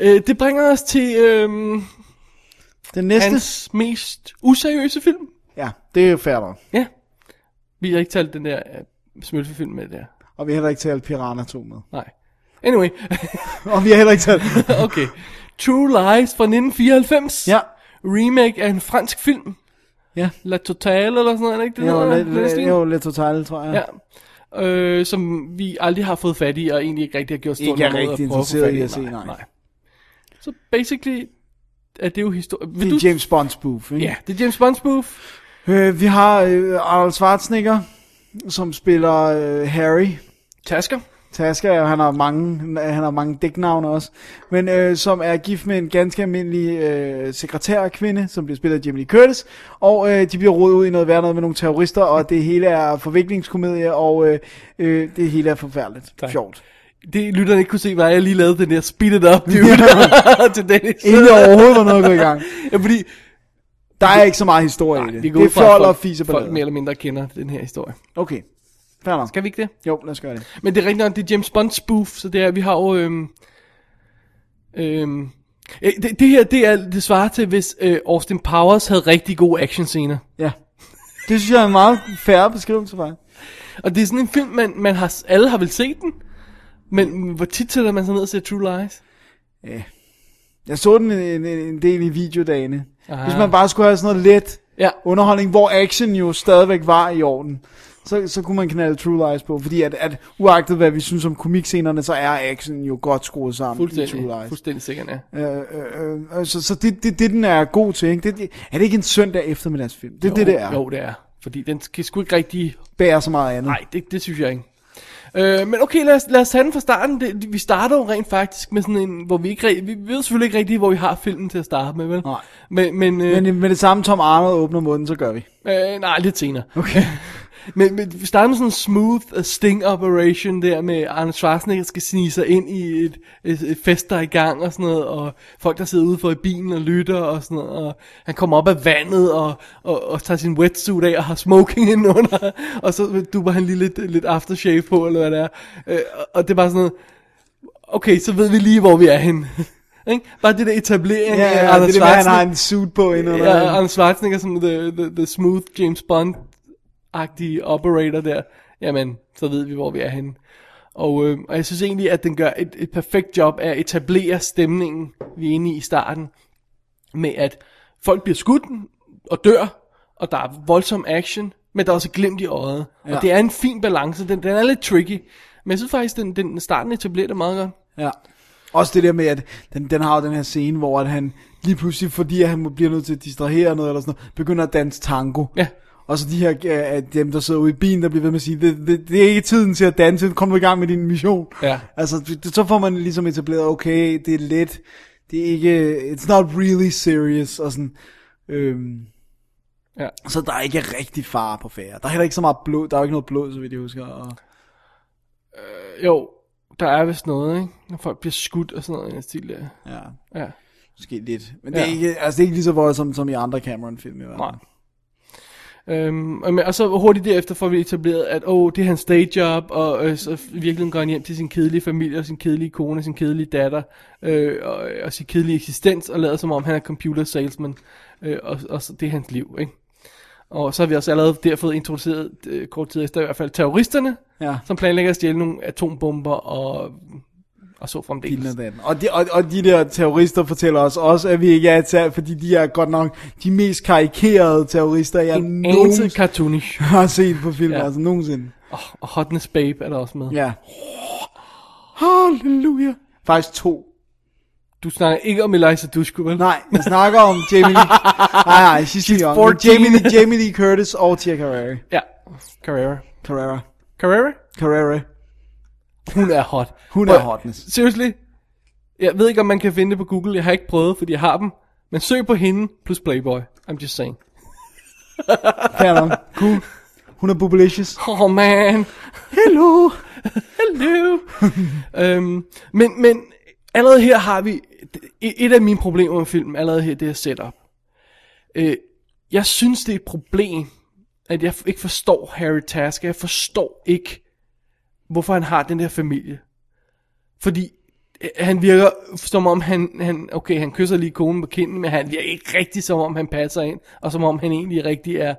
Speaker 3: øh, det bringer os til øhm,
Speaker 4: Den næste,
Speaker 3: hans mest useriøse film.
Speaker 4: ja, det er fair nok.
Speaker 3: Ja. Vi har ikke talt den der øh, smølfefilm med der.
Speaker 4: Og vi har heller ikke talt Piranha 2 med.
Speaker 3: Nej. Anyway,
Speaker 4: Og vi har heller ikke talt...
Speaker 3: okay. True Lies fra 1994.
Speaker 4: Ja.
Speaker 3: Remake af en fransk film.
Speaker 4: Ja.
Speaker 3: La Totale eller sådan noget, er det ikke det?
Speaker 4: Jo,
Speaker 3: hedder?
Speaker 4: lidt,
Speaker 3: Den stil?
Speaker 4: lidt, jo, lidt totalt, tror jeg.
Speaker 3: Ja. Øh, som vi aldrig har fået fat i, og egentlig ikke rigtig har gjort stort
Speaker 4: Ikke er
Speaker 3: nummer ud af
Speaker 4: rigtig
Speaker 3: at prøve få
Speaker 4: interesseret
Speaker 3: fat
Speaker 4: i at se, nej.
Speaker 3: Så basically er det jo historie. Vil
Speaker 4: Det er
Speaker 3: du...
Speaker 4: James Bond spoof, ikke?
Speaker 3: Ja, det er James Bond spoof.
Speaker 4: Øh, vi har øh, Arnold Schwarzenegger, som spiller øh, Harry.
Speaker 3: Tasker.
Speaker 4: Tasker, og han har mange, han har mange dæknavne også, men øh, som er gift med en ganske almindelig øh, sekretærkvinde, som bliver spillet af Jamie Lee Curtis, og øh, de bliver rodet ud i noget værd med nogle terrorister, og det hele er forviklingskomedie, og øh, øh, det hele er forfærdeligt.
Speaker 3: Tak.
Speaker 4: Sjovt.
Speaker 3: Det lytterne ikke kunne se, var at jeg lige lavede den der speed it up dude til Dennis.
Speaker 4: Inden der overhovedet var noget at gå i gang.
Speaker 3: ja, fordi
Speaker 4: Der er ikke så meget historie i det.
Speaker 3: vi
Speaker 4: Det
Speaker 3: går ud
Speaker 4: er
Speaker 3: fra, at
Speaker 4: fjol og
Speaker 3: folk,
Speaker 4: fise på
Speaker 3: folk mere eller mindre kender den her historie.
Speaker 4: Okay. Fair nok.
Speaker 3: Skal vi ikke det?
Speaker 4: Jo, lad os gøre det.
Speaker 3: Men det er rigtig nok, det er James Bond spoof, så det er, vi har jo... Øhm, øhm, øh, det, det her, det er det svarer til, hvis øh, Austin Powers havde rigtig gode actionscener.
Speaker 4: Ja. Det synes jeg er en meget færre beskrivelse, faktisk.
Speaker 3: Og det er sådan en film, man, man har, alle har vel set den, men hvor tit sætter man sig ned og ser True Lies?
Speaker 4: Jeg så den en, en, en del i videodagene.
Speaker 3: Aha.
Speaker 4: Aha. Hvis man bare skulle have sådan noget let
Speaker 3: Ja.
Speaker 4: underholdning, hvor action jo stadigvæk var i orden, så, så kunne man knalde True Lies på. Fordi at, at uagtet hvad vi synes om komikscenerne, så er action jo godt skruet sammen i True
Speaker 3: Fuldstændig,
Speaker 4: Lies.
Speaker 3: fuldstændig sikkert, ja.
Speaker 4: Øh, øh, øh, så så det, det, det den er god til, ikke? Det, det, er det ikke en søndag eftermiddagsfilm? Det er det, det er. Mm.
Speaker 3: Jo, det er. Fordi den skal sgu ikke rigtig...
Speaker 4: Bærer så meget andet.
Speaker 3: Nej, det, det synes jeg ikke. Øh, men okay, lad os, lad os tage den fra starten. Det, vi starter jo rent faktisk med sådan en, hvor vi ikke rigtig, vi ved selvfølgelig ikke rigtig, hvor vi har filmen til at starte med, vel?
Speaker 4: Nej.
Speaker 3: Men, men, øh,
Speaker 4: Men med det samme Tom Arnold åbner munden, så gør vi.
Speaker 3: Øh, nej, lidt senere.
Speaker 4: Okay.
Speaker 3: men, men vi starter med sådan en smooth øh, sting operation der med Arne Schwarzenegger skal snige sig ind i et, et, et fest, der er i gang og sådan noget, og folk, der sidder ude for i bilen og lytter og sådan noget, og han kommer op af vandet og, og, og tager sin wetsuit af og har smoking indenunder, og så duber han lige lidt, lidt aftershave på, eller hvad det er. Øh, og- og det er bare sådan noget, okay, så ved vi lige, hvor vi er henne. Ikke? Bare det der etablering
Speaker 4: Ja,
Speaker 3: af
Speaker 4: ja,
Speaker 3: Arnold
Speaker 4: det er det, med, at han har
Speaker 3: Schwarzenegger.
Speaker 4: en suit på inden.
Speaker 3: Ja, Arnold Schwarzenegger som the, the, the smooth James Bond-agtige operator der. Jamen, så ved vi, hvor vi er henne. Og, øh, og jeg synes egentlig, at den gør et, et perfekt job af at etablere stemningen, vi er inde i i starten. Med at folk bliver skudt og dør, og der er voldsom action, men der er også glimt i øjet. Ja.
Speaker 4: Ja.
Speaker 3: Og det er en fin balance. Den, den er lidt tricky. Men jeg synes faktisk, den, den starten etablerer det meget godt.
Speaker 4: Ja. Også det der med, at den, den har jo den her scene, hvor at han lige pludselig, fordi at han må- bliver nødt til at distrahere noget eller sådan noget, begynder at danse tango.
Speaker 3: Ja.
Speaker 4: Og så de her, øh, at dem der sidder ude i bilen, der bliver ved med at sige, det, det, det er ikke tiden til at danse, kom nu i gang med din mission.
Speaker 3: Ja.
Speaker 4: Altså, det, så får man ligesom etableret, okay, det er lidt, det er ikke, it's not really serious, og sådan, øhm,
Speaker 3: ja.
Speaker 4: så der er ikke rigtig far på færre. Der er heller ikke så meget blod, der er jo ikke noget blod, så vidt jeg husker. Og,
Speaker 3: Jo, der er vist noget, ikke? Når folk bliver skudt og sådan noget i den stil der.
Speaker 4: ja,
Speaker 3: Ja.
Speaker 4: måske lidt. Men det er,
Speaker 3: Ja.
Speaker 4: ikke, altså, det er ikke lige så voldsomt som i andre Cameron-film i hvert fald.
Speaker 3: Nej. Øhm, og, men- og så hurtigt derefter får vi etableret, at åh, det er hans day job, og øh, så i virkeligheden går han hjem til sin kedelige familie, og sin kedelige kone, og sin kedelige datter, øh, og, og sin kedelige eksistens, og lader som om han er computer salesman, øh, og, og så, det er hans liv, ikke? Og så har vi også allerede der fået introduceret, øh, kort tid efter i hvert fald, terroristerne,
Speaker 4: Ja.
Speaker 3: som planlægger at stjæle nogle atombomber og, og så fremdeles.
Speaker 4: Pilen og datten. Og de, og, og de der terrorister fortæller os også, at vi ikke er et terror, fordi de er godt nok de mest karikerede terrorister, jeg
Speaker 3: En
Speaker 4: nogensinde
Speaker 3: anelse cartoonish.
Speaker 4: har set på film, ja.
Speaker 3: Ja.
Speaker 4: altså nogensinde.
Speaker 3: Og, og Hotness Babe er der også med.
Speaker 4: Ja. Halleluja. Faktisk to.
Speaker 3: Du snakker ikke om Eliza Dushku, vel?
Speaker 4: Nej, jeg snakker om Jamie Lee. Nej, nej, she's,
Speaker 3: She's
Speaker 4: she's young.
Speaker 3: 14.
Speaker 4: Jamie, Lee- Jamie Lee Curtis og Tia Carrere.
Speaker 3: Ja, Carrera.
Speaker 4: Carrera.
Speaker 3: Carrera?
Speaker 4: Carrere.
Speaker 3: Hun er hot.
Speaker 4: Hun er hotness.
Speaker 3: Seriously? Jeg ved ikke, om man kan finde det på Google. Jeg har ikke prøvet, fordi jeg har dem. Men søg på hende plus Playboy. I'm just saying.
Speaker 4: Cameron. Cool. Hun er bubblicious.
Speaker 3: Oh man.
Speaker 4: Hello.
Speaker 3: Hello. øhm, men, men allerede her har vi et et af mine problemer med filmen, allerede her, det er setup. Øh, jeg synes, det er et problem, at jeg ikke forstår Harry Tasker. Jeg forstår ikke, hvorfor han har den der familie. Fordi øh, han virker som om han, han, okay, han kysser lige konen på kinden, men han virker ikke rigtig som om han passer ind, og som om han egentlig rigtig er,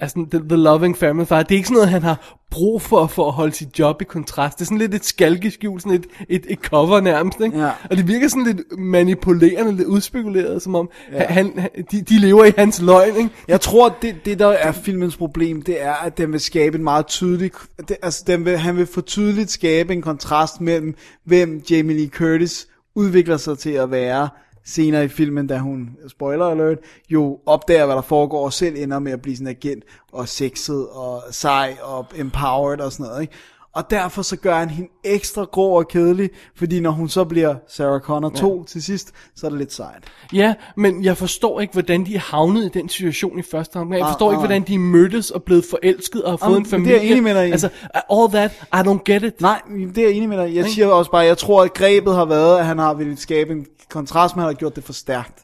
Speaker 3: er sådan the, the loving family far. Det er ikke sådan noget, han har brug for, for at holde sit job i kontrast. Det er sådan lidt et skalkeskjul, sådan et, et, et cover nærmest, ikke?
Speaker 4: Ja.
Speaker 3: Og det virker sådan lidt manipulerende, lidt udspekuleret, som om ja. han, han, de, de lever i hans løgn, ikke?
Speaker 4: Jeg tror, det, det der er filmens problem, det er, at den vil skabe en meget tydelig... Det, altså, den vil, han vil for tydeligt skabe en kontrast mellem, hvem Jamie Lee Curtis udvikler sig til at være senere i filmen, da hun, spoiler alert, jo opdager, hvad der foregår, og selv ender med at blive sådan en agent, og sexet, og sej, og empowered, og sådan noget, ikke? Og derfor så gør han hende ekstra grå og kedelig, fordi når hun så bliver Sarah Connor 2 til sidst, så er det lidt sejt.
Speaker 3: Ja, men jeg forstår ikke, hvordan de er havnet i den situation i første omgang. Jeg
Speaker 4: Ah,
Speaker 3: forstår ikke,
Speaker 4: ah.
Speaker 3: hvordan de mødtes og blevet forelsket og har fået
Speaker 4: Ah,
Speaker 3: en
Speaker 4: men det er jeg
Speaker 3: familie.
Speaker 4: enig med dig i.
Speaker 3: Altså, all that, I don't get it.
Speaker 4: Nej, det er jeg enig med dig. Jeg
Speaker 3: Ikke?
Speaker 4: siger også bare, at jeg tror, at grebet har været, at han har ville skabe en kontrast, men han har gjort det for stærkt.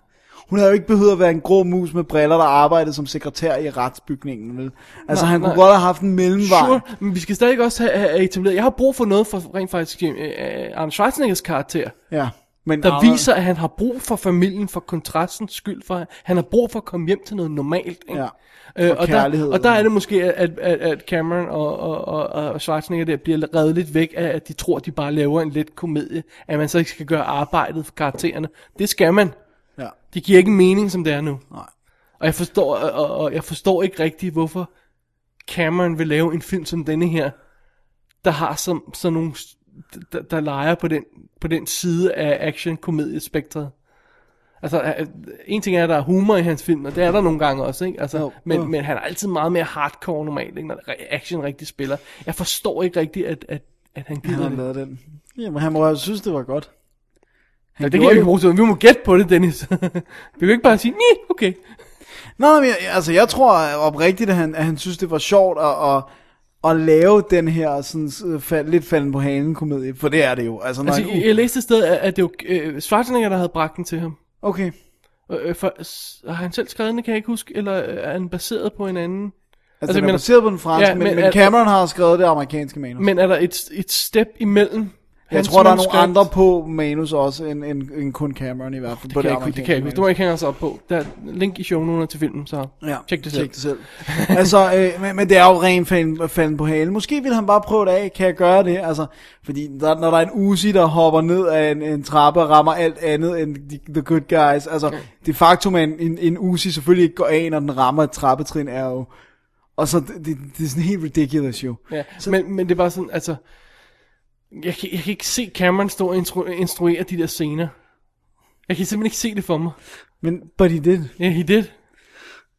Speaker 4: Hun havde jo ikke behøvet at være en grå mus med briller, der arbejdede som sekretær i retsbygningen. Vel? Altså, nej, han kunne
Speaker 3: nej.
Speaker 4: godt have haft en mellemvej.
Speaker 3: Sure, men vi skal stadig også have, have etableret. Jeg har brug for noget for rent faktisk øh, øh, Arnold Schwarzeneggers karakter,
Speaker 4: Ja, men
Speaker 3: der
Speaker 4: Arnold-
Speaker 3: viser, at han har brug for familien, for kontrastens skyld, for han har brug for at komme hjem til noget normalt. Ikke?
Speaker 4: Ja.
Speaker 3: Øh,
Speaker 4: Og
Speaker 3: og,
Speaker 4: kærlighed.
Speaker 3: der, og der er det måske, at, at, at Cameron og, og, og, og Schwarzenegger der bliver reddet lidt væk af, at de tror, de bare laver en let komedie, at man så ikke skal gøre arbejdet for karaktererne. Det skal man.
Speaker 4: Ja.
Speaker 3: Det giver ikke mening, som det er nu.
Speaker 4: Nej.
Speaker 3: Og jeg forstår, og, og- og jeg forstår ikke rigtigt, hvorfor Cameron vil lave en film som denne her, der har som, sådan nogle, s- der, der leger på den, på den side af action-komediespektret. Altså, øh, en ting er, at der er humor i hans film, og det er der nogle gange også, ikke? Altså,
Speaker 4: Jo,
Speaker 3: men,
Speaker 4: jo.
Speaker 3: men han er altid meget mere hardcore normalt, ikke? når re- action rigtig spiller. Jeg forstår ikke rigtigt, at, at, at han
Speaker 4: Han
Speaker 3: gider
Speaker 4: har
Speaker 3: det.
Speaker 4: lavet den. Jamen, han må have synes, det var godt.
Speaker 3: Ja,
Speaker 4: Han
Speaker 3: det kan
Speaker 4: gjorde
Speaker 3: jeg ikke bruge til. Vi må gætte på det, Dennis. vi kan jo ikke bare sige, nej, okay.
Speaker 4: Nej, men jeg, altså, jeg tror oprigtigt, at han, at han synes, det var sjovt at, at, at lave den her sådan, øh, fald, lidt falden på hanen komedie, for det er det jo. Altså, når
Speaker 3: Altså,
Speaker 4: han-
Speaker 3: jeg, jeg læste et sted, at, at det var øh, Schwarzenegger, der havde bragt den til ham.
Speaker 4: Okay.
Speaker 3: Øh, øh, for, s- har han selv skrevet den, kan jeg ikke huske, eller øh, er han baseret på en anden?
Speaker 4: Altså, altså
Speaker 3: jeg
Speaker 4: den er
Speaker 3: mener-
Speaker 4: baseret på den franske, ja,
Speaker 3: Ja,
Speaker 4: men, men,
Speaker 3: men
Speaker 4: men
Speaker 3: at-
Speaker 4: Cameron har skrevet det amerikanske manus.
Speaker 3: Men er der et, et step imellem?
Speaker 4: jeg
Speaker 3: hans
Speaker 4: tror, der er nogle
Speaker 3: manuskript?
Speaker 4: andre på manus også, end, end, end kun Cameron i hvert fald. på
Speaker 3: Det kan, jeg ikke, det kan jeg ikke. huske. Det må jeg ikke hænge os op på. Der er link i show noter til filmen, så
Speaker 4: Ja,
Speaker 3: tjek det selv.
Speaker 4: Tjek det selv. altså, øh, men, men det er jo rent fanden, fanden på halen. Måske vil han bare prøve det af, kan jeg gøre det? Altså, fordi der, når der er en Uzi, der hopper ned af en, en trappe og rammer alt andet end the, the good guys. Altså, ja. de facto, at en, en, en Uzi selvfølgelig ikke går af, når den rammer et trappetrin, er jo... Og så, det, det, det er sådan helt ridiculous jo.
Speaker 3: Ja, men, men det er bare sådan, altså... Jeg kan, jeg kan ikke se Cameron stå og instru- instruere de der scener. Jeg kan simpelthen ikke se det for mig.
Speaker 4: Men, but he did.
Speaker 3: Yeah, he did.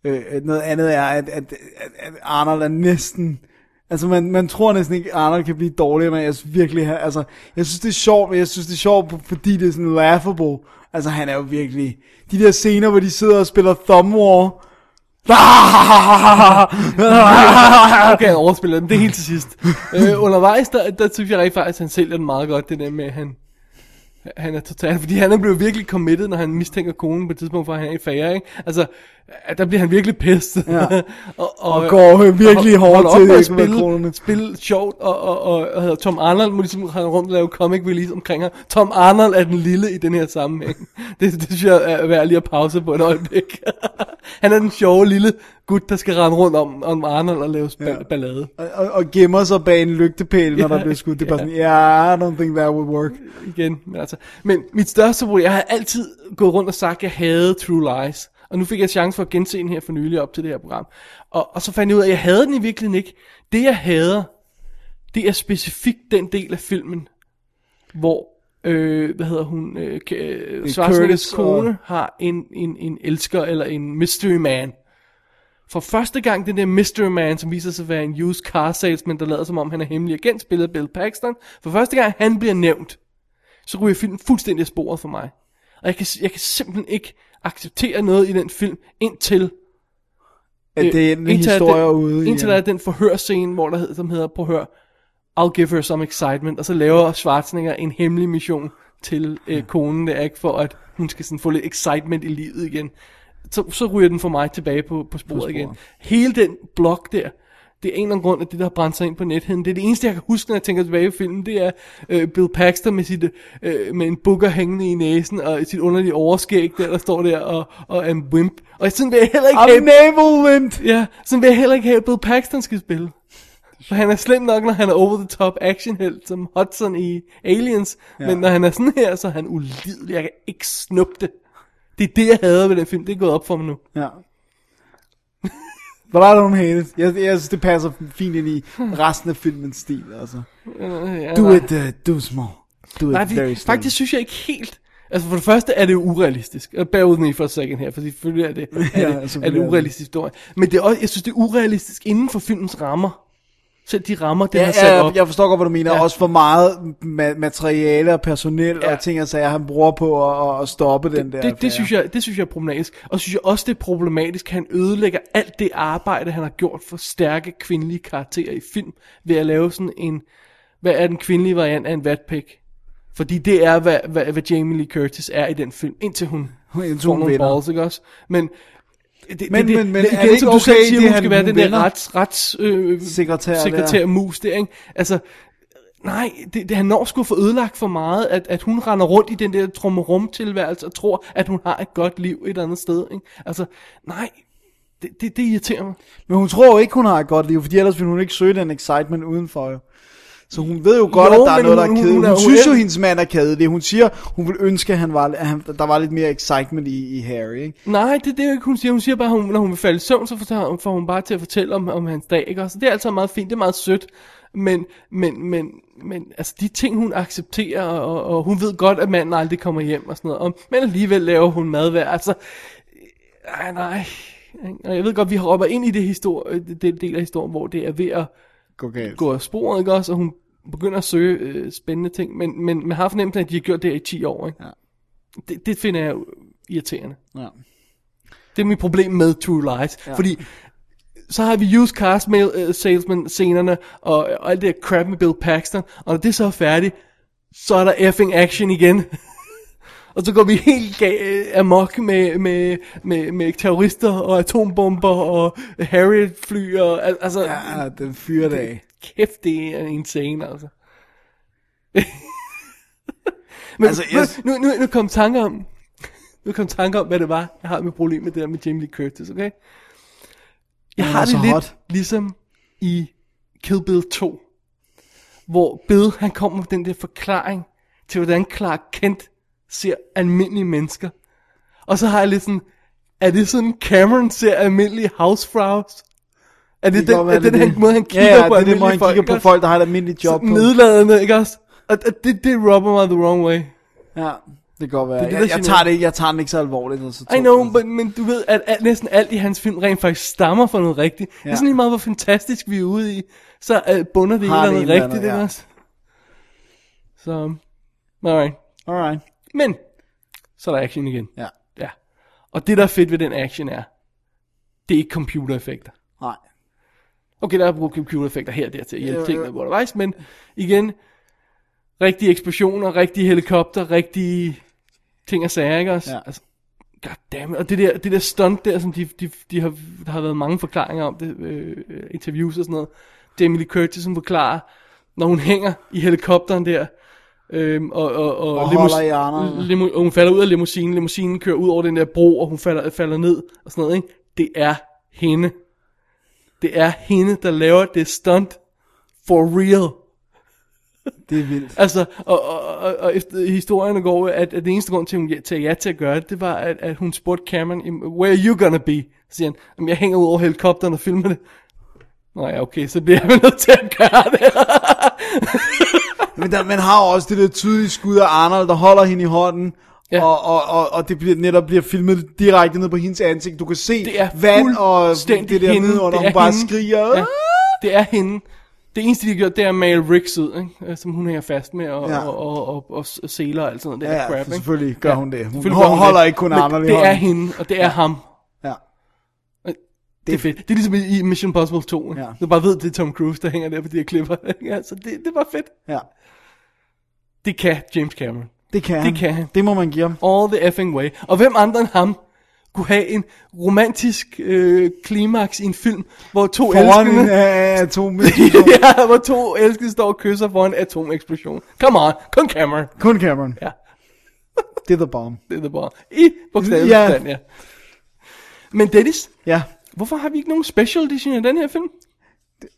Speaker 4: Øh, noget andet er, at, at, at, at Arnold er næsten... Altså, man, man tror næsten ikke, at Arnold kan blive dårlig, men jeg synes virkelig, han, altså, jeg synes, det er sjovt, men jeg synes, det er sjovt, fordi det er sådan laughable. Altså, han er jo virkelig... De der scener, hvor de sidder og spiller Thumb War.
Speaker 3: Jeg kan overspille den, det er helt til sidst. øh, undervejs, der, der synes jeg rigtig faktisk, at han sælger den meget godt, det der med, at han, han er total, fordi han er blevet virkelig committed, når han mistænker konen på et tidspunkt for, at han er i fære, ikke? Altså, at der bliver han virkelig pisset.
Speaker 4: Ja. Og går, øh, virkelig
Speaker 3: og- og
Speaker 4: hårdt
Speaker 3: holder op
Speaker 4: til
Speaker 3: med at
Speaker 4: ikke med
Speaker 3: spille,
Speaker 4: kronerne.
Speaker 3: spille sjovt, og, og, og, og, hedder Tom Arnold må ligesom rende rundt og lave comic release omkring ham. Tom Arnold er den lille i den her sammenhæng. Det, det synes jeg er værd lige at pause på et øjeblik. han er den sjove lille gut, der skal rende rundt om, om Arnold og lave spil, ja. ballade.
Speaker 4: Og, og, og gemmer sig bag en lygtepæl, når
Speaker 3: Ja,
Speaker 4: der bliver skudt. Det er bare
Speaker 3: ja.
Speaker 4: sådan, yeah, I don't think that would work.
Speaker 3: igen. Men, altså, men mit største problem, jeg har altid gået rundt og sagt, at jeg havde True Lies. Og nu fik jeg chance for at gense den her for nylig op til det her program. Og, og så fandt jeg ud af, at jeg havde den i virkeligheden ikke. Det jeg hader, det er specifikt den del af filmen, hvor, øh, hvad hedder hun, øh, Ka- øh, Schwarzeneggers
Speaker 4: Curtis og-
Speaker 3: kone har en, en, en elsker eller en mystery man. For første gang den der Mystery Man, som viser sig at være en used car salesman, der lader som om han er hemmelig agent, spillet af Bill Paxton. For første gang han bliver nævnt, så ryger filmen fuldstændig af sporet for mig. Og jeg kan, jeg kan simpelthen ikke acceptere noget i den film, indtil...
Speaker 4: At
Speaker 3: øh,
Speaker 4: det er en
Speaker 3: indtil at
Speaker 4: historie
Speaker 3: den-
Speaker 4: ude
Speaker 3: Indtil der er den forhørscene, hvor der hedder, som hedder, på hør, I'll give her some excitement, og så laver Schwarzenegger en hemmelig mission til øh, konen, det er ikke for, at hun skal sådan få lidt excitement i livet igen. Så, så ryger den for mig tilbage på, på, sporet, på sporet
Speaker 4: sporet.
Speaker 3: igen. Hele den blok der, det er en eller anden grund, at det der har brændt sig ind på netheden. Det er det eneste, jeg kan huske, når jeg tænker tilbage i filmen, det er øh, Bill Paxton med, sit, øh, med en bukker hængende i næsen, og sit underlige overskæg der, der står der, og, og er en wimp. Og sådan vil jeg heller ikke
Speaker 4: I'm
Speaker 3: have...
Speaker 4: navel wind.
Speaker 3: Ja, sådan vil jeg heller ikke have, at Bill Paxton skal spille. For han er slem nok, når han er over-the-top actionhelt, som Hudson i Aliens. Ja. Men når han er sådan her, så er han ulidelig. Jeg kan ikke snuppe det. Det er det, jeg hader ved den film. Det er gået op for mig nu.
Speaker 4: Ja. But I don't hate it. Jeg, jeg synes, det passer fint ind i resten af filmens stil, altså.
Speaker 3: Øh, Ja,
Speaker 4: Do
Speaker 3: nej.
Speaker 4: it, uh, do small. Do it
Speaker 3: Nej,
Speaker 4: very
Speaker 3: fordi,
Speaker 4: small.
Speaker 3: faktisk synes jeg ikke helt... Altså for det første er det jo urealistisk. Og Bear with me for a second her, for selvfølgelig er det, er det,
Speaker 4: Ja,
Speaker 3: er det
Speaker 4: selvfølgelig er det.
Speaker 3: urealistisk historie. Men det er også, jeg synes, det er urealistisk inden for filmens rammer. Selv de rammer, den
Speaker 4: Ja,
Speaker 3: har sat
Speaker 4: ja,
Speaker 3: op.
Speaker 4: jeg, jeg forstår godt, hvad du mener. Ja. Også for meget ma- materiale og personel ja. og ting og sager, han bruger på at- at, at stoppe den der.
Speaker 3: det, det, synes jeg, det synes jeg er problematisk. Og så synes jeg også, det er problematisk, at han ødelægger alt det arbejde, han har gjort for stærke kvindelige karakterer i film, ved at lave sådan en, hvad er den kvindelige variant af en vatpik? Fordi det er, hvad, hvad, hvad Jamie Lee Curtis er i den film, indtil hun
Speaker 4: Indtil
Speaker 3: får
Speaker 4: hun
Speaker 3: nogle
Speaker 4: vinder.
Speaker 3: balls, ikke også? Men, det, det,
Speaker 4: Men-
Speaker 3: det,
Speaker 4: men- men
Speaker 3: det,
Speaker 4: er
Speaker 3: igen,
Speaker 4: det
Speaker 3: som
Speaker 4: ikke
Speaker 3: du selv
Speaker 4: okay,
Speaker 3: siger,
Speaker 4: det,
Speaker 3: hun
Speaker 4: at
Speaker 3: skal være
Speaker 4: hun
Speaker 3: den der
Speaker 4: vinder?
Speaker 3: rets, rets øh,
Speaker 4: Sekretær der.
Speaker 3: sekretær mus der, ikke? Altså, nej, det, det, han når sgu få ødelagt for meget, at, at hun render rundt i den der trummerum tilværelse og tror, at hun har et godt liv et andet sted, ikke? Altså, nej, det, det, det irriterer mig.
Speaker 4: Men hun tror jo ikke, hun har et godt liv, fordi ellers ville hun ikke søge den excitement udenfor jo. Så hun ved jo godt,
Speaker 3: Jo,
Speaker 4: at der er
Speaker 3: men
Speaker 4: noget, der
Speaker 3: hun- hun-
Speaker 4: er kedeligt.
Speaker 3: hun
Speaker 4: Hun,
Speaker 3: er
Speaker 4: hun,
Speaker 3: jo
Speaker 4: synes jo,
Speaker 3: el-
Speaker 4: hendes mand er kedelig. Hun siger, hun ville ønske, at, han var, at han, der var lidt mere excitement i, i Harry. Ikke?
Speaker 3: Nej, det, det er jo ikke, hun siger. Hun siger bare, hun, når hun vil falde i søvn, så får, får hun bare til at fortælle om, om hans dag. Ikke? Og så det er altså meget fint, det er meget sødt. Men, men, men, men altså de ting, hun accepterer, og, og hun ved godt, at manden aldrig kommer hjem og sådan noget. Og, men alligevel laver hun mad hver. Altså, nej, nej. Ikke? Og jeg ved godt, vi hopper ind i det historie, den del af historien, hvor det er ved at
Speaker 4: Gå galt.
Speaker 3: gå af sporet, ikke også? Og hun begynder at søge øh, spændende ting. Men, men man har fornemmelsen, af, at de har gjort det her i 10 år, ikke?
Speaker 4: Ja.
Speaker 3: Det, det finder jeg irriterende.
Speaker 4: Ja.
Speaker 3: Det er mit problem med True Lies. Ja. Fordi så har vi used cars mail, uh, salesman scenerne og, og alt det her crap med Bill Paxton. Og når det så er færdigt, så er der effing action igen. og så går vi helt ga- øh, amok med, med, med, med terrorister og atombomber og Harriet-fly. Og, al- altså,
Speaker 4: Ja, Ah, den fyrer det af.
Speaker 3: kæft, det er insane, altså. Men
Speaker 4: Altså,
Speaker 3: altså,
Speaker 4: jeg-
Speaker 3: yes. nu, nu, nu kom tanker om, nu kom tanker om, hvad det var, jeg har med problem med det der med Jamie Lee Curtis, okay? Jeg
Speaker 4: Han
Speaker 3: har
Speaker 4: er
Speaker 3: det
Speaker 4: så
Speaker 3: lidt
Speaker 4: altså, hot.
Speaker 3: ligesom i Kill Bill 2, hvor Bill, han kommer med den der forklaring til, hvordan Clark Kent ser almindelige mennesker. Og så har jeg lidt sådan, er det sådan, Cameron ser almindelige housefraus? Er det, det den,
Speaker 4: Det kan godt
Speaker 3: er
Speaker 4: være,
Speaker 3: det,
Speaker 4: det er
Speaker 3: den
Speaker 4: det.
Speaker 3: måde, han
Speaker 4: Ja,
Speaker 3: kigger
Speaker 4: ja,
Speaker 3: på
Speaker 4: det er den
Speaker 3: almindelige
Speaker 4: måde, han kigger på
Speaker 3: ikke også?
Speaker 4: folk, der har et almindeligt job
Speaker 3: Så
Speaker 4: på.
Speaker 3: Nedladende, ikke også? Og, og det, det rubber mig the wrong way.
Speaker 4: Ja, det kan godt være.
Speaker 3: Det er det, der
Speaker 4: Det, det, jeg,
Speaker 3: generer.
Speaker 4: jeg, tager det ikke, jeg tager den ikke så alvorligt. Og så
Speaker 3: I know, men, men du ved, at, at næsten alt i hans film rent faktisk stammer fra noget rigtigt. Ja. Det er
Speaker 4: Ja.
Speaker 3: sådan lige meget, hvor fantastisk vi er ude i. så øh, bunder det i et
Speaker 4: Har
Speaker 3: eller
Speaker 4: det
Speaker 3: andet
Speaker 4: et eller
Speaker 3: rigtigt,
Speaker 4: andet,
Speaker 3: ja.
Speaker 4: ja.
Speaker 3: også? Så, alright.
Speaker 4: Alright.
Speaker 3: Men, så er der action igen.
Speaker 4: Ja.
Speaker 3: Ja. Og det, der er fedt ved den action er, det er ikke computereffekter.
Speaker 4: Nej.
Speaker 3: Okay, der er brugt computereffekter her og der til at hjælpe
Speaker 4: Ja,
Speaker 3: tingene
Speaker 4: ja.
Speaker 3: undervejs, men igen, rigtige eksplosioner, rigtige helikopter, rigtige ting og sager, ikke også?
Speaker 4: Ja.
Speaker 3: Altså, goddammit, og det der, det der stunt der, som de, de, de har, der har været mange forklaringer om, det, øh, interviews og sådan noget, Jamie Lee Curtis, som forklarer, når hun hænger i helikopteren der, Øhm, og, og, og,
Speaker 4: Og Mm. holder i armene.
Speaker 3: limu- og hun falder ud af limousinen, limousinen kører ud over den der bro, og hun falder, falder ned og sådan noget, ikke? Det er hende. Det er hende, der laver det stunt for real.
Speaker 4: Det er vildt.
Speaker 3: Altså, og, og, og, og efter historien går, at, at det eneste grund til, at hun tager ja til at gøre det, det var, at, at hun spurgte Cameron, "Jamen, where are you gonna be? Så siger han, "Jamen, jeg hænger ud over helikopteren og filmer det. Nå ja, okay, så bliver jeg vel nødt til at gøre det.
Speaker 4: Men der, man har jo også det der tydelige skud af Arnold, der holder hende i hånden. Ja. Og, og, og, og det bliver netop bliver filmet direkte ned på hendes ansigt. Du kan se
Speaker 3: Det er
Speaker 4: vand og
Speaker 3: fuldstændig
Speaker 4: det der
Speaker 3: hende.
Speaker 4: nedenunder,
Speaker 3: Det er
Speaker 4: hun bare
Speaker 3: hende.
Speaker 4: skriger.
Speaker 3: Ja, det er hende. Det eneste, de har gjort, det er at male Ricks ud, ikke? Øh, som hun hænger fast med, og,
Speaker 4: Ja.
Speaker 3: ja. og, og, og, og, og seler og alt sådan noget. Det
Speaker 4: Ja,
Speaker 3: er
Speaker 4: ja,
Speaker 3: crap,
Speaker 4: for
Speaker 3: ikke?
Speaker 4: selvfølgelig gør hun det. Hun
Speaker 3: selvfølgelig gør
Speaker 4: holder
Speaker 3: det.
Speaker 4: ikke kun
Speaker 3: Men
Speaker 4: armene i
Speaker 3: Det er
Speaker 4: hånden.
Speaker 3: hende, og det er ham.
Speaker 4: Ja.
Speaker 3: Og Det er fedt. Det er ligesom i i Mission Impossible 2. Ja.
Speaker 4: Ja.
Speaker 3: Du bare ved, det er Tom Cruise, der hænger der på de her klipper. ja, så det, det var fedt.
Speaker 4: Ja.
Speaker 3: Det kan James Cameron.
Speaker 4: Det kan
Speaker 3: Det kan han.
Speaker 4: Det må man give ham.
Speaker 3: All the effing way. Og hvem andre end ham kunne have en romantisk øh, klimaks i en film, hvor to
Speaker 4: Foran
Speaker 3: elskende...
Speaker 4: en øh, atomik.
Speaker 3: ja, hvor to elskede står og kysser for en atomeksplosion. Come on, kun Cameron.
Speaker 4: Kun Cameron.
Speaker 3: Ja.
Speaker 4: Det er the bomb.
Speaker 3: Det er det bare. I bogstavelig
Speaker 4: Ja.
Speaker 3: yeah. forstand, ja. Men Dennis,
Speaker 4: Ja.
Speaker 3: hvorfor har vi ikke nogen special edition af den her film?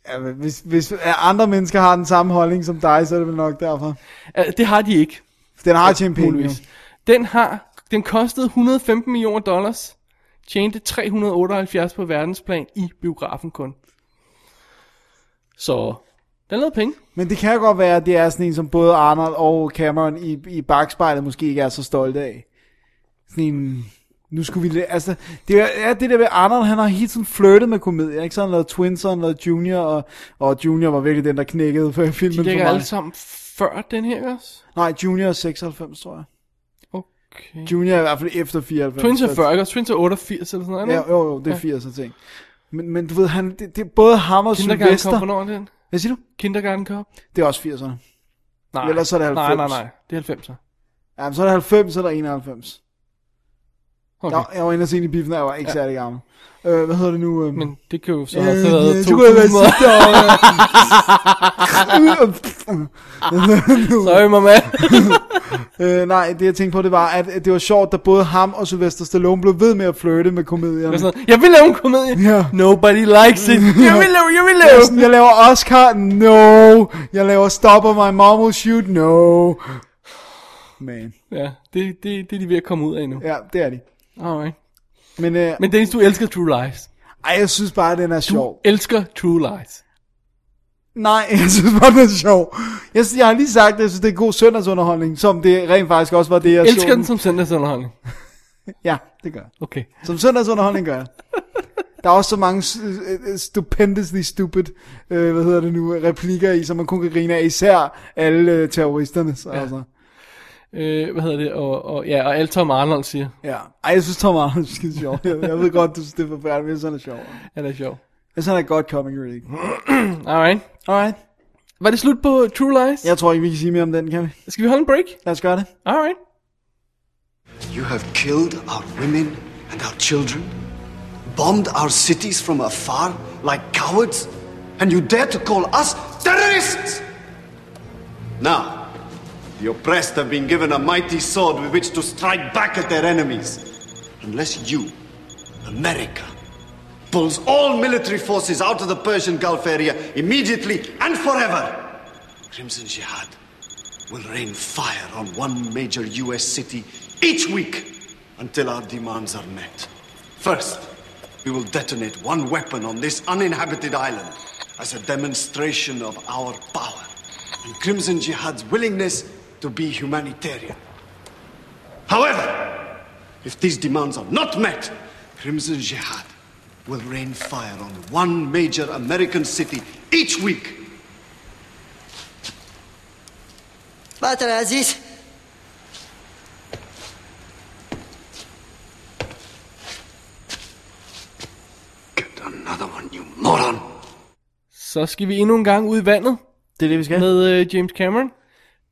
Speaker 4: ja men hvis, hvis andre mennesker har den samme holdning som dig, så er det vel nok derfor.
Speaker 3: Uh, det har de ikke.
Speaker 4: Den har tjent penge. jo.
Speaker 3: muligvis. Den har, den kostede 115 millioner dollars, tjente 378 på verdensplan i biografen kun. Så den lavede penge.
Speaker 4: Men det kan godt være, at det er sådan en, som både Arnold og Cameron i, i bagspejlet måske ikke er så stolte af. Sådan en... Nu skulle vi... la- Altså, det er ja, det der med Arnold, han har hele tiden flirtet med komedier, ikke? Så han lavede Twins, og han lavede Junior, og, og Junior var virkelig den, der knækkede for
Speaker 3: De
Speaker 4: filmen for
Speaker 3: ligger
Speaker 4: mig.
Speaker 3: alle sammen før den her ikke også.
Speaker 4: Nej, Junior er 96, tror jeg.
Speaker 3: Okay.
Speaker 4: Junior er i hvert fald efter 94.
Speaker 3: Twins
Speaker 4: så-
Speaker 3: er 40, ikke også? Twins er 88 eller sådan noget.
Speaker 4: Ja,
Speaker 3: ikke?
Speaker 4: jo, jo, det er
Speaker 3: Ja.
Speaker 4: 80 og ting. Men, men du ved, han, det, det er både ham og
Speaker 3: Kindergarten Cop,
Speaker 4: Sylvester.
Speaker 3: hvornår er den?
Speaker 4: Hvad siger du?
Speaker 3: Kindergarten Cop?
Speaker 4: Det er også 80'erne.
Speaker 3: Nej.
Speaker 4: Ellers er det
Speaker 3: Nej, nej,
Speaker 4: 90.
Speaker 3: nej. Det er 90'er.
Speaker 4: Jamen, så er det 90, så er der 91.
Speaker 3: Okay.
Speaker 4: Okay. Jeg, jeg var inde og se den i biffen, da jeg var ikke ja. særlig gammel. Øh, hvad hedder det nu? Øh,
Speaker 3: Men det kan jo så
Speaker 4: øh,
Speaker 3: have været
Speaker 4: ja,
Speaker 3: 2000.
Speaker 4: det kunne have været sidste år.
Speaker 3: Sorry, mamma.
Speaker 4: ja. øh, nej, det jeg tænkte på, det var, at at det var sjovt, at både ham og Sylvester Stallone blev ved med at flirte med komedierne.
Speaker 3: Og sådan, Jeg vil lave en komedie.
Speaker 4: Ja.
Speaker 3: Nobody likes it. Jeg vil lave, jeg vil lave.
Speaker 4: Jeg er sådan, Jeg laver Oscar, no. Jeg laver Stop or My Mom Will Shoot, no. Man.
Speaker 3: Ja, det, det, det er de ved at komme ud af nu.
Speaker 4: Ja, det er de.
Speaker 3: Alright.
Speaker 4: Men, øh,
Speaker 3: Men Dennis, du elsker True Lies.
Speaker 4: ej, jeg synes bare, at den er
Speaker 3: Du
Speaker 4: sjov.
Speaker 3: elsker True Lies.
Speaker 4: Nej, jeg synes bare, den er sjov. Jeg, jeg har lige sagt, at jeg synes, det er god søndagsunderholdning, som det rent faktisk også var det, jeg så
Speaker 3: elsker den som søndagsunderholdning.
Speaker 4: Ja, det gør jeg.
Speaker 3: Okay.
Speaker 4: Som søndagsunderholdning gør jeg. Der er også så mange s- øh, stupendously stupid, øh, hvad hedder det nu, replikker i, som man kun kan grine af, især alle øh, terroristerne. Så, ja. Altså.
Speaker 3: Øh, hvad hedder det? Og, og, ja, og alt Tom Arnold siger.
Speaker 4: ja. Ej, jeg synes, Tom Arnold er skide sjov. Jeg, jeg ved godt, du synes, det er forfærdeligt, men jeg synes, han er sjov. Jeg
Speaker 3: Han er sjov.
Speaker 4: synes, han er godt comic relief.
Speaker 3: Alright.
Speaker 4: Alright.
Speaker 3: Var det slut på True Lies?
Speaker 4: Jeg tror ikke, vi kan sige mere om den, kan vi?
Speaker 3: Skal vi holde en break?
Speaker 4: Lad os gøre det.
Speaker 3: Alright.
Speaker 12: You have killed our women and our children, bombed our cities from afar like cowards, and you dare to call us terrorists! Now, the oppressed have been given a mighty sword with which to strike back at their enemies. Unless you, America, pulls all military forces out of the Persian Gulf area immediately and forever, Crimson Jihad will rain fire on one major U.S. city each week until our demands are met. First, we will detonate one weapon on this uninhabited island as a demonstration of our power and Crimson Jihad's willingness to be humanitarian. However, if these demands are not met, Crimson Jihad will rain fire on one major American city each week
Speaker 13: بطل عزیز
Speaker 12: Another one, you moron.
Speaker 3: Så skal vi endnu en gang ud i vandet.
Speaker 4: Det er det, vi skal.
Speaker 3: Med øh, James Cameron.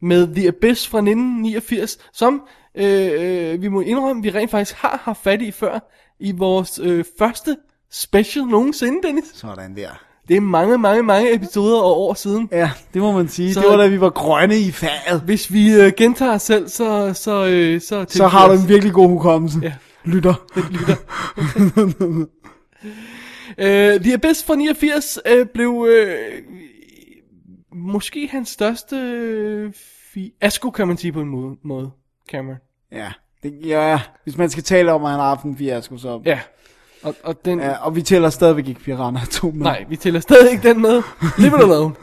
Speaker 3: Med The Abyss fra 1989, som øh, øh, vi må indrømme, vi rent faktisk har haft fat i før. I vores øh, første special nogensinde, Dennis.
Speaker 4: Sådan der.
Speaker 3: Det er mange, mange, mange episoder og år siden.
Speaker 4: Ja, det må man sige. Det var da vi var grønne i faget.
Speaker 3: Hvis vi øh, gentager os selv, så... Så, øh, så,
Speaker 4: Så har du en virkelig god hukommelse. Ja. Lytter.
Speaker 3: lytter. Uh, The Abyss fra 89 uh, blev uh, måske hans største øh, fi- asko, kan man sige på en måde, måde Cameron.
Speaker 4: ja. Det, ja, hvis man skal tale om, at han har haft en fiasko, så...
Speaker 3: Ja. Og, og, den...
Speaker 4: ja, og vi tæller stadigvæk ikke Piranha 2 med.
Speaker 3: Nej, vi tæller stadig ikke den med. Leave it alone.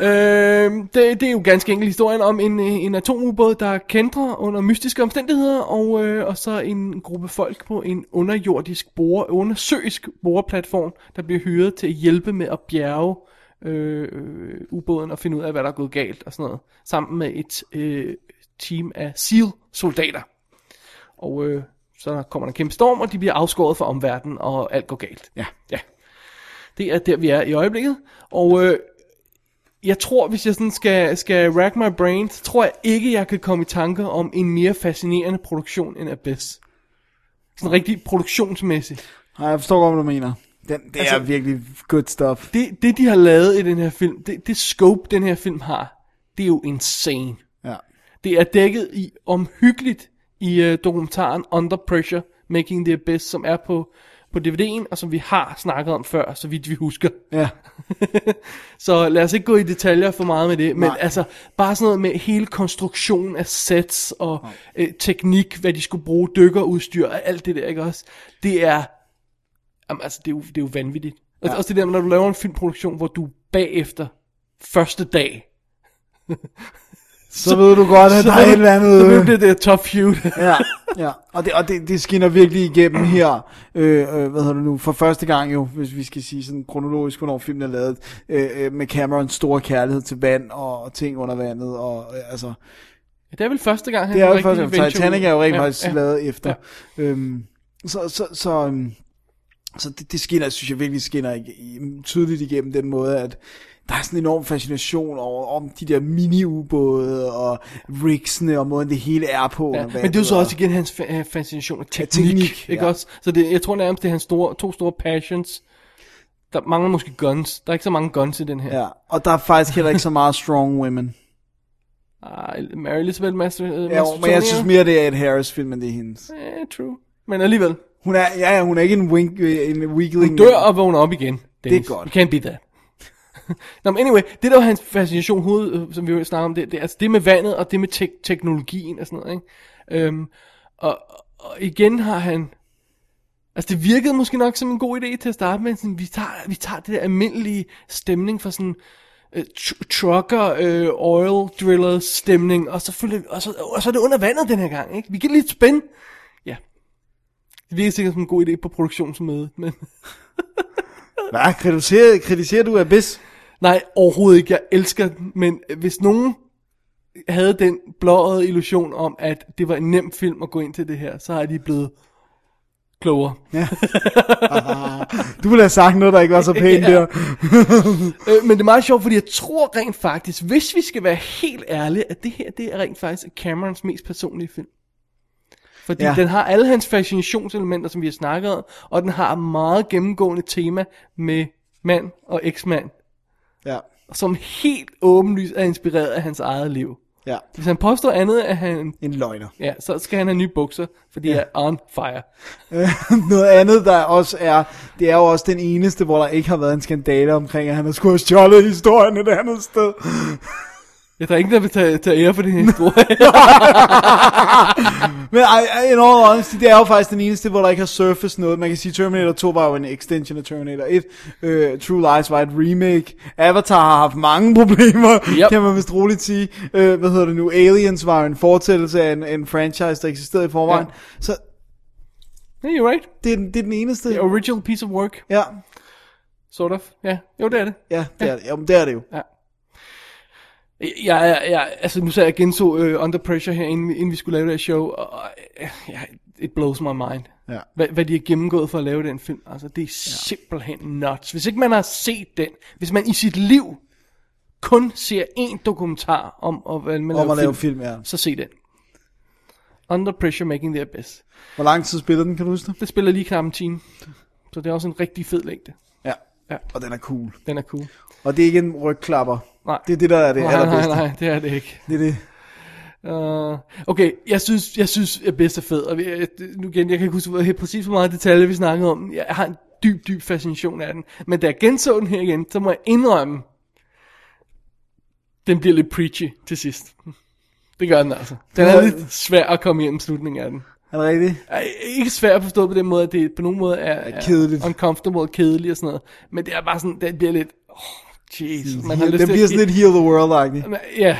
Speaker 3: Øh, det, det er jo ganske enkelt historien om en, øh, en atomubåd, der kændrer under mystiske omstændigheder, og, øh, og så en gruppe folk på en underjordisk bore, undersøisk boreplatform, der bliver hyret til at hjælpe med at bjerge øh, øh, ubåden og finde ud af, hvad der er gået galt og sådan noget, sammen med et øh, team af SEAL-soldater. Og øh, så kommer der en kæmpe storm, og de bliver afskåret fra omverdenen, og alt går galt.
Speaker 4: Ja.
Speaker 3: ja. Det er der, vi er i øjeblikket. Og øh, jeg tror, hvis jeg sådan skal, skal rack my brain, så tror jeg ikke, jeg kan komme i tanke om en mere fascinerende produktion end Abyss. Sådan rigtig produktionsmæssigt.
Speaker 4: Nej, jeg forstår godt, hvad du mener. Den, det
Speaker 3: Altså-
Speaker 4: altså, er virkelig good stuff.
Speaker 3: Det, det, de har lavet i den her film, det, det scope, den her film har, det er jo insane.
Speaker 4: Ja.
Speaker 3: Det er dækket i omhyggeligt i øh, dokumentaren Under Pressure, Making the Abyss, som er på, på DVD'en, og som vi har snakket om før, så vidt vi husker.
Speaker 4: Ja.
Speaker 3: så lad os ikke gå i detaljer for meget med det, men
Speaker 4: Nej.
Speaker 3: altså bare sådan noget med hele konstruktionen af sets og øh, teknik, hvad de skulle bruge, dykkerudstyr og alt det der, ikke også? Det er, jamen, altså, det er, jo, det er jo vanvittigt. Og
Speaker 4: Ja.
Speaker 3: også det der, når du laver en filmproduktion, hvor du bagefter, første dag,
Speaker 4: Så, ved du godt, at der er et eller andet...
Speaker 3: Så blev det der top feud.
Speaker 4: ja, ja. Og, det, og det, det skinner virkelig igennem her, øh, øh, hvad hedder det nu, for første gang jo, hvis vi skal sige sådan kronologisk, hvornår filmen er lavet, øh, øh, med Camerons store kærlighed til vand og, og ting under vandet, og øh, altså,
Speaker 3: Ja, det er vel første gang, han
Speaker 4: det er jo
Speaker 3: rigtig
Speaker 4: første gang,
Speaker 3: venture
Speaker 4: Titanic
Speaker 3: ud.
Speaker 4: er jo rent
Speaker 3: Ja,
Speaker 4: faktisk
Speaker 3: ja.
Speaker 4: lavet efter. Øhm, så, så, så, øhm, så det, det skinner, synes jeg virkelig skinner ig- i- tydeligt igennem den måde, at der er sådan en enorm fascination over om de der mini-ubåde og rigsene og måden det hele er på.
Speaker 3: Ja, men det er jo så også igen hans fa- øh, fascination af teknik,
Speaker 4: teknik,
Speaker 3: ikke
Speaker 4: ja.
Speaker 3: også? Så det, jeg tror nærmest, det er hans store, to store passions. Der mangler måske guns. Der er ikke så mange guns i den her.
Speaker 4: Ja, og der er faktisk heller ikke så meget strong women.
Speaker 3: Ah, Mary Elizabeth Master, øh,
Speaker 4: Ja, jo, men jeg synes mere, det er et Harris-film, end det er hendes.
Speaker 3: Eh, true. Men alligevel.
Speaker 4: Hun er, ja, ja, hun er ikke en, wink, øh, en weakling.
Speaker 3: Hun dør og vågner op igen.
Speaker 4: Det er
Speaker 3: Dennis.
Speaker 4: godt.
Speaker 3: You can't beat that. Nå, men anyway, det der var hans fascination hoved, øh, som vi jo snakker om, det, det, altså det med vandet og det med tek- teknologien og sådan noget, ikke? Øhm, og, og igen har han, altså det virkede måske nok som en god idé til at starte med, sådan, vi, tager, vi tager det der almindelige stemning fra sådan øh, tr- trucker, øh, oil driller stemning, og så, følger, vi- og, så, og så er det under vandet den her gang, ikke? Vi giver det lidt spænd. Ja, det virker sikkert som en god idé på produktionsmødet, men...
Speaker 4: Hvad, kritiserer, kritiserer du Abyss?
Speaker 3: Nej, overhovedet ikke. Jeg elsker den, men øh, hvis nogen havde den blåede illusion om, at det var en nem film at gå ind til det her, så er de blevet klogere.
Speaker 4: Ja. Du ville have sagt noget, der ikke var så pænt
Speaker 3: Ja.
Speaker 4: der.
Speaker 3: Øh, men det er meget sjovt, fordi jeg tror rent faktisk, hvis vi skal være helt ærlige, at det her det er rent faktisk Camerons mest personlige film. Fordi ja.
Speaker 4: Ja.
Speaker 3: den har alle hans fascinationselementer, som vi har snakket om, og den har et meget gennemgående tema med mand og eksmand,
Speaker 4: Ja,
Speaker 3: som helt åbenlyst er inspireret af hans eget liv.
Speaker 4: ja.
Speaker 3: Hvis han påstår andet, at han
Speaker 4: En løgner.
Speaker 3: Ja, så skal han have nye bukser, for de ja. er on fire.
Speaker 4: Øh, Noget andet, der også er, det er jo også den eneste, hvor der ikke har været en skandale omkring, at han har skulle have stjålet historien et andet sted.
Speaker 3: Jeg tror ikke, der vil tage, tage ære for den her historie.
Speaker 4: Men ej, ej, in all honesty, det er jo faktisk den eneste, hvor der ikke har surfaced noget. Man kan sige, Terminator 2 var jo en extension af Terminator 1. Øh, True Lies var et remake. Avatar har haft mange problemer,
Speaker 3: Yep.
Speaker 4: yep. kan man vist roligt sige. Øh, hvad hedder det nu? Aliens var jo en fortsættelse af en, en franchise, der eksisterede i forvejen.
Speaker 3: Ja.
Speaker 4: Ja. Så
Speaker 3: yeah, you're right.
Speaker 4: det er, den- det er den eneste.
Speaker 3: The original piece of work,
Speaker 4: Ja,
Speaker 3: sort of. Ja, jo, det er det.
Speaker 4: ja, det er det. Jamen, det er det jo.
Speaker 3: Ja. Jeg, jeg, jeg, altså nu sagde jeg genså øh, Under Pressure her, inden, vi- inden vi skulle lave det her show, og øh, jeg, it blows my mind.
Speaker 4: Ja.
Speaker 3: Hvad, hvad de har gennemgået for at lave den film, altså det er simpelthen nuts. Hvis ikke man har set den, hvis man i sit liv kun ser én dokumentar om, om, man
Speaker 4: Om at lave film, ja.
Speaker 3: så se den. Under Pressure Making Their Best.
Speaker 4: Hvor lang tid spiller den, kan du huske det?
Speaker 3: Det spiller lige knap en time. Så det er også en rigtig fed længde.
Speaker 4: Ja.
Speaker 3: ja.
Speaker 4: Og den er cool.
Speaker 3: Den er cool.
Speaker 4: Og det er ikke en rygklapper.
Speaker 3: Nej.
Speaker 4: Det er det, der er det
Speaker 3: nej,
Speaker 4: allerbedste.
Speaker 3: Nej, nej, det er det ikke.
Speaker 4: Det er det.
Speaker 3: Uh, okay, jeg synes, jeg synes, at bedst er fed. Og jeg, jeg- nu igen, jeg kan ikke huske hvor- helt præcis, hvor meget detalje vi snakkede om. Jeg har en dyb, dyb fascination af den. Men da jeg genså den her igen, så må jeg indrømme, den bliver lidt preachy til sidst. Det gør den altså. Den er lidt svær at komme hjem i slutningen af den.
Speaker 4: Er det rigtigt?
Speaker 3: Ej, Ikke svær at forstå på den måde, at det på nogen måde er, er
Speaker 4: Kedeligt.
Speaker 3: uncomfortable og kedeligt og sådan noget. Men det er bare sådan, den bliver lidt... Oh, jeez. Man har lyst
Speaker 4: Den
Speaker 3: til at
Speaker 4: bliver
Speaker 3: give-
Speaker 4: sådan lidt Heal the World-agtig.
Speaker 3: Ja,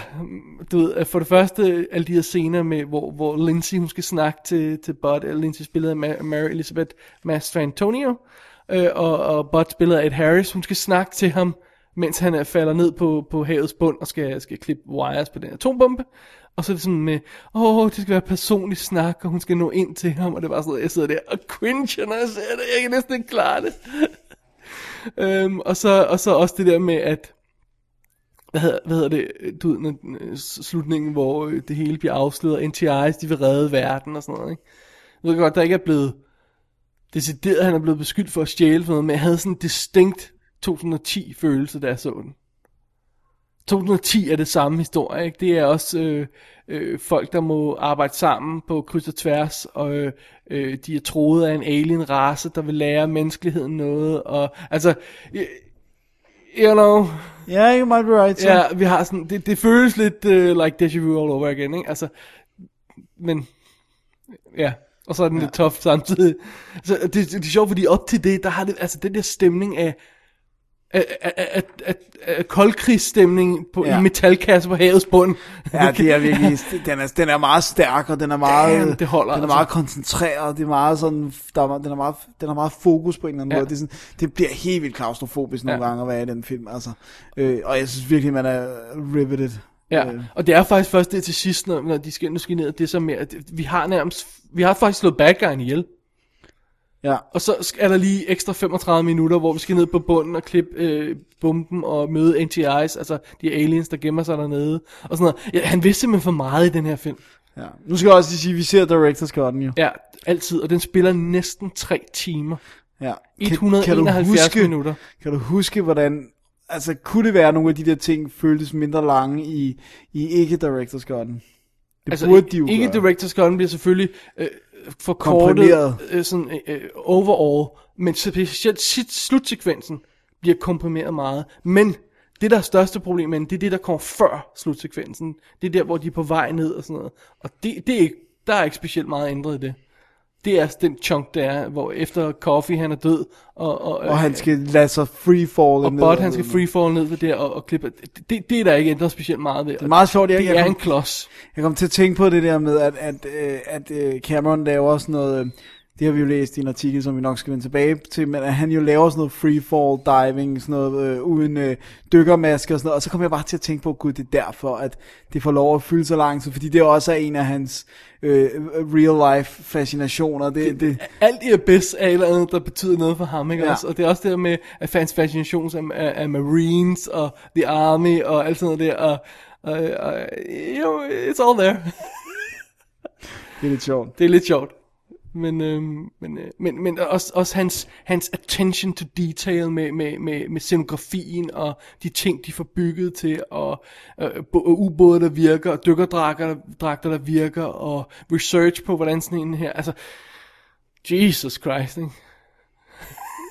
Speaker 3: du ved, at for det første, alle de her scener med, hvor, hvor Lindsay, hun skal snakke til, til Bud, eller Lindsay spillet af Ma- Mary Elizabeth Mastrantonio, øh, og, og Bud spillet af Ed Harris, hun skal snakke til ham, mens han er, falder ned på, på havets bund og skal, skal klippe wires på den atombombe. Og så er det sådan med, åh, oh, det skal være personlig snak, og hun skal nå ind til ham, og det var sådan noget, jeg sidder der og cringe, når jeg ser det, jeg kan næsten ikke klare det. øhm, og, så, og så også det der med, at hvad hedder, hvad hedder det, du ved, når, øh, s- slutningen, hvor øh, det hele bliver afsløret, og NTI's, de vil redde verden og sådan noget, ikke? Jeg ved godt, der ikke er blevet decideret, at han er blevet beskyldt for at stjæle for noget, men jeg havde sådan en distinkt 2010-følelse, da jeg så den. 2010 er det samme historie, ikke? Det er også øh, øh, folk, der må arbejde sammen på kryds og tværs, og øh, øh, de er troet af en alien-race, der vil lære menneskeligheden noget, og altså, øh, you know...
Speaker 4: Ja, yeah, you might be right. så.
Speaker 3: Ja, vi har sådan, det, det føles lidt uh, like déjà vu all over again, ikke? Altså, men, ja, og så er den ja. lidt tough samtidig. Så det, det, det er sjovt, fordi op til det, der har det, altså den der stemning af, af, af, af, af, af koldkrigsstemning på, ja.
Speaker 4: Ja.
Speaker 3: i metalkasse på havets bund.
Speaker 4: Ja, det er virkelig, den er, den er meget stærk, og den er meget,
Speaker 3: Damn, det holder
Speaker 4: den er
Speaker 3: altså.
Speaker 4: meget koncentreret, det er meget sådan, der er, den, er meget, den er meget fokus på en eller anden
Speaker 3: Ja.
Speaker 4: ja. måde. Det, er sådan, det bliver helt vildt klaustrofobisk nogle
Speaker 3: Ja.
Speaker 4: ja. gange at være i den film, altså. Øh, og jeg synes virkelig, man er riveted.
Speaker 3: Ja,
Speaker 4: Øh,
Speaker 3: og det er faktisk først det til sidst, når, når de skal, nu skal ned, det er så mere, det, vi har nærmest, vi har faktisk slået bad guyen ihjel.
Speaker 4: Ja.
Speaker 3: Og så sk- er der lige ekstra 35 minutter, hvor vi skal ned på bunden og klippe øh, bomben og møde NTI's, altså de aliens, der gemmer sig dernede, og sådan noget. Ja, han vidste simpelthen for meget i den her film.
Speaker 4: ja. Nu skal jeg også lige sige, at vi ser Directors Cut'en jo.
Speaker 3: Ja, altid, og den spiller næsten 3 timer.
Speaker 4: Ja.
Speaker 3: 171 minutter.
Speaker 4: Kan du huske, hvordan... Altså, kunne det være, nogle af de der ting føltes mindre lange i, i ikke Directors Cut'en? Det altså, burde de jo
Speaker 3: Ikke
Speaker 4: gøre.
Speaker 3: Directors Gun bliver selvfølgelig øh, forkortet
Speaker 4: Komprimeret.
Speaker 3: øh, sådan, øh, øh, overall, men specielt sit slutsekvensen bliver komprimeret meget. Men det, der er største problem med den, det er det, der kommer før slutsekvensen. Det er der, hvor de er på vej ned og sådan noget. Og det, det er ikke, der er ikke specielt meget ændret i det. Det er den chunk, der er, hvor efter Coffee han er død, og, og, øh,
Speaker 4: Og han skal lade sig freefall
Speaker 3: og Bot, han skal freefall ned ved der og, og klippe. Det, det, det er der ikke ændret specielt meget ved.
Speaker 4: Det er meget sjovt, jeg,
Speaker 3: Det
Speaker 4: jeg
Speaker 3: er
Speaker 4: kom-
Speaker 3: en klods.
Speaker 4: Jeg kom til at tænke på det der med, at, at, øh, at øh, Cameron laver sådan noget, øh, det har vi jo læst i en artikel, som vi nok skal vende tilbage til, men at han jo laver sådan noget freefall diving, sådan noget øh, uden øh, dykkermasker og sådan noget, og så kom jeg bare til at tænke på, gud, det er derfor, at det får lov at fylde så lang tid, fordi det også er en af hans øh, real life fascinationer. Det, det,
Speaker 3: alt i Abyss er et eller andet, der betyder noget for ham, ikke
Speaker 4: Ja.
Speaker 3: også? Og det er også det der med, at fans fascination af, af, af Marines og The Army og alt sådan noget der, og, og, og jo, it's all there.
Speaker 4: det er lidt sjovt.
Speaker 3: det er lidt sjovt. Men, øhm, men, øh, men, men også, også hans, hans attention to detail med, med, med, med scenografien og de ting, de får bygget til, og øh, bo- og ubåde, der virker, og dykkerdragter, dragter, der virker, og research på, hvordan sådan en her, altså, Jesus Christ, ikke?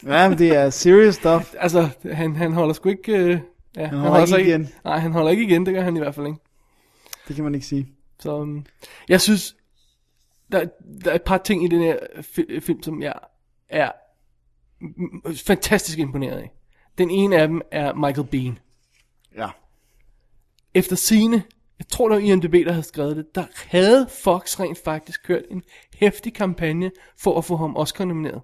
Speaker 4: Ja, men det er serious stuff.
Speaker 3: Altså, han, han holder sgu ikke... Øh, ja, han,
Speaker 4: holder
Speaker 3: sig
Speaker 4: ikke igen.
Speaker 3: Nej, han holder ikke igen, det gør han i hvert fald ikke.
Speaker 4: Det kan man ikke sige.
Speaker 3: Så um, jeg synes, der, der er et par ting i den her fi- film, som jeg er m- m- fantastisk imponeret af. Den ene af dem er Michael Bean.
Speaker 4: Ja.
Speaker 3: Efter sine, jeg tror det var IMDb, der havde skrevet det, der havde Fox rent faktisk kørt en hæftig kampagne for at få ham Oscar nomineret.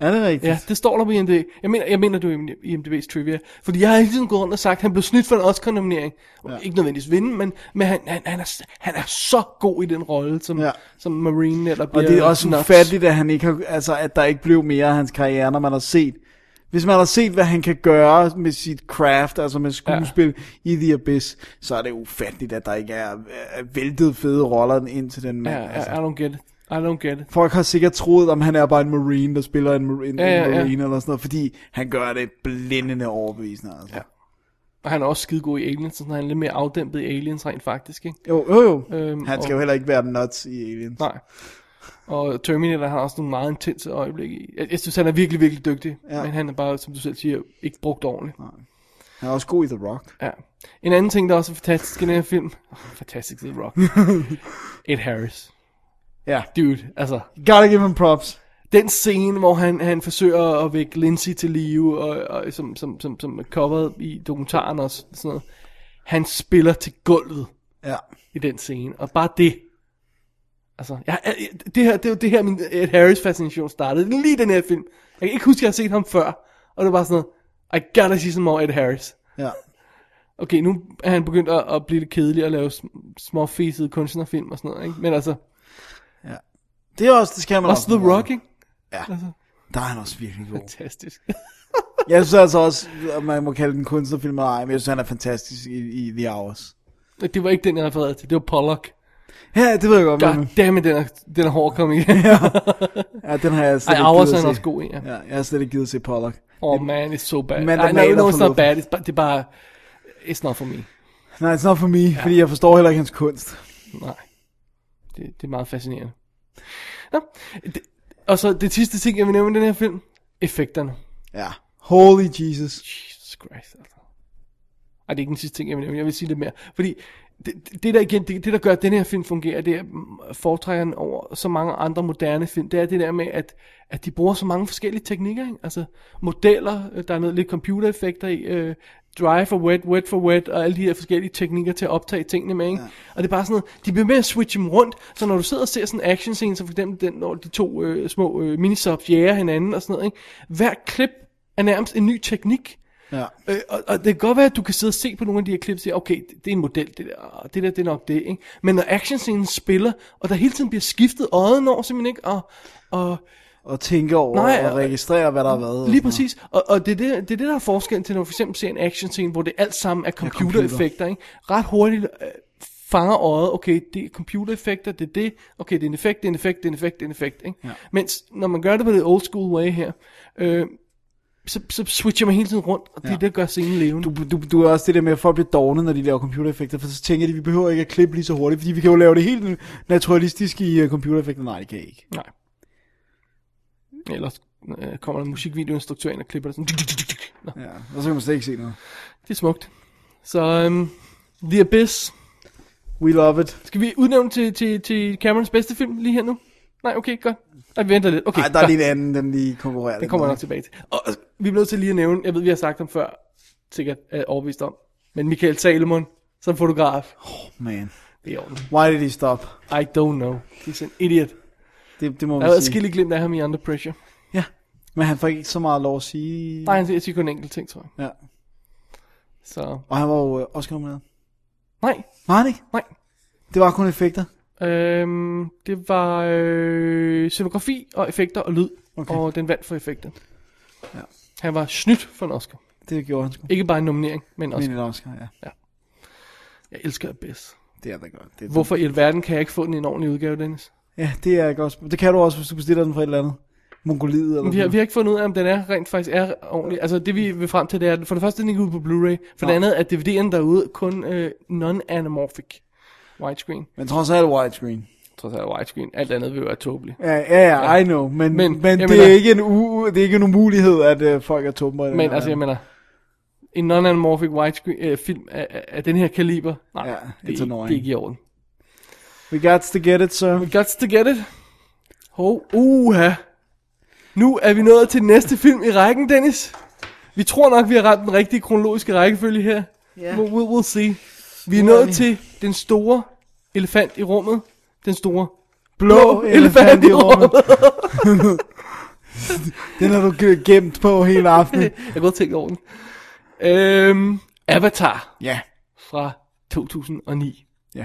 Speaker 4: Er det rigtigt?
Speaker 3: Ja, det står der på IMDb. Jeg mener, jeg mener du er i IMDb's trivia. Fordi jeg har hele tiden gået rundt og sagt, at han blev snydt for en Oscar-nominering. Ja. Ikke nødvendigvis vinde, men, men han, han, han, er, han er så god i den rolle som, ja. som Marine. Eller
Speaker 4: Og
Speaker 3: bliver
Speaker 4: det er også
Speaker 3: Knox.
Speaker 4: ufatteligt, at, han ikke har, altså, at der ikke blev mere af hans karriere, når man har set. Hvis man har set, hvad han kan gøre med sit craft, altså med skuespil ja. i The Abyss, så er det ufatteligt, at der ikke er, er væltet fede roller ind til den mand.
Speaker 3: Ja,
Speaker 4: altså.
Speaker 3: I, I don't get it. I don't get it.
Speaker 4: Folk har sikkert troet, om han er bare en marine, der spiller en, mar- en,
Speaker 3: Ja, ja,
Speaker 4: en
Speaker 3: ja.
Speaker 4: marine eller sådan noget, fordi han gør det blændende overbevisende. Altså. Ja.
Speaker 3: Og han er også skide god i Aliens, så han er lidt mere afdæmpet i Aliens rent faktisk, ikke?
Speaker 4: Jo, jo, jo.
Speaker 3: Øhm,
Speaker 4: han skal
Speaker 3: og-
Speaker 4: jo heller ikke være nuts i Aliens.
Speaker 3: Nej. Og Terminator har også nogle meget intense øjeblikke i. Jeg, jeg synes, han er virkelig, virkelig dygtig.
Speaker 4: Ja.
Speaker 3: Ja. Men han er bare, som du selv siger, ikke brugt ordentligt.
Speaker 4: Nej. Han er også god i The Rock.
Speaker 3: Ja. En anden ting, der også er fantastisk i den her film. Oh, fantastisk, The Rock. Ed Harris.
Speaker 4: Ja.
Speaker 3: Dude, altså.
Speaker 4: Gotta give him props.
Speaker 3: Den scene, hvor han, han forsøger at vække Lindsay til live, og, og som, som, som, som er coveret i dokumentaren og sådan noget. Han spiller til gulvet
Speaker 4: Ja.
Speaker 3: i den scene, og bare det. Altså, jeg, jeg, det her, det er jo det her, min Ed Harris fascination startede. Det er Lige den her film. Jeg kan ikke huske, at jeg har set ham før. Og det var sådan noget, I gotta see some more Ed Harris.
Speaker 4: Ja.
Speaker 3: Okay, nu er han begyndt at, at blive lidt kedelig og lave sm- små fæsede kunstnerfilm og sådan noget, ikke? Men altså,
Speaker 4: Det er også, det skal man
Speaker 3: også The Rock, ikke?
Speaker 4: Ja.
Speaker 3: Altså,
Speaker 4: Der er han også virkelig god.
Speaker 3: fantastisk.
Speaker 4: Jeg synes altså også, at man må kalde den kunstnerfilm eller ej, men jeg synes, han er fantastisk i, i The Hours.
Speaker 3: Det var ikke den, jeg refererede til. Det var Pollock.
Speaker 4: Ja, det ved jeg godt.
Speaker 3: God
Speaker 4: Men,
Speaker 3: damn it, den er, den er hård at komme i.
Speaker 4: ja, den har jeg slet
Speaker 3: Ej,
Speaker 4: ikke
Speaker 3: Hours
Speaker 4: givet
Speaker 3: er han
Speaker 4: at se.
Speaker 3: også god i, ja.
Speaker 4: ja. jeg har slet ikke givet at se Pollock.
Speaker 3: Oh man, it's so bad.
Speaker 4: Men
Speaker 3: Ej,
Speaker 4: den er
Speaker 3: no,
Speaker 4: der
Speaker 3: no,
Speaker 4: for
Speaker 3: it's not
Speaker 4: luften.
Speaker 3: bad. It's, bare- det er bare, it's not for me.
Speaker 4: Nej, it's not for me, ja. fordi jeg forstår heller ikke hans kunst.
Speaker 3: Nej. Det, det er meget fascinerende. Nå, det, og så det sidste ting, jeg vil nævne i den her film. Effekterne.
Speaker 4: Ja. Holy Jesus.
Speaker 3: Jesus Christ, altså. Ej, det er ikke den sidste ting, jeg vil nævne. Jeg vil sige lidt mere. Fordi det, det- det der igen, det, det der gør, at den her film fungerer, det er mm, foretrækkeren over så mange andre moderne film, det er det der med, at, at de bruger så mange forskellige teknikker, ikke? Altså modeller, øh, der er noget lidt computereffekter i, øh, dry for wet, wet for wet, og alle de her forskellige teknikker til at optage tingene med, ikke? Ja. Og det er bare sådan noget, de bliver med at switche dem rundt, så når du sidder og ser sådan en action scene, så for eksempel den, når de to øh, små øh, minisubs jager hinanden og sådan noget, ikke? Hver klip er nærmest en ny teknik,
Speaker 4: Ja.
Speaker 3: Øh, og, og det kan godt være, at du kan sidde og se på nogle af de her klip og sige, okay, det, det er en model, det der, og det der, det er nok det, ikke? Men når actionscenen spiller, og der hele tiden bliver skiftet øjet over, simpelthen ikke, og, og
Speaker 4: Og tænke over
Speaker 3: Nej,
Speaker 4: Nej, og
Speaker 3: og-
Speaker 4: registrere, hvad der har været. og
Speaker 3: lige
Speaker 4: sådan noget.
Speaker 3: præcis, og, og det, er det, det er det, der er forskellen til, når du for eksempel ser en actionscene, hvor det alt sammen er computereffekter, ikke? Ret hurtigt øh, fanger øjet, okay, det er computereffekter, det er det, okay, det er en effekt, det er en effekt, det er en effekt, det er en effekt, ikke? Ja. Mens når man gør det på det old school way her, øh, så, så switcher man hele tiden rundt, og det er det, der gør scenen levende.
Speaker 4: Du, du, du er også det der med, at folk bliver dogne, når de laver computereffekter, for så tænker de, vi behøver ikke at klippe lige så hurtigt, fordi vi kan jo lave det helt naturalistisk i uh, computereffekter. Nej, det kan jeg ikke.
Speaker 3: Nej. Ellers øh, kommer der en musikvideoinstruktør ind og klipper det sådan. Nå,
Speaker 4: Ja, og så kan man slet ikke se noget.
Speaker 3: det er smukt. Så øhm, The Abyss.
Speaker 4: We love it.
Speaker 3: Skal vi udnævne til, til, til Camerons bedste film lige her nu? Nej, okay, godt. Nej, vi venter lidt. Okay,
Speaker 4: Nej, der er
Speaker 3: godt.
Speaker 4: lige en anden, den lige konkurrerer
Speaker 3: Det kommer jeg nok tilbage til. Og øh, vi bliver nødt til lige at nævne, jeg ved, vi har sagt ham før, sikkert er overbevist om, men Michael Salomon som fotograf.
Speaker 4: Man,
Speaker 3: Det er i orden.
Speaker 4: why did he stop?
Speaker 3: I don't know. He's an idiot.
Speaker 4: Det, det må
Speaker 3: Der er
Speaker 4: man sige.
Speaker 3: adskillige glimt af ham i Under Pressure.
Speaker 4: Ja, men han får ikke så meget lov at sige.
Speaker 3: Nej, han siger- jeg siger kun en enkelt ting, tror jeg.
Speaker 4: Ja.
Speaker 3: Så,
Speaker 4: Og han var jo øh, Oscar nomineret.
Speaker 3: nej,
Speaker 4: Var han ikke?
Speaker 3: nej.
Speaker 4: Det var kun effekter.
Speaker 3: Øhm, det var øh, scenografi og effekter og lyd, okay. og den vandt for effekter.
Speaker 4: Ja.
Speaker 3: Han var snydt for en Oscar.
Speaker 4: Det gjorde han sgu.
Speaker 3: Ikke bare en nominering, men en
Speaker 4: Men
Speaker 3: Oscar.
Speaker 4: en Oscar, ja.
Speaker 3: Jeg elsker Abyss.
Speaker 4: Det er da godt. Det er
Speaker 3: Hvorfor i alverden kan jeg ikke få den i en ordentlig udgave, Dennis?
Speaker 4: Ja, det er godt. sp- Det kan du også, hvis du bestiller den fra et eller andet. Mongoliet eller
Speaker 3: Vi har,
Speaker 4: sådan
Speaker 3: vi har ikke fundet ud af, om den er rent faktisk er ordentlig. Altså det vi vil frem til, det er, at for det første den ikke er ude på Blu-ray, for det andet er DVD'en derude kun øh, non-anamorphic widescreen.
Speaker 4: Men trods alt widescreen.
Speaker 3: Trods alt widescreen. Alt andet vil jo være tåbeligt.
Speaker 4: Ja, ja, ja, I know. Men, men,
Speaker 3: Men,
Speaker 4: men det,
Speaker 3: jeg
Speaker 4: er
Speaker 3: mener-
Speaker 4: ikke en u- det er ikke en umulighed, at øh, folk er tumper. i den
Speaker 3: Men
Speaker 4: her
Speaker 3: altså, jeg
Speaker 4: verden.
Speaker 3: mener, en non-anamorphic widescreen øh, film af, af, af den her kaliber, nej,
Speaker 4: Ja,
Speaker 3: ja,
Speaker 4: it's
Speaker 3: det, er, ikke- det
Speaker 4: annoying.
Speaker 3: er ikke i orden.
Speaker 4: We got to get it, sir.
Speaker 3: We got to get it. Ho, uha. Nu er vi nået til den næste film i rækken, Dennis. Vi tror nok, vi har ramt den rigtige kronologiske rækkefølge her. Yeah. We'll, we'll, we'll see. Vi er
Speaker 4: Nu er
Speaker 3: nået
Speaker 4: vi-
Speaker 3: til den store elefant i rummet. Den store
Speaker 4: Blå elefant i rummet. Den har du g- gemt på hele aftenen.
Speaker 3: Jeg kunne tænke over den. Øhm, Avatar.
Speaker 4: Ja.
Speaker 3: Fra 2009.
Speaker 4: Ja.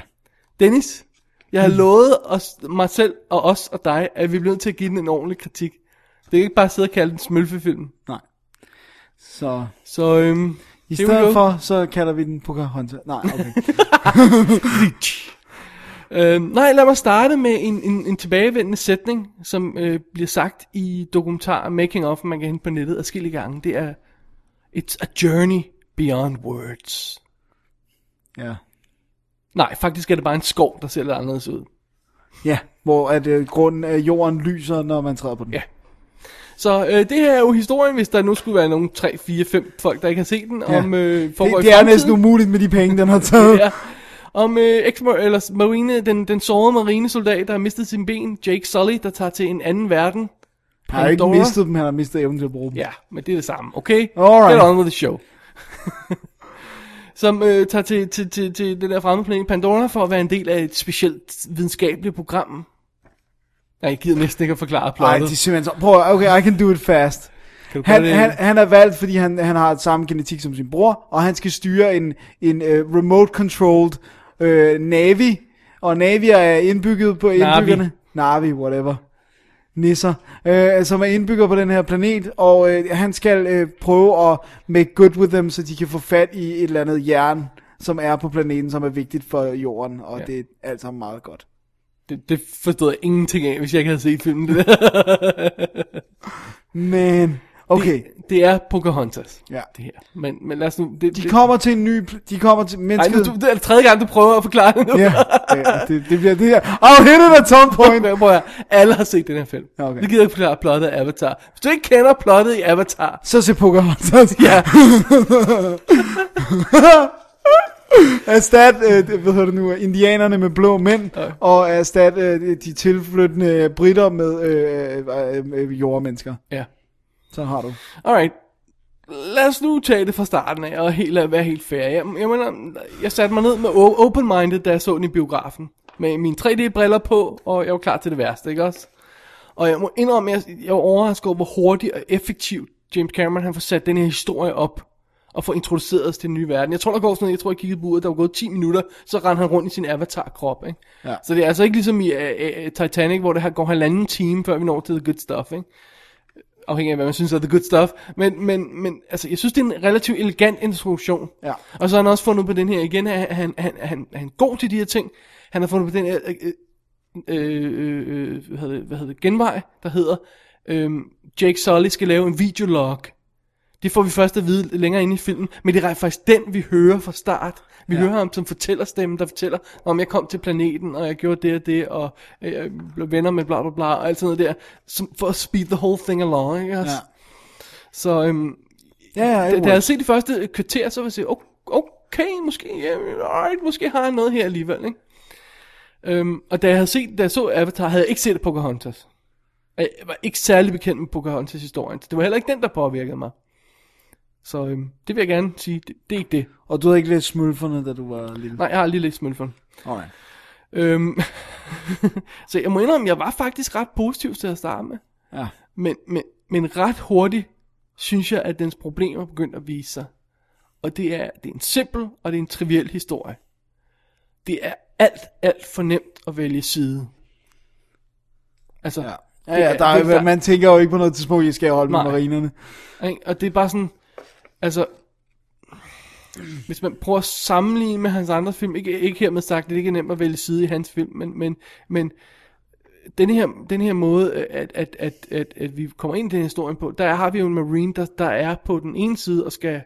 Speaker 3: Dennis, jeg har lovet os, mig selv og os og dig, at vi bliver nødt til at give den en ordentlig kritik. Det kan ikke bare sidde og kalde den smølfefilm.
Speaker 4: Nej. Så,
Speaker 3: så øhm,
Speaker 4: I stedet for, så kalder vi den Pocahontas. Nej, okay.
Speaker 3: øhm, nej, lad mig starte med en, en, en tilbagevendende sætning, som øh, bliver sagt i dokumentar Making Of, man kan hente på nettet adskillige gange. Det er, it's a journey beyond words.
Speaker 4: ja.
Speaker 3: Nej, faktisk er det bare en skov, der ser lidt anderledes ud.
Speaker 4: ja, hvor at, øh, grunden af jorden lyser, når man træder på den.
Speaker 3: Ja. Så øh, det her er jo historien, hvis der nu skulle være nogle 3, 4, 5 folk, der ikke har set den, ja. om øh,
Speaker 4: det,
Speaker 3: foregår i
Speaker 4: det er
Speaker 3: fremtiden.
Speaker 4: næsten um- umuligt med de penge, den har taget.
Speaker 3: ja. Om øh, ex eller marine, den, den sårede marinesoldat, der har mistet sin ben, Jake Sully, der tager til en anden verden.
Speaker 4: Han har ikke
Speaker 3: Pandora.
Speaker 4: mistet dem, han har mistet evnen til at bruge dem.
Speaker 3: Ja, men det er det samme, okay?
Speaker 4: Alright.
Speaker 3: Get on with the show. Som øh, tager til, til, til, til den der fremmede planet Pandora for at være en del af et specielt videnskabeligt program. Nej, jeg gider næsten ikke at forklare
Speaker 4: Nej,
Speaker 3: plottet.
Speaker 4: det er simpelthen så... Prøv at- okay, I can do it fast.
Speaker 3: Kan du
Speaker 4: Han,
Speaker 3: gøre det?
Speaker 4: han, han er valgt, fordi han, han har samme genetik som sin bror, og han skal styre en, en uh, remote-controlled uh, Navy, og Navy er indbygget på indbyggerne. Navi, whatever. Nisser, øh, som er indbygger på den her planet, og øh, han skal øh, prøve at make good with them, så de kan få fat i et eller andet jern, som er på planeten, som er vigtigt for jorden, og ja. det er alt sammen meget godt.
Speaker 3: Det, det forstod jeg ingenting af, hvis jeg ikke havde set filmen. Det
Speaker 4: Men, okay.
Speaker 3: Det, det er Pocahontas,
Speaker 4: Ja.
Speaker 3: det her. Men, men lad os nu... Det,
Speaker 4: De
Speaker 3: det,
Speaker 4: kommer til en ny... pl- De kommer til...
Speaker 3: Ej, nu,
Speaker 4: Mennesket...
Speaker 3: du, det er tredje gang, du prøver at forklare det nu.
Speaker 4: ja, ja, det, det bliver det her. I'll hit it at some point.
Speaker 3: Prøv at høre. Alle har set den her film.
Speaker 4: Okay.
Speaker 3: Okay. Det gider jeg ikke forklare plottet af Avatar. Hvis du ikke kender plottet i Avatar,
Speaker 4: Så se Pocahontas.
Speaker 3: ja,
Speaker 4: Erstat, øh, det- hvad hedder det nu, indianerne med blå mænd, og erstat øh, de tilflyttende britter med øh, øh, øh, jordmennesker.
Speaker 3: ja.
Speaker 4: Så har du.
Speaker 3: Alright. Lad os nu tage det fra starten af, og helt, være helt fair. Jeg, jeg, mener, jeg satte mig ned med o- open-minded, da jeg så den i biografen. Med mine 3D-briller på, og jeg var klar til det værste, ikke også? Og jeg må indrømme, at jeg, jeg var overrasket over, hvor hurtigt og effektivt James Cameron han får sat den her historie op og får introduceret os til den nye verden. Jeg tror, der går sådan noget, jeg tror, jeg kiggede på uret, der var gået 10 minutter, så rendte han rundt i sin avatar-krop, ikke?
Speaker 4: Ja.
Speaker 3: Så det er altså ikke ligesom i uh, uh, Titanic, hvor det her går halvanden time, før vi når til the good stuff, ikke? afhængig af, hvad man synes er the good stuff. Men, men, men altså, jeg synes, det er en relativt elegant introduktion.
Speaker 4: Ja.
Speaker 3: Og så har han også fundet på den her igen, at han, han, han, han er god til de her ting. Han har fundet på den her, øh, øh, øh, øh, hvad, hedder det, hvad hedder det, genvej, der hedder, øh, Jake Sully skal lave en videolog. Det får vi først at vide længere inde i filmen, men det er faktisk den, vi hører fra start. Vi
Speaker 4: Ja.
Speaker 3: ja. hører ham som fortællerstemme, der fortæller, om jeg kom til planeten, og jeg gjorde det og det, og øh, jeg blev venner med bla bla bla, og alt sådan noget der, som, for at speed the whole thing along, ikke også?
Speaker 4: Ja.
Speaker 3: Så øhm,
Speaker 4: Ja, ja,
Speaker 3: da,
Speaker 4: it
Speaker 3: da jeg havde
Speaker 4: works.
Speaker 3: set de første kvarter, så var jeg sige, "Oh, okay, måske, yeah, alright, måske har jeg noget her alligevel, ikke? Øhm, og da jeg, havde set, da jeg så Avatar, havde jeg ikke set Pocahontas. Og Jeg var ikke særlig bekendt med Pocahontas-historien, så det var heller ikke den, der påvirkede mig. Så øhm, det vil jeg gerne sige, det, det er ikke det.
Speaker 4: Og du havde ikke læst smølferne, da du var lille.
Speaker 3: Nej, jeg har lige læst Smølferen.
Speaker 4: Alright.
Speaker 3: Øhm, så jeg må indrømme, jeg var faktisk ret positiv til at starte med.
Speaker 4: Ja.
Speaker 3: Men, men, men ret hurtigt synes jeg, at dens problemer begyndte at vise sig. Og det er, det er en simpel og det er en triviel historie. Det er alt, alt for nemt at vælge side. Altså,
Speaker 4: Ja. Ja, ja, der er,
Speaker 3: det
Speaker 4: jo- man tænker jo ikke på noget tidspunkt, jeg skal holde med
Speaker 3: Nej.
Speaker 4: marinerne.
Speaker 3: Ikke? Og det er bare sådan, altså, hvis man prøver at sammenligne med hans andre film, ikke, ikke hermed sagt, at det ikke er nemt at vælge side i hans film, men, men, men den her, den her måde, at, at, at, at, at vi kommer ind i den her historie på, der har vi jo en marine, der, der er på den ene side og skal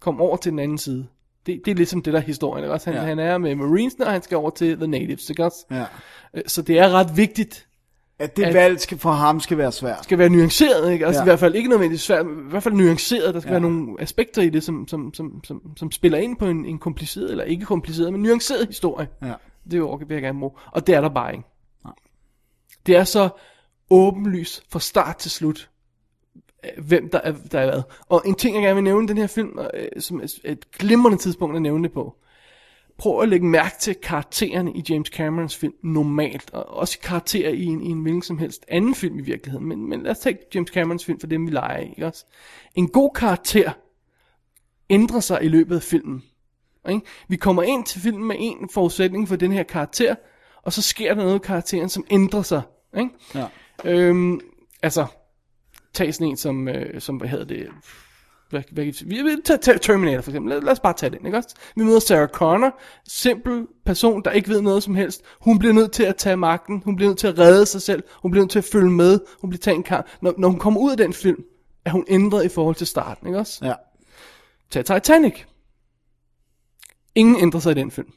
Speaker 3: komme over til den anden side. Det, det er ligesom det, der er historien. Ikke? Også han,
Speaker 4: Ja.
Speaker 3: ja. han er med marinesene, og han skal over til the natives. Ikke? også?
Speaker 4: Ja.
Speaker 3: Øh, Så det er ret vigtigt,
Speaker 4: At det
Speaker 3: At-
Speaker 4: valg skal, for ham skal være svært.
Speaker 3: skal være nuanceret, ikke? Altså
Speaker 4: Ja.
Speaker 3: ja. i hvert fald ikke nødvendigvis svært, men i hvert fald nuanceret. Der skal
Speaker 4: Ja.
Speaker 3: ja. være nogle aspekter i det, som, som, som, som, som spiller ind på en, en kompliceret, eller ikke kompliceret, men nuanceret historie.
Speaker 4: Ja.
Speaker 3: Det er jo vil jeg gerne bruge. Og det er der bare ikke. Det er så åbenlyst fra start til slut, øh, hvem der er, der er hvad. Og en ting, jeg gerne vil nævne i den her film, og, øh, som er et glimrende tidspunkt at nævne det på, prøv at lægge mærke til karaktererne i James Camerons film normalt, og også karakterer i en, i en hvilken som helst anden film i virkeligheden, men, men lad os tage James Camerons film for dem, vi leger i, ikke også? En god karakter ændrer sig i løbet af filmen. Ikke? Vi kommer ind til filmen med en forudsætning for den her karakter, og så sker der noget i karakteren, som ændrer sig. Ikke?
Speaker 4: Ja.
Speaker 3: Øhm, altså, tag sådan en som, øh, som hvad hedder det, hvad, hvad, kan vi, vi tage, tage Terminator for eksempel, lad, lad os bare tage den, ikke også? Vi møder Sarah Connor, simpel person, der ikke ved noget som helst, hun bliver nødt til at tage magten, hun bliver nødt til at redde sig selv, hun bliver nødt til at følge med, hun bliver taget en kamp. Når, når hun kommer ud af den film, er hun ændret i forhold til starten, ikke også?
Speaker 4: Ja.
Speaker 3: Tag Titanic. Ingen ændrer sig i den film.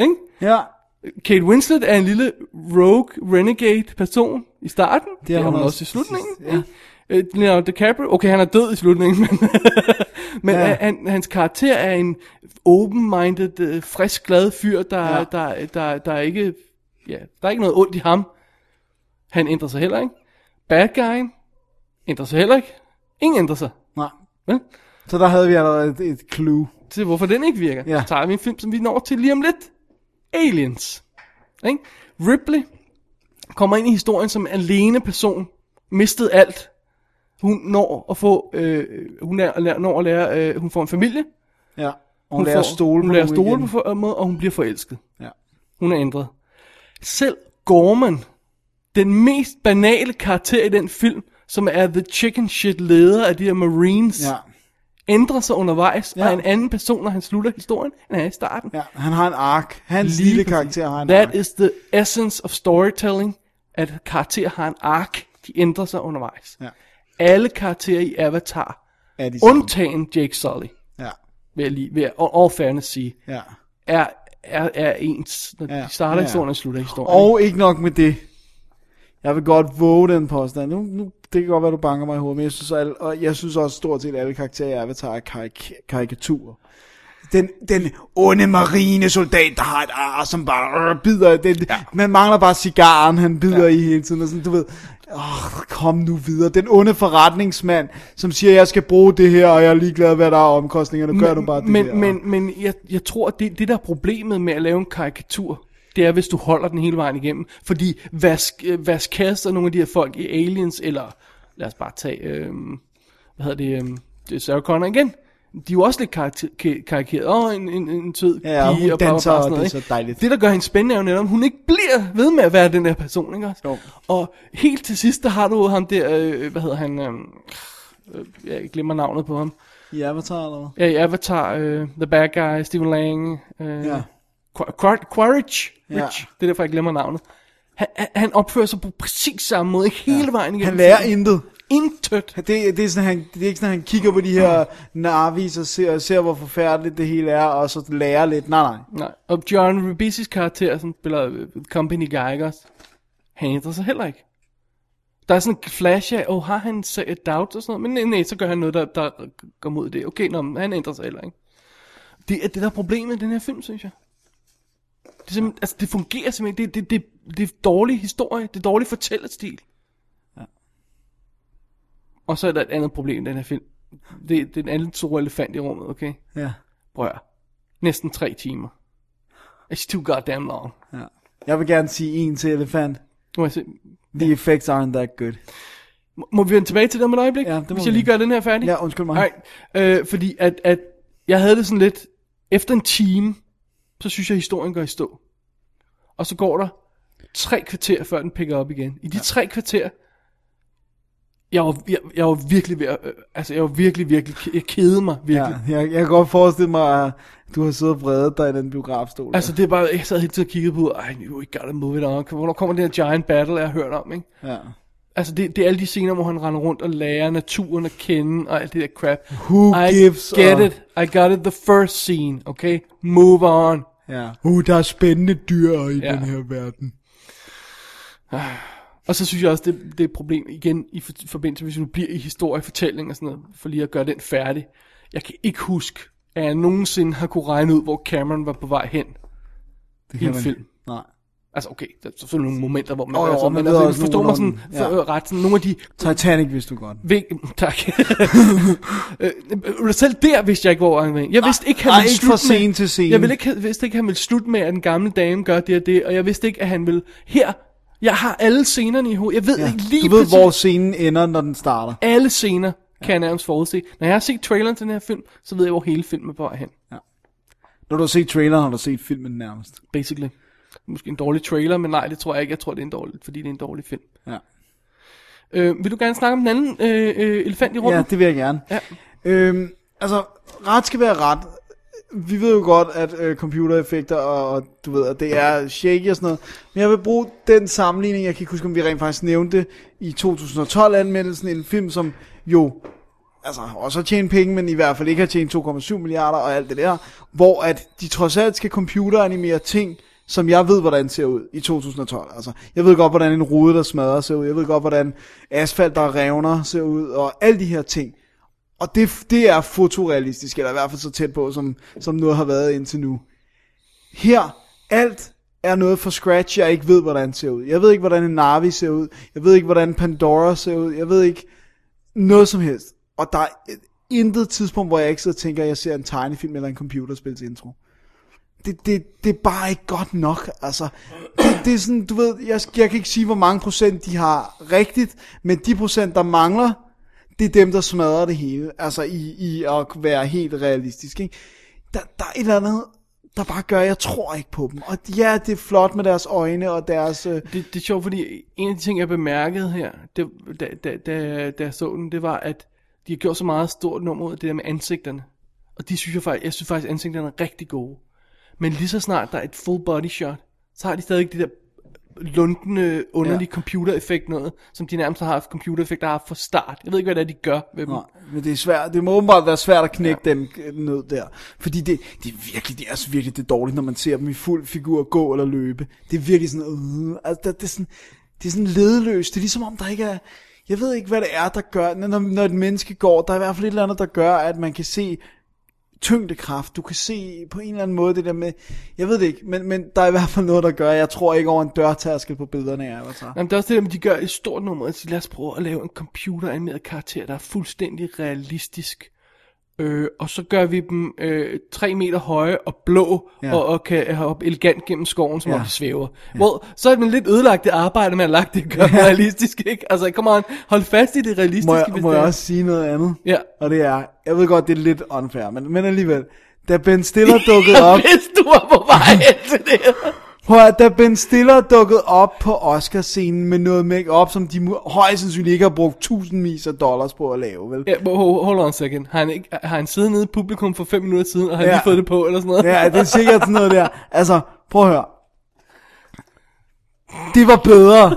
Speaker 3: ikke?
Speaker 4: Ja.
Speaker 3: Kate Winslet er en lille rogue, renegade person i starten. Det er hun, også, i slutningen. Ja. Øh, Leonardo DiCaprio, okay, han er død i slutningen, men, men
Speaker 4: Ja.
Speaker 3: ja. han, hans karakter er en open-minded, øh, frisk, glad fyr, der, ja. der, der, der, der, er ikke, ja, der er ikke noget ondt i ham. Han ændrer sig heller ikke. Bad guyen ændrer sig heller ikke. Ingen ændrer sig.
Speaker 4: Nej.
Speaker 3: Vel?
Speaker 4: Så der havde vi allerede et, et clue.
Speaker 3: til hvorfor den ikke virker. Ja. Så tager vi en film, som vi når til lige om lidt. Aliens. Ikke? Ripley kommer ind i historien som alene person. Mistet alt. Hun når at få, øh, hun er, når at lære, øh, hun får en familie.
Speaker 4: Ja. Og hun, hun lærer at stole
Speaker 3: hun
Speaker 4: på
Speaker 3: lærer
Speaker 4: nogen
Speaker 3: stole
Speaker 4: igen.
Speaker 3: på en måde, og hun bliver forelsket.
Speaker 4: Ja.
Speaker 3: Hun er ændret. Selv Gorman, den mest banale karakter i den film, som er the chicken shit leder af de her marines,
Speaker 4: Ja.
Speaker 3: ændrer sig undervejs, ja. og er en anden person, når han slutter historien, end han er i starten.
Speaker 4: Ja, han har en ark. Hans
Speaker 3: Lige
Speaker 4: lille
Speaker 3: præcis.
Speaker 4: karakter har en
Speaker 3: That
Speaker 4: ark.
Speaker 3: is the essence of storytelling, at karakterer har en ark, de ændrer sig undervejs.
Speaker 4: Ja. Ligesom-
Speaker 3: Alle karakterer i Avatar,
Speaker 4: Er de samme.
Speaker 3: undtagen Jake Sully,
Speaker 4: Ja.
Speaker 3: vil jeg lige, vil jeg, all all fairness sige,
Speaker 4: Ja.
Speaker 3: er, er, er ens, når
Speaker 4: Ja,
Speaker 3: de starter
Speaker 4: ja, ja.
Speaker 3: historien og slutter historien.
Speaker 4: Og ikke nok med det. Jeg vil godt våge den påstand. Nu, nu, det kan godt være, du banker mig i hovedet, men jeg synes, alle, og jeg synes også stort set, alle karakterer i Avatar er karik- karikaturer. Den, den onde marinesoldat, der har et ar, som bare øh, bider. i Den, ja. Man mangler bare cigaren, han bider ja. i hele tiden. Og sådan, du ved, åh, kom nu videre. Den onde forretningsmand, som siger, jeg skal bruge det her, og jeg er ligeglad, hvad der er omkostningerne. Gør du bare det
Speaker 3: men,
Speaker 4: der.
Speaker 3: Men, men jeg, jeg tror, at det, det der er problemet med at lave en karikatur, det er, hvis du holder den hele vejen igennem. Fordi Vas, øh, Vasquez og nogle af de her folk i Aliens, eller lad os bare tage, øh, hvad hedder det, øh, det er Sarah Connor igen. De er jo også lidt karakter, ka- karikeret. Åh, en, en, en sød
Speaker 4: Ja, og
Speaker 3: pige,
Speaker 4: hun
Speaker 3: bla, bla, bla,
Speaker 4: danser,
Speaker 3: sådan
Speaker 4: og det er
Speaker 3: noget, ikke?
Speaker 4: så dejligt.
Speaker 3: Det, der gør hende spændende, er jo netop, at hun ikke bliver ved med at være den der person, ikke også? Og helt til sidst, der har du ham der, øh, hvad hedder han, øh, øh, jeg glemmer navnet på ham.
Speaker 4: I Avatar, eller hvad?
Speaker 3: Ja, i Avatar, uh, The Bad Guy, Stephen Lang, uh,
Speaker 4: Ja.
Speaker 3: ja. Quaritch,
Speaker 4: Ja.
Speaker 3: Rich, det er derfor, jeg glemmer navnet. Han, han- han opfører sig på præcis samme måde hele ja. vejen igennem.
Speaker 4: Han lærer
Speaker 3: filmen.
Speaker 4: intet.
Speaker 3: Intet.
Speaker 4: Det, det, er sådan, han, det er ikke sådan, han kigger på de her narvis og ser, ser, hvor forfærdeligt det hele er, og så lærer lidt. Nej, nej.
Speaker 3: Nej. Og John Rubisis karakter, som spiller øh, Company Guy, ikke også? Han ændrer sig heller ikke. Der er sådan en flash af, oh, har han så et doubt og sådan noget, men nej, nej, så gør han noget, der, der går mod det. Okay, nå, men han ændrer sig heller ikke. Det er det, der er problemet i den her film, synes jeg. Det, er simpelthen, altså, det fungerer simpelthen ikke. Det, det, det, det er dårlig historie, det er dårlig fortællerstil.
Speaker 4: Ja.
Speaker 3: Og så er der et andet problem i den her film. Det, det er den anden store elefant i rummet, okay?
Speaker 4: Ja.
Speaker 3: Prøv at høre. Næsten tre timer. It's too goddamn long.
Speaker 4: Ja. Jeg vil gerne sige en til elefant.
Speaker 3: Må, jeg se,
Speaker 4: The effects aren't that good.
Speaker 3: må, må vi vende tilbage til det om et øjeblik?
Speaker 4: Ja, det må
Speaker 3: Hvis
Speaker 4: vi.
Speaker 3: jeg lige gør den her færdig?
Speaker 4: Ja, undskyld mig.
Speaker 3: Nej, øh, fordi at, at jeg havde det sådan lidt, efter en time, så synes jeg, at historien går i stå. Og så går der tre kvarter, før den picker op igen. I de ja. tre kvarter, jeg var, jeg, jeg var virkelig ved at, øh, altså jeg var virkelig, virkelig, jeg kedede mig virkelig.
Speaker 4: Ja, jeg, jeg kan godt forestille mig, at du har siddet og vredet dig i den biografstol.
Speaker 3: Altså det er bare, jeg sad hele tiden og kiggede på, ej, you gotta move it on. Hvornår kommer den her giant battle, jeg har hørt om, ikke?
Speaker 4: Ja.
Speaker 3: Altså det, det er alle de scener, hvor han render rundt og lærer naturen at kende, og alt det der crap.
Speaker 4: Who
Speaker 3: I
Speaker 4: gives
Speaker 3: get
Speaker 4: a-
Speaker 3: it. I got it the first scene, okay? Move on.
Speaker 4: Ja. Uh, der er spændende dyr i
Speaker 3: Ja.
Speaker 4: den her verden.
Speaker 3: Og så synes jeg også, det, det er et problem igen i for- forbindelse, hvis du bliver i historiefortælling og sådan noget, for lige at gøre den færdig. Jeg kan ikke huske, at jeg nogensinde har kunne regne ud, hvor Cameron var på vej hen
Speaker 4: Det
Speaker 3: i en film.
Speaker 4: Nej.
Speaker 3: Altså okay, der er selvfølgelig nogle momenter, hvor man...
Speaker 4: Åh, jo,
Speaker 3: altså,
Speaker 4: man
Speaker 3: men
Speaker 4: ved
Speaker 3: altså,
Speaker 4: også
Speaker 3: forstår mig sådan,
Speaker 4: nogenlunde,
Speaker 3: ja.
Speaker 4: ja.
Speaker 3: ret, sådan nogle af de...
Speaker 4: Titanic vidste du godt.
Speaker 3: Vig, tak. Øh, øh, selv der vidste jeg ikke, hvor han var. Jeg vidste ikke, han
Speaker 4: nej,
Speaker 3: ville
Speaker 4: ikke
Speaker 3: slutte
Speaker 4: fra scene
Speaker 3: med,
Speaker 4: til scene.
Speaker 3: Jeg ville ikke, vidste ikke, han ville slutte med, at den gamle dame gør det og det, og jeg vidste ikke, at han ville... Her, jeg har alle scenerne i hovedet. Jeg ved ja. ikke lige
Speaker 4: du ved,
Speaker 3: præcis-
Speaker 4: hvor scenen ender, når den starter.
Speaker 3: alle scener kan jeg nærmest forudse. Når jeg har set traileren til den her film, så ved jeg, hvor hele filmen er på vej hen.
Speaker 4: Ja. Når du har set traileren, har du set filmen nærmest.
Speaker 3: Basically. Måske en dårlig trailer, men nej, det tror jeg ikke. Jeg tror, det er en dårlig, fordi det er en dårlig film.
Speaker 4: Ja.
Speaker 3: Øh, vil du gerne snakke om den anden øh, øh, elefant i rummet?
Speaker 4: Ja, det vil jeg gerne.
Speaker 3: Ja.
Speaker 4: Øhm, altså, ret skal være ret. Vi ved jo godt, at øh, computereffekter og, og du ved, at det er shaky og sådan noget. Men jeg vil bruge den sammenligning, jeg kan ikke huske, om vi rent faktisk nævnte det, i 2012-anmeldelsen, en film, som jo altså også har tjent penge, men i hvert fald ikke har tjent 2,7 milliarder og alt det der, hvor at de trods alt skal computeranimere ting, som jeg ved, hvordan ser ud i 2012. Altså, jeg ved godt, hvordan en rude, der smadrer, ser ud. Jeg ved godt, hvordan asfalt, der revner, ser ud, og alle de her ting. Og det, det er fotorealistisk, eller i hvert fald så tæt på, som, som noget har været indtil nu. Her, alt er noget fra scratch, jeg ikke ved, hvordan ser ud. Jeg ved ikke, hvordan en Navi ser ud. Jeg ved ikke, hvordan Pandora ser ud. Jeg ved ikke noget som helst. Og der er intet tidspunkt, hvor jeg ikke sidder og tænker, at jeg ser en tegnefilm eller en computerspils intro. Det, det, det er bare ikke godt nok, altså. Det, det er sådan, du ved, jeg, jeg kan ikke sige, hvor mange procent de har rigtigt, men de procent, der mangler, det er dem, der smadrer det hele. Altså i, i at være helt realistisk, ikke? Der, der er et eller andet, der bare gør, at jeg tror ikke på dem. Og ja, det er flot med deres øjne og deres... Øh,
Speaker 3: det, det er sjovt, fordi en af de ting, jeg bemærkede her, det, da, da, da, da jeg så den, det var, at de har gjort så meget stort nummer ud af det der med ansigterne. Og de synes jeg faktisk, jeg synes faktisk, at ansigterne er rigtig gode. Men lige så snart der er et full body shot, så har de stadig det der lundende, underlige ja. computereffekt noget, som de nærmest har haft computereffekt, der har haft fra start. Jeg ved ikke, hvad det er, de gør ved dem.
Speaker 4: Nej, men det er svært. Det må åbenbart være svært at knække ja. dem øh, ned der. Fordi det, det er virkelig, det er altså virkelig det er dårligt, når man ser dem i fuld figur gå eller løbe. Det er virkelig sådan, øh, altså, det, det, er sådan, det er sådan ledeløst. Det er ligesom om, der ikke er... Jeg ved ikke, hvad det er, der gør, når, når et menneske går, der er i hvert fald et eller andet, der gør, at man kan se tyngdekraft. Du kan se på en eller anden måde det der med, jeg ved det ikke, men, men der er i hvert fald noget, der gør, at jeg tror ikke over en dørtærskel på billederne altså. af Avatar.
Speaker 3: Jamen, det er også det, der, de gør et stort nummer, at sige, lad os prøve at lave en computeranimeret karakter, der er fuldstændig realistisk. Øh, og så gør vi dem øh, 3 meter høje og blå, ja.
Speaker 4: Ja.
Speaker 3: og, og kan hoppe elegant gennem skoven, som ja.
Speaker 4: Ja.
Speaker 3: om de svæver. Ja. Well, så er det lidt ødelagt det arbejde, man har lagt det at gøre ja. realistisk, ikke? Altså, kom on, hold fast i det realistiske.
Speaker 4: Må jeg,
Speaker 3: hvis
Speaker 4: må
Speaker 3: det
Speaker 4: jeg
Speaker 3: er.
Speaker 4: også sige noget andet?
Speaker 3: Ja.
Speaker 4: Og det er, jeg ved godt, det er lidt unfair, men, men alligevel. Da Ben Stiller dukkede
Speaker 3: Jeg
Speaker 4: op,
Speaker 3: vidste, du var på vej hen til det her.
Speaker 4: prøv at, da Ben Stiller dukkede op på Oscarscenen med noget makeup, som de mu- højst sandsynligt ikke har brugt tusindvis af dollars på at lave, vel?
Speaker 3: Ja, but ho- hold on a second. Har han, ikke, har han siddet nede i publikum for 5 minutter siden, og har ja.
Speaker 4: Ja.
Speaker 3: lige fået det på, eller sådan noget?
Speaker 4: Ja, det er sikkert sådan noget der. Altså, prøv at høre. Det var bedre.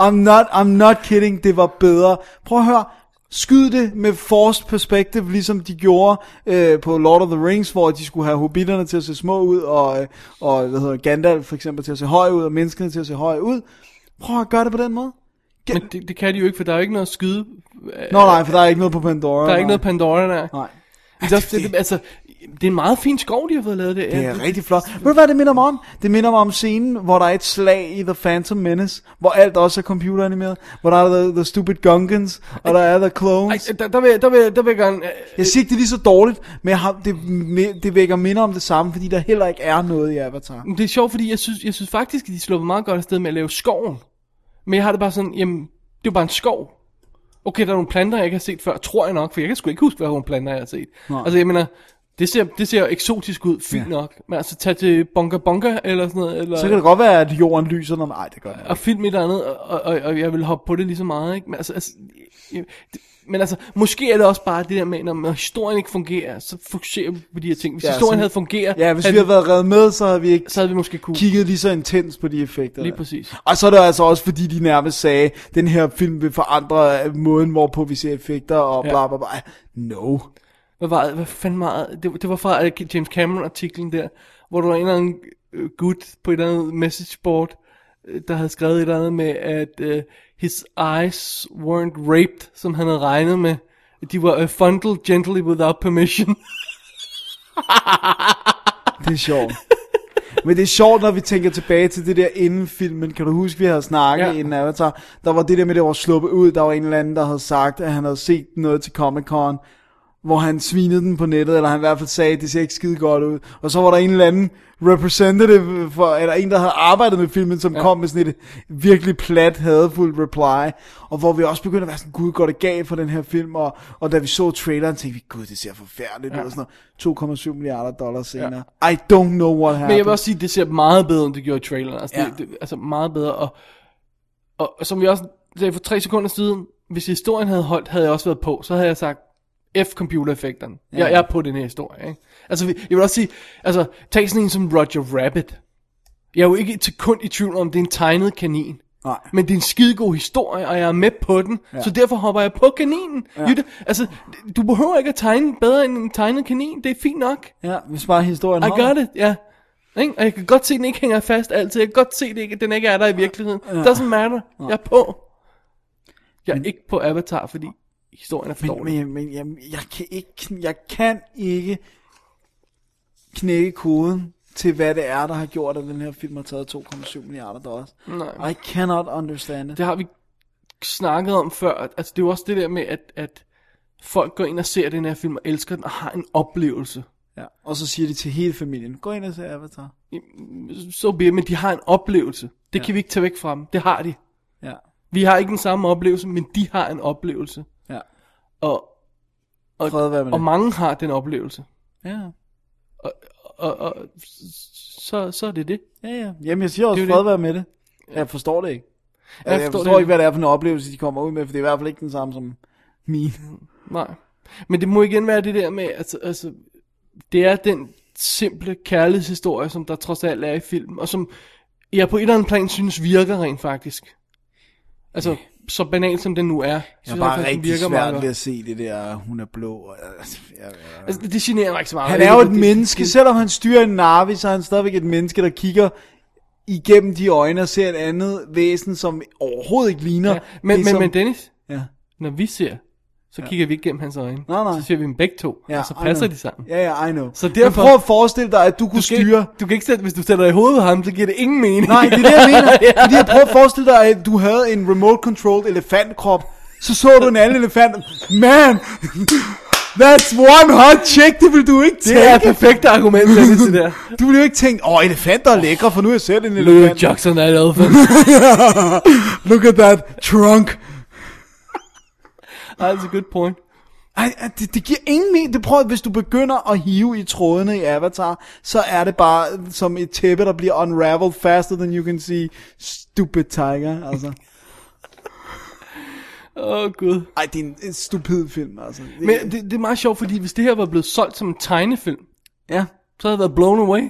Speaker 4: I'm not, I'm not kidding, det var bedre. Prøv at høre. Skyd det med forced perspective, ligesom de gjorde øh, på Lord of the Rings, hvor de skulle have hobitterne til at se små ud, og, øh, og hvad hedder, Gandalf for eksempel til at se høj ud, og menneskene til at se høj ud. Prøv at gøre det på den måde.
Speaker 3: Men det, det kan de jo ikke, for der er jo ikke noget at skyde.
Speaker 4: Nå nej, for der er ikke noget på Pandora.
Speaker 3: Øh, Der er ikke
Speaker 4: nej.
Speaker 3: noget Pandora der.
Speaker 4: Nej.
Speaker 3: Det, det, det, det, altså, det er en meget fin skov, de har fået lavet det.
Speaker 4: Det er rigtig flot. Ved du hvad det minder mig om? Det minder mig om scenen, hvor der er et slag i The Phantom Menace, hvor alt også er computeranimeret, hvor der er The, the Stupid Gunkins, og der er The Clones.
Speaker 3: Ej, der, der, vil, jeg- der, vil, jeg- der vil jeg gerne... øh,
Speaker 4: Jeg siger ikke, det er lige så dårligt, men jeg har, det, me- det vækker minder om det samme, fordi der heller ikke er noget i Avatar.
Speaker 3: men Det er sjovt, fordi jeg synes, jeg synes faktisk, at de slår meget godt afsted med at lave skoven. Men jeg har det bare sådan, jamen, det er jo bare en skov. Okay, der er nogle planter, jeg ikke har set før, tror jeg nok, for jeg kan sgu ikke huske, hvad nogle planter, jeg har set. Nej.
Speaker 4: Nej.
Speaker 3: Altså, jeg mener, det ser, det ser eksotisk ud, fint ja. nok. Men altså, tag til Bonga Bonga, eller sådan noget. Eller...
Speaker 4: Så kan det godt være, at jorden lyser, når nej, det gør det. ikke.
Speaker 3: og film et eller andet, og, og, og jeg vil hoppe på det lige så meget, ikke? Men altså, altså, jeg- det- men altså, måske er det også bare det der med, når, når historien ikke fungerer, så fokuserer vi på de her ting. Hvis ja,
Speaker 4: Ja,
Speaker 3: historien
Speaker 4: sådan-
Speaker 3: havde fungeret,
Speaker 4: Ja, hvis
Speaker 3: havde
Speaker 4: vi havde været reddet med, så havde vi ikke
Speaker 3: så havde vi måske kunne...
Speaker 4: kigget lige så intens på de effekter.
Speaker 3: Lige
Speaker 4: der.
Speaker 3: præcis.
Speaker 4: Og så er det altså også, fordi de nærmest sagde, den her film vil forandre øh, måden, hvorpå vi ser effekter, og
Speaker 3: Ja.
Speaker 4: bla bla bla. No.
Speaker 3: Hvad var hvad fanden meget, det, det var fra øh, James Cameron-artiklen der, hvor der var en eller anden øh, gut på et eller andet message board, øh, der havde skrevet et eller andet med, at uh, his eyes weren't raped, som han havde regnet med. De var uh, fondled gently without permission.
Speaker 4: Det er sjovt. Men det er sjovt, når vi tænker tilbage til det der inden filmen. Kan du huske, vi havde snakket ja.
Speaker 3: Ja.
Speaker 4: inden Avatar? Der var det der med, det var sluppet ud. Der var en eller anden, der havde sagt, at han havde set noget til Comic-Con, hvor han svinede den på nettet, eller han i hvert fald sagde, at det ser ikke skide godt ud. Og så var der en eller anden representative, for, eller en, der havde arbejdet med filmen, som ja. kom med sådan et virkelig plat, hadfuldt reply. Og hvor vi også begyndte at være sådan, gud, går det galt for den her film? Og, og da vi så traileren, tænkte vi, gud, det ser forfærdeligt ja.
Speaker 3: Ja.
Speaker 4: ud. Og sådan noget. 2,7 milliarder dollars senere. Ja. I don't know what happened.
Speaker 3: Men jeg vil også sige, at det ser meget bedre, end det gjorde i traileren. Altså, ja. det,
Speaker 4: Ja.
Speaker 3: det, altså meget bedre. Og, og, og som vi også sagde for tre sekunder siden, hvis historien havde holdt, havde jeg også været på. Så havde jeg sagt, F computereffekterne.
Speaker 4: Ja.
Speaker 3: Ja. Jeg, jeg er på den her historie. Ikke? Altså, vi- jeg vil også sige, altså, tag sådan en som Roger Rabbit. Jeg er jo ikke til kun i tvivl om, det er en tegnet kanin.
Speaker 4: Nej.
Speaker 3: Men det er en skidegod historie, og jeg er med på den,
Speaker 4: Ja.
Speaker 3: ja. så derfor hopper jeg på kaninen.
Speaker 4: Ja.
Speaker 3: Ja. Jytte, altså, du behøver ikke at tegne bedre end en tegnet kanin, det er fint nok.
Speaker 4: Ja, hvis bare historien
Speaker 3: I
Speaker 4: holder.
Speaker 3: got it, ja. Ikke? Og jeg kan godt se, at den ikke hænger fast altid. Jeg kan godt se, at det ikke- den ikke er der i virkeligheden.
Speaker 4: Ja.
Speaker 3: Doesn't matter.
Speaker 4: Nej.
Speaker 3: Jeg er på. Jeg er ikke på Avatar, fordi historien er for
Speaker 4: Men,
Speaker 3: dårlig.
Speaker 4: men, men jeg, jeg, kan ikke, kn- jeg kan ikke knække koden til, hvad det er, der har gjort, at den her film har taget 2,7 milliarder dollars.
Speaker 3: Nej.
Speaker 4: I cannot understand it.
Speaker 3: Det har vi snakket om før. Altså, det er jo også det der med, at, at folk går ind og ser den her film og elsker den og har en oplevelse.
Speaker 4: Ja. Og så siger de til hele familien, gå ind og se Avatar.
Speaker 3: Så bliver men de har en oplevelse. Det ja. kan vi ikke tage væk fra dem. Det har de.
Speaker 4: Ja,
Speaker 3: Vi har ikke den samme oplevelse, men de har en oplevelse.
Speaker 4: ja.
Speaker 3: Og, og,
Speaker 4: Fred være med
Speaker 3: og
Speaker 4: det.
Speaker 3: mange har den oplevelse.
Speaker 4: Ja,
Speaker 3: og, og så, så er det det.
Speaker 4: ja, ja. Jamen, jeg siger også,
Speaker 3: Det er jo
Speaker 4: fred
Speaker 3: det.
Speaker 4: være med det. Jeg forstår det ikke. Altså, Jeg, jeg
Speaker 3: forstår
Speaker 4: forstår, jeg forstår
Speaker 3: det.
Speaker 4: ikke, hvad det er for en oplevelse, de kommer ud med, for det er i hvert fald ikke den samme som min.
Speaker 3: Nej. Men det må igen være det der med, altså, altså det er den simple kærlighedshistorie, som der trods alt er i filmen, og som jeg på et eller andet plan synes virker rent faktisk. Altså, så banal som den nu er.
Speaker 4: Jeg er
Speaker 3: synes
Speaker 4: bare
Speaker 3: faktisk, den
Speaker 4: rigtig
Speaker 3: meget
Speaker 4: svært
Speaker 3: godt.
Speaker 4: ved at se det der, hun er blå. og- Altså, jeg, jeg,
Speaker 3: Altså, det generer mig ikke så meget.
Speaker 4: Han er jo
Speaker 3: Det-
Speaker 4: et
Speaker 3: det-
Speaker 4: menneske,
Speaker 3: det-
Speaker 4: selvom han styrer en Navi, så er han stadigvæk et menneske, der kigger igennem de øjne og ser et andet væsen, som overhovedet ikke ligner.
Speaker 3: Ja, men,
Speaker 4: det,
Speaker 3: men,
Speaker 4: som...
Speaker 3: men Dennis,
Speaker 4: Ja.
Speaker 3: når vi ser, så kigger vi ikke gennem hans øjne.
Speaker 4: Nej, nej.
Speaker 3: Så ser vi dem begge to,
Speaker 4: Ja,
Speaker 3: og så altså,
Speaker 4: I
Speaker 3: passer
Speaker 4: know.
Speaker 3: de sammen.
Speaker 4: Ja, ja, I know.
Speaker 3: Så
Speaker 4: Men
Speaker 3: derfor-
Speaker 4: prøv at forestille dig, at du kunne
Speaker 3: Du kan,
Speaker 4: styre...
Speaker 3: ikke, du kan ikke sætte, hvis du sætter dig i hovedet på ham, så giver det ingen mening.
Speaker 4: Nej, det er det, jeg mener. Det er det, jeg prøver at forestille dig, at du havde en remote-controlled elefantkrop. Så så du en anden elefant. Man! That's one hot chick, det vil du ikke tænke.
Speaker 3: Det er et perfekt argument, Dennis, det der.
Speaker 4: Du vil jo ikke tænke, åh, elefanter er lækre, for nu har jeg set en
Speaker 3: Løve
Speaker 4: elefant.
Speaker 3: Jackson er et elephant.
Speaker 4: Look at that trunk.
Speaker 3: That's a good point.
Speaker 4: Ej, ej, det, det giver ingen mening. Det prøver, hvis du begynder at hive i trådene i Avatar, så er det bare som et tæppe, der bliver unraveled faster than you can see. Stupid tiger, altså.
Speaker 3: Åh, oh, gud.
Speaker 4: Ej, det er en, en stupid film, altså. Det,
Speaker 3: Men det, det er meget sjovt, fordi hvis det her var blevet solgt som en tegnefilm,
Speaker 4: ja.
Speaker 3: så havde jeg været blown away.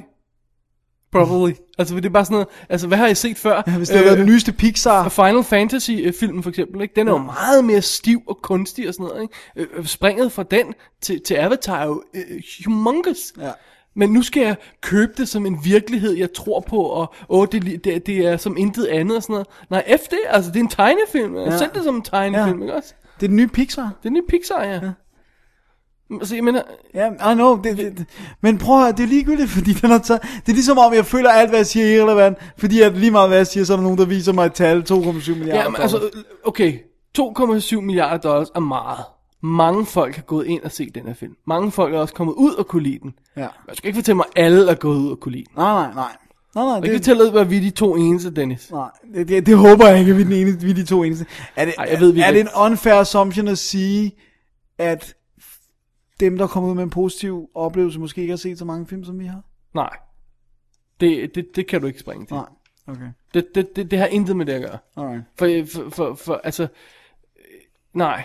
Speaker 3: Probably. Altså, det er bare sådan noget, altså, hvad har jeg set før? Øh,
Speaker 4: Ja, Hvis det havde været den nyeste Pixar.
Speaker 3: Final Fantasy-filmen for eksempel, ikke? den er jo meget mere stiv og kunstig og sådan noget. Ikke? Øh, øh, Springet fra den til, til Avatar er jo øh, humongous.
Speaker 4: Ja.
Speaker 3: Men nu skal jeg købe det som en virkelighed, jeg tror på, og åh, det, li- det, det er som intet andet og sådan noget. Nej, F det, altså det er en tegnefilm. Ja. Sæt det som en tegnefilm, ja.
Speaker 4: Ja.
Speaker 3: ikke også?
Speaker 4: Det er den nye Pixar.
Speaker 3: Det er en ny Pixar, ja. ja. Altså, jeg mener,
Speaker 4: Ja, I know. Det, det, det. Men prøv at høre, det er ligegyldigt, fordi den har taget... Det er ligesom om, jeg føler alt, hvad jeg siger, er irrelevant. Fordi at lige meget, hvad jeg siger, så er der nogen, der viser mig et tal. 2,7 milliarder.
Speaker 3: ja, men, altså, okay, 2,7 milliarder dollars er meget. Mange folk har gået ind og set den her film. Mange folk er også kommet ud og kunne lide den.
Speaker 4: Ja.
Speaker 3: Jeg skal ikke fortælle mig, at alle er gået ud og kunne lide den.
Speaker 4: Nej, nej, nej. Nej, nej,
Speaker 3: Jeg kan ikke fortælle dig, at vi er de to eneste, Dennis.
Speaker 4: Nej, det, det, det håber jeg ikke, at vi er, den eneste, vi er de to eneste. Er det,
Speaker 3: Ej, jeg ved, vi
Speaker 4: er
Speaker 3: er
Speaker 4: det en
Speaker 3: ikke.
Speaker 4: unfair assumption at sige, at dem, der kommer ud med en positiv oplevelse, måske ikke har set så mange film, som vi har?
Speaker 3: Nej. Det, det, det kan du ikke springe til.
Speaker 4: Nej, okay.
Speaker 3: Det, det, det, det har intet med det at gøre.
Speaker 4: Alright.
Speaker 3: For, for, for, for altså, øh, nej.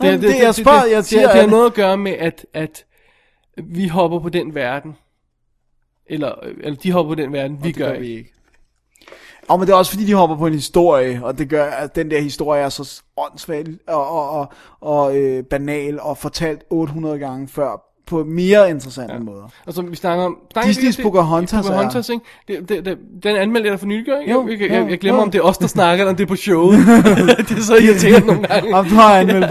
Speaker 4: Nå, men det, jeg spørger, jeg siger,
Speaker 3: det, det har
Speaker 4: at-
Speaker 3: noget at gøre med, at, at vi hopper på den verden. Eller, eller de hopper på den verden, vi
Speaker 4: det
Speaker 3: gør,
Speaker 4: gør vi
Speaker 3: ikke.
Speaker 4: ikke. Og men det er også fordi, de hopper på en historie, og det gør, at den der historie er så åndssvagt og, og, og, og øh, banal og fortalt 800 gange før på mere interessante ja. måder.
Speaker 3: Og som Altså, vi snakker om... snakker vi
Speaker 4: Disney's
Speaker 3: ikke om det?
Speaker 4: Pocahontas er-
Speaker 3: Pocahontas, ikke? Det, det, det, den anmeldte jeg da for nylig, gør, ikke?
Speaker 4: Jo,
Speaker 3: jeg,
Speaker 4: jo,
Speaker 3: jeg, jeg glemmer,
Speaker 4: jo.
Speaker 3: om det er os, der snakker, eller om det er på showet. det er så irriterende nogle gange.
Speaker 4: Jamen, du har anmeldt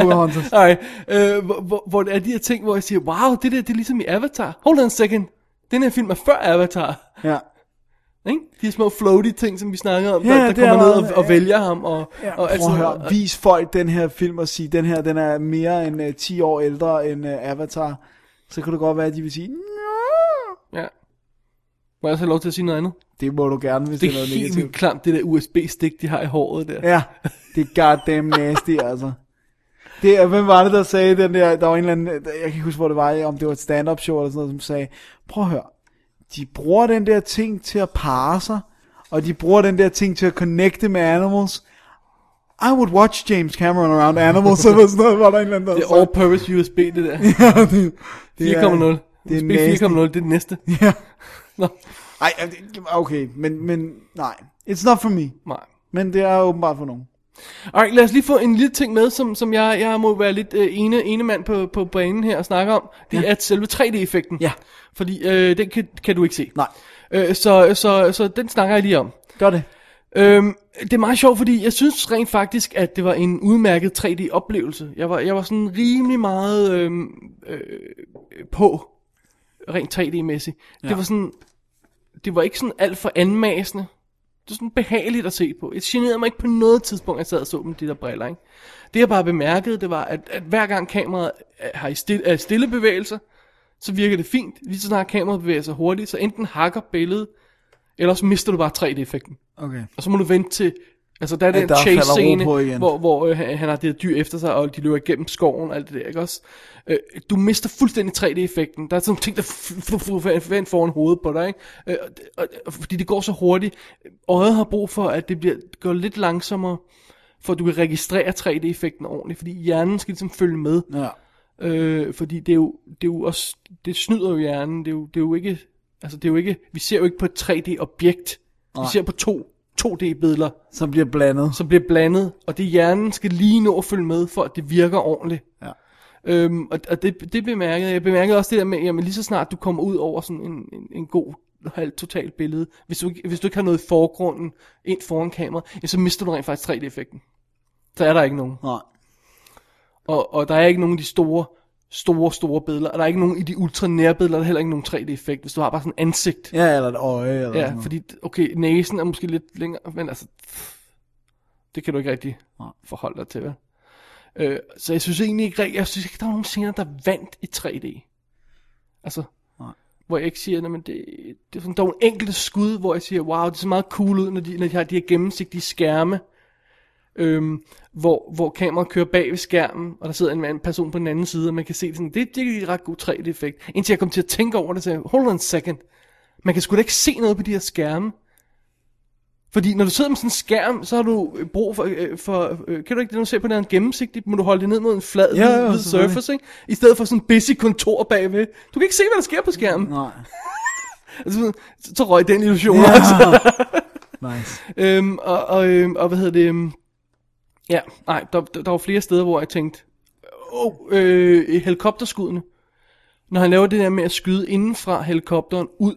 Speaker 4: Pocahontas.
Speaker 3: Nej, øh, hvor, hvor, hvor det er de her ting, hvor jeg siger, wow, det der, det er ligesom i Avatar. Hold on a second. Den her film er før Avatar.
Speaker 4: Ja.
Speaker 3: Ikke? De små floaty ting, som vi snakkede om,
Speaker 4: Ja,
Speaker 3: ja, der, der
Speaker 4: det
Speaker 3: kommer
Speaker 4: er
Speaker 3: ned
Speaker 4: meget-
Speaker 3: og, og vælger ham. Og,
Speaker 4: Ja,
Speaker 3: og
Speaker 4: og prøv at
Speaker 3: sådan
Speaker 4: høre,
Speaker 3: noget.
Speaker 4: vis folk den her film og sige, den her den er mere end uh, 10 år ældre end uh, Avatar. Så kunne det godt være, at de vil sige,
Speaker 3: Ja. Må jeg også have lov til at sige noget andet?
Speaker 4: Det må du gerne, hvis
Speaker 3: det
Speaker 4: det er noget
Speaker 3: Det er helt
Speaker 4: negativt.
Speaker 3: vildt klamt, det der USB-stik, de har i håret der.
Speaker 4: ja, det er goddamn nasty, altså. Det, er- hvem var det, der sagde den der, der var en eller anden, øh, jeg kan ikke huske, hvor det var, om det var et stand-up show eller sådan noget, som sagde, prøv at høre, de bruger den der ting til at parre sig, og de bruger den der ting til at connecte med animals. I would watch James Cameron around animals, eller sådan noget, var der en eller anden, der
Speaker 3: Det er
Speaker 4: sagde.
Speaker 3: all-purpose USB, det der.
Speaker 4: Ja, det, det er-
Speaker 3: 4,0.
Speaker 4: det er
Speaker 3: USB
Speaker 4: nasty.
Speaker 3: 4,0, det er det næste.
Speaker 4: Ja. Ej, er det- okay, men, men nej. It's not for me.
Speaker 3: Nej.
Speaker 4: Men det er åbenbart for nogen.
Speaker 3: Alright, lad os lige få en lille ting med, som, som jeg, jeg må være lidt øh, ene, ene mand på, på banen her og snakke om. Det ja. er selve 3D-effekten. Ja. Fordi øh, den kan, kan du ikke se.
Speaker 4: Nej.
Speaker 3: Øh, så, så, så den snakker jeg lige om.
Speaker 4: Gør det.
Speaker 3: Øhm, det er meget sjovt, fordi jeg synes rent faktisk, at det var en udmærket 3D-oplevelse. Jeg var, jeg var sådan rimelig meget øhm, øh, på, rent 3D-mæssigt. Ja.
Speaker 4: Ja.
Speaker 3: Det var sådan, det var ikke sådan alt for anmasende. Det var sådan behageligt at se på. Jeg generede mig ikke på noget tidspunkt, at jeg sad og så med de der briller, ikke? Det jeg bare bemærkede, det var, at, at hver gang kameraet øh, har i stille, er i stille bevægelser, så virker det fint. Lige så snart kameraet bevæger sig hurtigt, så enten hakker billedet, eller også mister du bare 3D-effekten.
Speaker 4: Okay.
Speaker 3: Og så må du vente til, altså der er
Speaker 4: At
Speaker 3: den
Speaker 4: der falder ro
Speaker 3: chase-scene,
Speaker 4: på igen.
Speaker 3: hvor, hvor øh, han han har det her dyr efter sig, og de løber igennem skoven og alt det der, ikke også? Øh, du mister fuldstændig 3D-effekten. Der er sådan nogle ting, der f- f- f- vender foran hovedet på dig, ikke? Øh, og, det- og, og, fordi det går så hurtigt. Øjet har brug for, at det bliver, går lidt langsommere, for at du kan registrere 3D-effekten ordentligt, fordi hjernen skal ligesom følge med.
Speaker 4: Ja.
Speaker 3: Øh, fordi det er, jo, det er jo også, det snyder jo hjernen, det er jo, det er jo ikke, altså det er jo ikke, vi ser jo ikke på et 3D-objekt, vi
Speaker 4: Nej.
Speaker 3: ser på to 2D-billeder.
Speaker 4: Som bliver blandet.
Speaker 3: Som bliver blandet, og det hjernen skal lige nå at følge med, for at det virker ordentligt.
Speaker 4: Ja.
Speaker 3: Øhm, og og det, det bemærkede jeg. Jeg bemærkede også det der med, jamen lige så snart du kommer ud over sådan en, en, en god halvt totalt billede, hvis du, ikke- hvis du ikke har noget i forgrunden ind foran kameraet, ja, så mister du rent faktisk 3D-effekten. Så er der ikke nogen.
Speaker 4: Nej.
Speaker 3: Og, og der er ikke nogen af de store, store, store billeder, og der er ikke nogen i de ultra nære billeder, der er heller ikke nogen 3D-effekt, hvis du har bare sådan en ansigt.
Speaker 4: Ja, eller et øje, eller sådan
Speaker 3: Ja,
Speaker 4: noget.
Speaker 3: fordi, okay, næsen er måske lidt længere, men altså, pff, det kan du ikke rigtig forholde dig til, vel? Øh, så jeg synes egentlig ikke, rigtig- jeg synes ikke, der er nogen scener, der vandt i 3D. Altså,
Speaker 4: Nej.
Speaker 3: hvor jeg ikke siger, men det, det er sådan, der er nogle enkelte skud, hvor jeg siger, wow, det ser meget cool ud, når de, når de har de her gennemsigtige skærme, øhm, hvor, hvor kameraet kører bag ved skærmen, og der sidder en mand, person på den anden side, og man kan se sådan, det, det er en ret god 3D-effekt. Indtil jeg kom til at tænke over det, så jeg, hold on a second, man kan sgu da ikke se noget på de her skærme. Fordi når du sidder med sådan en skærm, så har du øh, brug for, øh, for øh, kan du ikke det, når du ser på den her gennemsigtigt, må du holde det ned mod en flad
Speaker 4: Ja, ja,
Speaker 3: hvid
Speaker 4: selvfølgelig.
Speaker 3: surface, ikke? I stedet for sådan en busy kontor bagved. Du kan ikke se, hvad der sker på skærmen.
Speaker 4: Nej.
Speaker 3: altså, så, så røg den illusion
Speaker 4: Ja.
Speaker 3: også.
Speaker 4: Nice.
Speaker 3: Øhm, og, og, øhm, og hvad hedder det? øhm, Ja, nej, der, der der var flere steder, hvor jeg tænkte, oh, øh, helikopterskuddene. Når han laver det der med at skyde inden fra helikopteren ud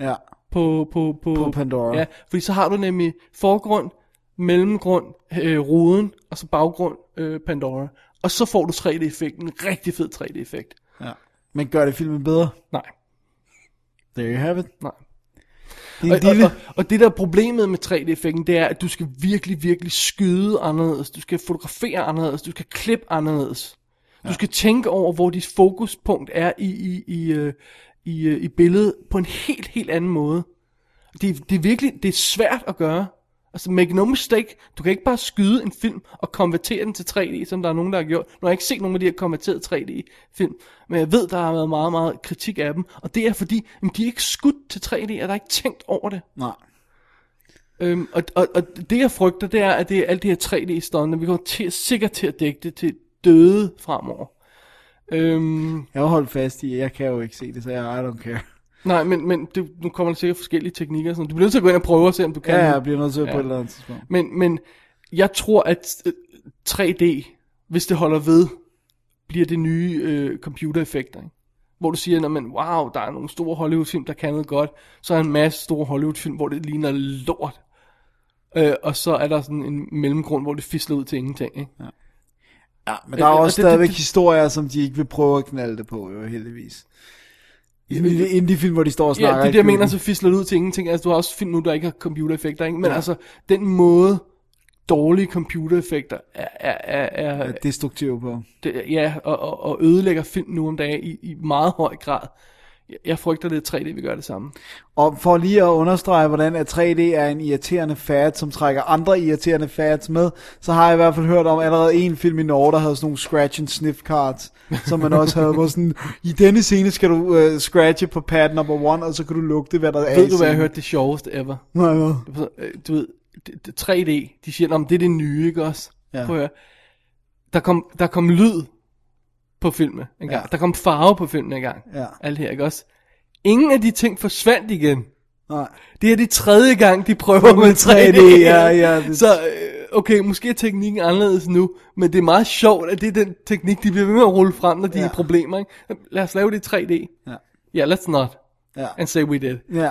Speaker 4: Ja.
Speaker 3: på, på, på,
Speaker 4: På Pandora.
Speaker 3: Ja, fordi så har du nemlig forgrund, mellemgrund, øh, ruden, og så baggrund, øh, Pandora. Og så får du 3D-effekten, en rigtig fed 3D-effekt.
Speaker 4: Ja. Men gør det filmen bedre?
Speaker 3: Nej.
Speaker 4: There you have it.
Speaker 3: Nej.
Speaker 4: Det er
Speaker 3: Og,
Speaker 4: en lille...
Speaker 3: og, og, og det der er problemet med 3D-effekten, det er, at du skal virkelig, virkelig skyde anderledes. Du skal fotografere anderledes. Du skal klippe anderledes. Du skal tænke over, hvor dit fokuspunkt er i, i, i, øh, i, øh, i billedet på en helt, helt anden måde. Det, det er virkelig det er svært at gøre. Altså, make no mistake, du kan ikke bare skyde en film og konvertere den til 3D, som der er nogen, der har gjort. Nu har jeg ikke set nogen af de her konverterede 3D-film, men jeg ved, der har været meget, meget kritik af dem. Og det er fordi, jamen, de er ikke skudt til 3D, og der er ikke tænkt over det.
Speaker 4: Nej.
Speaker 3: Øhm, og, og, og det jeg frygter, det er, at det er alt det her 3D-stunde, vi kommer til, sikkert til at dække det til døde fremover. Øhm,
Speaker 4: Jeg har holdt fast i, at jeg kan jo ikke se det, så jeg I don't care.
Speaker 3: nej, men, men det, nu kommer der sikkert forskellige teknikker. og Sådan. Du bliver nødt til at gå ind og prøve og se, om du kan.
Speaker 4: Ja, jeg bliver nødt til at på et eller andet tidspunkt.
Speaker 3: Men, men jeg tror, at øh, 3D, hvis det holder ved, bliver det nye øh, computereffekter. Ikke? Hvor du siger, men wow, der er nogle store Hollywood-film, der kan noget godt. Så er der en masse store Hollywood-film, hvor det ligner lort. Øh, og så er der sådan en mellemgrund, hvor det fisler ud til ingenting. Ikke? Ja. Ah,
Speaker 4: Ja, Men der er også stadigvæk historier, som de ikke vil prøve at knalde det på, jo heldigvis. Indie- Indie-film, hvor de står og
Speaker 3: Ja,
Speaker 4: snakker.
Speaker 3: det er det,
Speaker 4: ikke?
Speaker 3: jeg mener, så fisler det ud til ingenting. Altså, du har også film nu, der ikke har computereffekter, ikke? Men
Speaker 4: Ja.
Speaker 3: ja. altså, den måde, dårlige computereffekter er, er, er, er,
Speaker 4: Er destruktive på.
Speaker 3: det, ja, og, og, og ødelægger film nu om dagen i, i meget høj grad. Jeg, jeg frygter lidt 3D, vi gør det samme.
Speaker 4: Og for lige at understrege, hvordan at 3D er en irriterende fad, som trækker andre irriterende fads med, så har jeg i hvert fald hørt om allerede en film i Norge, der havde sådan nogle scratch and sniff cards, som man også havde, hvor sådan, i denne scene skal du øh, scratche på pad number one, og så kan du lugte, hvad der er i
Speaker 3: Ved du, hvad jeg
Speaker 4: scenen.
Speaker 3: hørte det sjoveste ever?
Speaker 4: Nej, hvad?
Speaker 3: Øh, Du ved, det- det- 3D, de siger, om det er det nye, ikke også?
Speaker 4: Ja.
Speaker 3: Prøv at høre. Der kom, der kom lyd på filmen en gang.
Speaker 4: Ja.
Speaker 3: Ja. Der kom farve på filmen en gang.
Speaker 4: Ja.
Speaker 3: Alt her, ikke også? Ingen af de ting forsvandt igen.
Speaker 4: Nej.
Speaker 3: Det er det tredje gang, de prøver med 3D.
Speaker 4: ja, ja, det-
Speaker 3: Så, øh, okay, måske er teknikken anderledes nu, men det er meget sjovt, at det er den teknik, de bliver ved med at rulle frem, når de
Speaker 4: Ja.
Speaker 3: ja. er problemer. Ikke? Lad os lave det i 3D.
Speaker 4: Ja.
Speaker 3: Yeah, let's not.
Speaker 4: Ja.
Speaker 3: And say we did.
Speaker 4: Ja.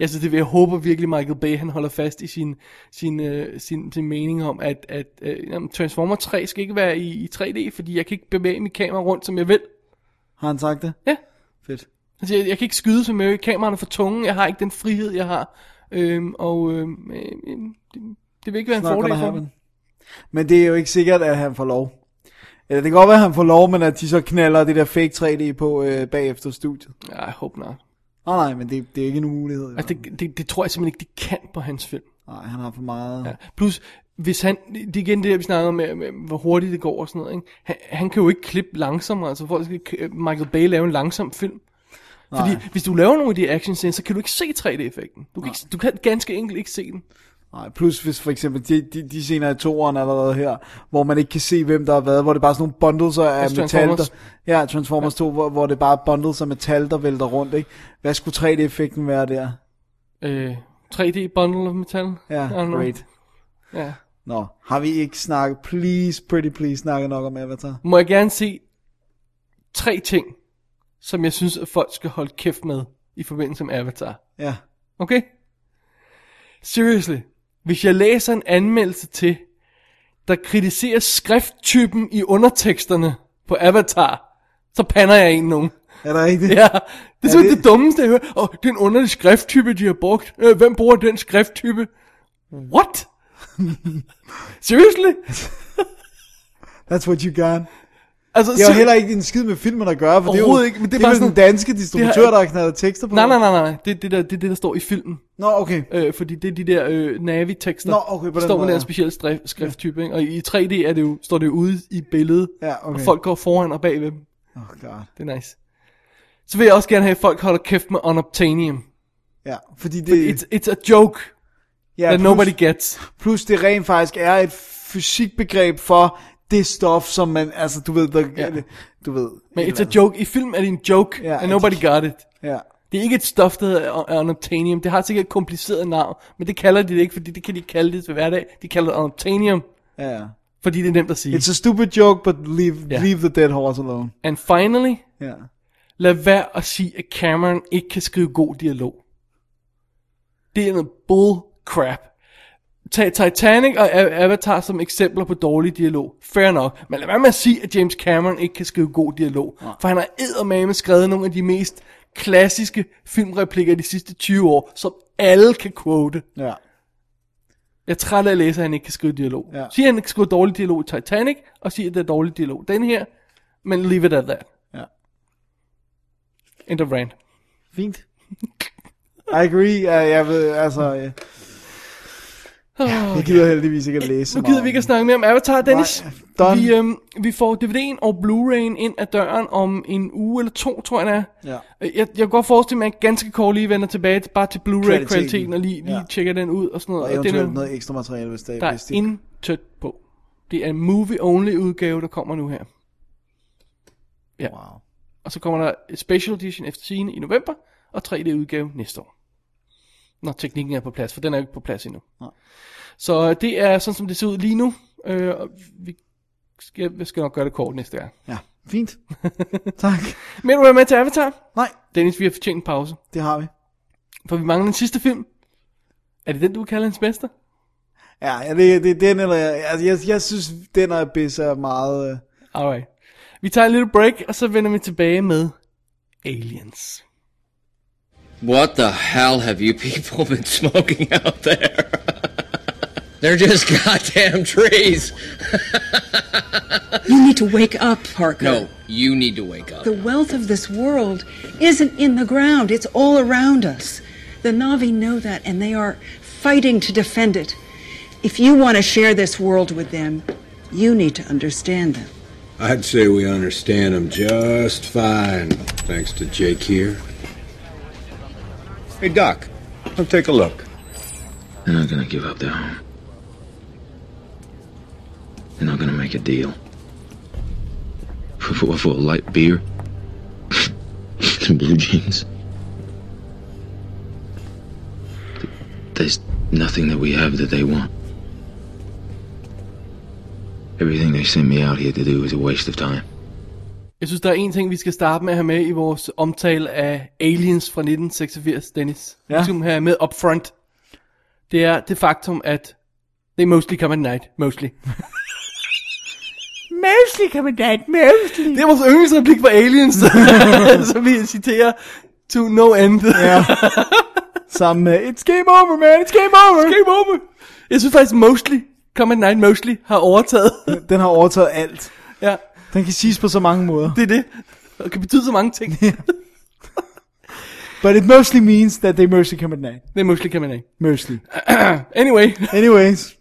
Speaker 3: Jeg synes, det vil, jeg håber virkelig, Michael Bay han holder fast i sin, sin, øh, sin, sin mening om, at, at øh, jamen, Transformer 3 skal ikke være i, i 3D, fordi jeg kan ikke bevæge mit kamera rundt, som jeg vil.
Speaker 4: Har han sagt det?
Speaker 3: Ja.
Speaker 4: Fedt.
Speaker 3: Han siger, Altså, jeg kan ikke skyde, som jeg vil. Kameraerne er for tunge. Jeg har ikke den frihed, jeg har. Øhm, og øhm, øh, øh, det, det vil ikke være en
Speaker 4: It's not
Speaker 3: fordel
Speaker 4: gonna
Speaker 3: for
Speaker 4: happen.
Speaker 3: mig.
Speaker 4: Men det er jo ikke sikkert, at han får lov. Eller det kan godt være, at han får lov, men at de så knaller det der fake 3D på øh, bagefter studiet.
Speaker 3: Ja, I hope not.
Speaker 4: Nej, nej, men det, det er ikke en umulighed. i hvert
Speaker 3: Altså, det, det, det tror jeg simpelthen ikke, de kan på hans film.
Speaker 4: Nej, han har for meget.
Speaker 3: Ja. Plus, hvis han, det er igen det, der, vi snakkede om, med, med, hvor hurtigt det går og sådan noget, ikke? Han, han kan jo ikke klippe langsommere, altså folk skal k- Michael Bay lave en langsom film. Fordi
Speaker 4: Nej.
Speaker 3: hvis du laver nogle af de action scenes, så kan du ikke se 3D-effekten. Du kan, ikke, du kan ganske enkelt ikke se den.
Speaker 4: Nej, plus hvis for eksempel de, de, de scener i toeren allerede her, hvor man ikke kan se, hvem der har været, hvor det bare er sådan nogle bundles af
Speaker 3: Altså
Speaker 4: metal, der,
Speaker 3: Transformers.
Speaker 4: ja, Transformers 2, hvor, hvor det bare er bundles af metal, der vælter rundt, ikke? Hvad skulle 3D-effekten være der?
Speaker 3: Øh, 3D-bundle of metal.
Speaker 4: Ja,
Speaker 3: I don't know.
Speaker 4: great.
Speaker 3: Ja.
Speaker 4: Nå, har vi ikke snakket, please, pretty please, snakket nok om Avatar?
Speaker 3: Må jeg gerne se tre ting, som jeg synes, at folk skal holde kæft med i forbindelse med Avatar.
Speaker 4: Ja.
Speaker 3: Okay? Seriously. Hvis jeg læser en anmeldelse til, der kritiserer skrifttypen i underteksterne på Avatar, så pander jeg en nogen.
Speaker 4: Er der ikke det?
Speaker 3: Ja, det er simpelthen det... det dummeste, jeg hører. Og det er en underlig skrifttype, de har brugt. Øh, hvem bruger den skrifttype? What? Seriously?
Speaker 4: That's what you got.
Speaker 3: Altså,
Speaker 4: Det er jo
Speaker 3: ser-
Speaker 4: heller ikke en skid med filmen at gøre, for det er jo
Speaker 3: Overhovedet ikke, men det er
Speaker 4: det er
Speaker 3: bare
Speaker 4: vel den
Speaker 3: sådan-
Speaker 4: danske distributør, der har knaldet tekster på.
Speaker 3: Nej, nej, nej, nej, nej. Det er det, der, det, er det der står i filmen.
Speaker 4: Nå, okay.
Speaker 3: Øh, fordi det er de der øh, navi-tekster.
Speaker 4: Nå, okay, på den
Speaker 3: Der står
Speaker 4: måde,
Speaker 3: med
Speaker 4: ja.
Speaker 3: den specielle strif- skrifttype, ikke? Og i 3D er det jo, står det jo ude i billedet.
Speaker 4: Ja, okay.
Speaker 3: Og folk går foran og bagved dem.
Speaker 4: Åh, oh, god.
Speaker 3: Det er nice. Så vil jeg også gerne have, at folk holder kæft med unobtainium.
Speaker 4: Ja, fordi det...
Speaker 3: Fordi it's, it's a joke
Speaker 4: Øh. Ja,
Speaker 3: ja, that
Speaker 4: plus-
Speaker 3: nobody gets.
Speaker 4: Plus det rent faktisk er et fysikbegreb for det stof, som man, altså du ved, der, ja.
Speaker 3: Ja.
Speaker 4: du ved.
Speaker 3: Men it's a joke. I film er det en joke,
Speaker 4: Ja,
Speaker 3: yeah, and nobody got it.
Speaker 4: Ja.
Speaker 3: Det er ikke et stof, der hedder un- unobtainium. Det har sikkert et kompliceret navn, men det kalder de det ikke, fordi det kan de ikke kalde det til hverdag. De kalder det unobtainium,
Speaker 4: Ja, ja.
Speaker 3: fordi det er nemt at sige.
Speaker 4: It's a stupid joke, but leave,
Speaker 3: Ja.
Speaker 4: leave the dead horse alone.
Speaker 3: And finally,
Speaker 4: Ja.
Speaker 3: lad være at sige, at Cameron ikke kan skrive god dialog. Det er noget bull crap. Tag Titanic og A- Avatar som eksempler på dårlig dialog. Fair nok. Men lad være med at sige, at James Cameron ikke kan skrive god dialog. For han har eddermame skrevet nogle af de mest klassiske filmreplikker de sidste 20 år, som alle kan quote.
Speaker 4: Ja.
Speaker 3: Jeg er træt af at læse, at han ikke kan skrive dialog.
Speaker 4: Ja.
Speaker 3: Sig, at han ikke skriver dårlig dialog i Titanic, og sig, at det er dårlig dialog. Den her, men leave it at that.
Speaker 4: Ja.
Speaker 3: End of rant.
Speaker 4: Fint. I agree, ja, jeg ved, altså, ja. jeg gider heldigvis ikke at læse så
Speaker 3: Nu gider
Speaker 4: meget
Speaker 3: vi
Speaker 4: om
Speaker 3: ikke at snakke mere om Avatar, Dennis.
Speaker 4: done.
Speaker 3: Vi, øhm, vi får DVD'en og Blu-ray'en ind ad døren om en uge eller to, tror jeg det er.
Speaker 4: det. Ja.
Speaker 3: Øh, Jeg, jeg kan godt forestille mig, at jeg ganske kort lige vender tilbage til- bare til
Speaker 4: Kvaliteten.
Speaker 3: Blu-ray-kvaliteten og lige, lige
Speaker 4: Ja.
Speaker 3: ja. tjekker den ud og sådan noget.
Speaker 4: Og
Speaker 3: den er jo-
Speaker 4: eventuelt noget ekstra materiale, hvis det
Speaker 3: der
Speaker 4: hvis
Speaker 3: er
Speaker 4: det-
Speaker 3: intet på. Det er en movie-only udgave, der kommer nu her. Ja.
Speaker 4: Wow.
Speaker 3: Og så kommer der et special edition efter scene i november, og 3D-udgave næste år. Når teknikken er på plads, for den er jo ikke på plads endnu.
Speaker 4: Nej.
Speaker 3: Så øh, det er sådan, som det ser ud lige nu. Øh, og vi skal, vi skal nok gøre det kort næste gang.
Speaker 4: Ja, fint. tak.
Speaker 3: Men du være med til Avatar?
Speaker 4: Nej,
Speaker 3: Dennis, vi har fortjent en pause.
Speaker 4: det har vi.
Speaker 3: For vi mangler den sidste film. Er det den, du kalder hans bedste?
Speaker 4: Ja, det, det er den, eller, altså, jeg, jeg synes, den og Abyss er meget... Øh,
Speaker 3: Alright. Vi tager en lille break, og så vender vi tilbage med Aliens.
Speaker 13: What the hell have you people been smoking out there? They're just goddamn trees.
Speaker 14: You need to wake up, Parker.
Speaker 13: No, Oh, you need to wake up.
Speaker 14: The wealth of this world isn't in the ground, it's all around us. The Navi know that, and they are fighting to defend it. If you want to share this world with them, you need to understand them.
Speaker 11: I'd say we understand them just fine, thanks to Jake here. Hey, Doc, come take a look.
Speaker 15: They're not gonna give up their home. They're not gonna make a deal. For, for, for a light beer, some blue jeans. Th- There's nothing that we have that they want. Everything they sent me out here to do is a waste of time.
Speaker 3: Jeg synes, der er en ting, vi skal starte med at have med i vores omtale af Aliens fra 1986, Dennis. Ja. Vi skal have med up front. Det er det faktum, at they mostly come at night. Mostly.
Speaker 16: Mostly, kommandant, mostly.
Speaker 3: Det er vores yndlingsreplik fra Aliens, som vi citerer to no end. Ja.
Speaker 4: Sammen med, it's game over, man, it's game over. It's
Speaker 3: game over. Jeg synes faktisk, mostly, come at night mostly, har overtaget.
Speaker 4: Den har overtaget alt.
Speaker 3: Ja.
Speaker 4: Den kan siges på så mange måder.
Speaker 3: Det er det. Og kan betyde så mange ting.
Speaker 4: But it mostly means that they mostly come at night.
Speaker 3: Det er mostly come at night.
Speaker 4: Mostly.
Speaker 3: anyway.
Speaker 4: Anyways.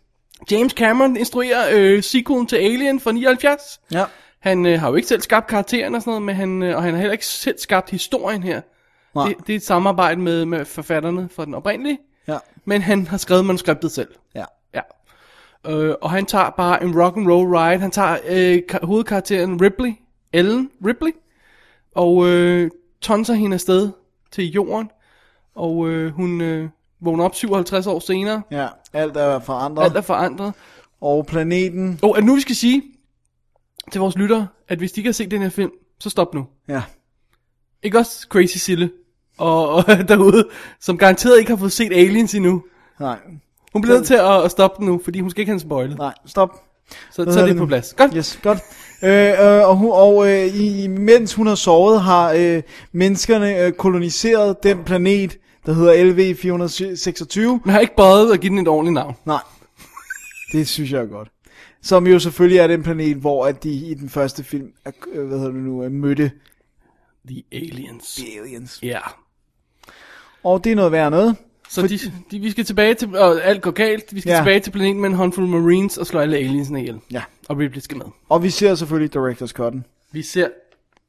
Speaker 3: James Cameron instruerer øh, sequelen til Alien fra 79.
Speaker 4: Ja.
Speaker 3: Han øh, har jo ikke selv skabt karakteren og sådan noget, men han, øh, og han har heller ikke selv skabt historien her.
Speaker 4: Nej.
Speaker 3: Det, det er et samarbejde med, med forfatterne fra den oprindelige.
Speaker 4: Ja.
Speaker 3: Men han har skrevet manuskriptet selv.
Speaker 4: Ja.
Speaker 3: Ja. Øh, og han tager bare en rock and roll ride. Han tager øh, ka- hovedkarakteren Ripley, Ellen Ripley, og øh, tonser hende afsted til jorden. Og øh, hun øh, vågner op 57 år senere.
Speaker 4: Ja, alt er forandret.
Speaker 3: Alt er forandret.
Speaker 4: Og planeten.
Speaker 3: Og at nu vi skal sige til vores lyttere, at hvis de ikke har set den her film, så stop nu.
Speaker 4: Ja.
Speaker 3: Ikke også Crazy Sille og, og derude, som garanteret ikke har fået set Aliens endnu.
Speaker 4: Nej.
Speaker 3: Hun bliver nødt til at, at stoppe den nu, fordi hun skal ikke have en spoilet.
Speaker 4: Nej, stop.
Speaker 3: Så,
Speaker 4: Hvad
Speaker 3: så er
Speaker 4: hedder
Speaker 3: det på plads. Godt.
Speaker 4: Yes, godt. Øh, øh, og hun, og øh, i, mens hun har sovet, har øh, menneskerne øh, koloniseret den planet, der hedder LV-426.
Speaker 3: Man har ikke bøjet at give den et ordentligt navn.
Speaker 4: Nej, det synes jeg er godt. Som jo selvfølgelig er den planet, hvor at de i den første film, er, øh, hvad hedder det nu, øh, mødte
Speaker 3: The Aliens.
Speaker 4: The Aliens.
Speaker 3: Ja. Yeah.
Speaker 4: Og det er noget værd noget.
Speaker 3: Så de, de, vi skal tilbage til, og alt går galt, vi skal
Speaker 4: Ja.
Speaker 3: ja. tilbage til planeten med en håndfuld marines og slå alle aliensene ihjel.
Speaker 4: Ja.
Speaker 3: Og Ripley skal med.
Speaker 4: Og vi ser selvfølgelig Directors Cut'en.
Speaker 3: Vi ser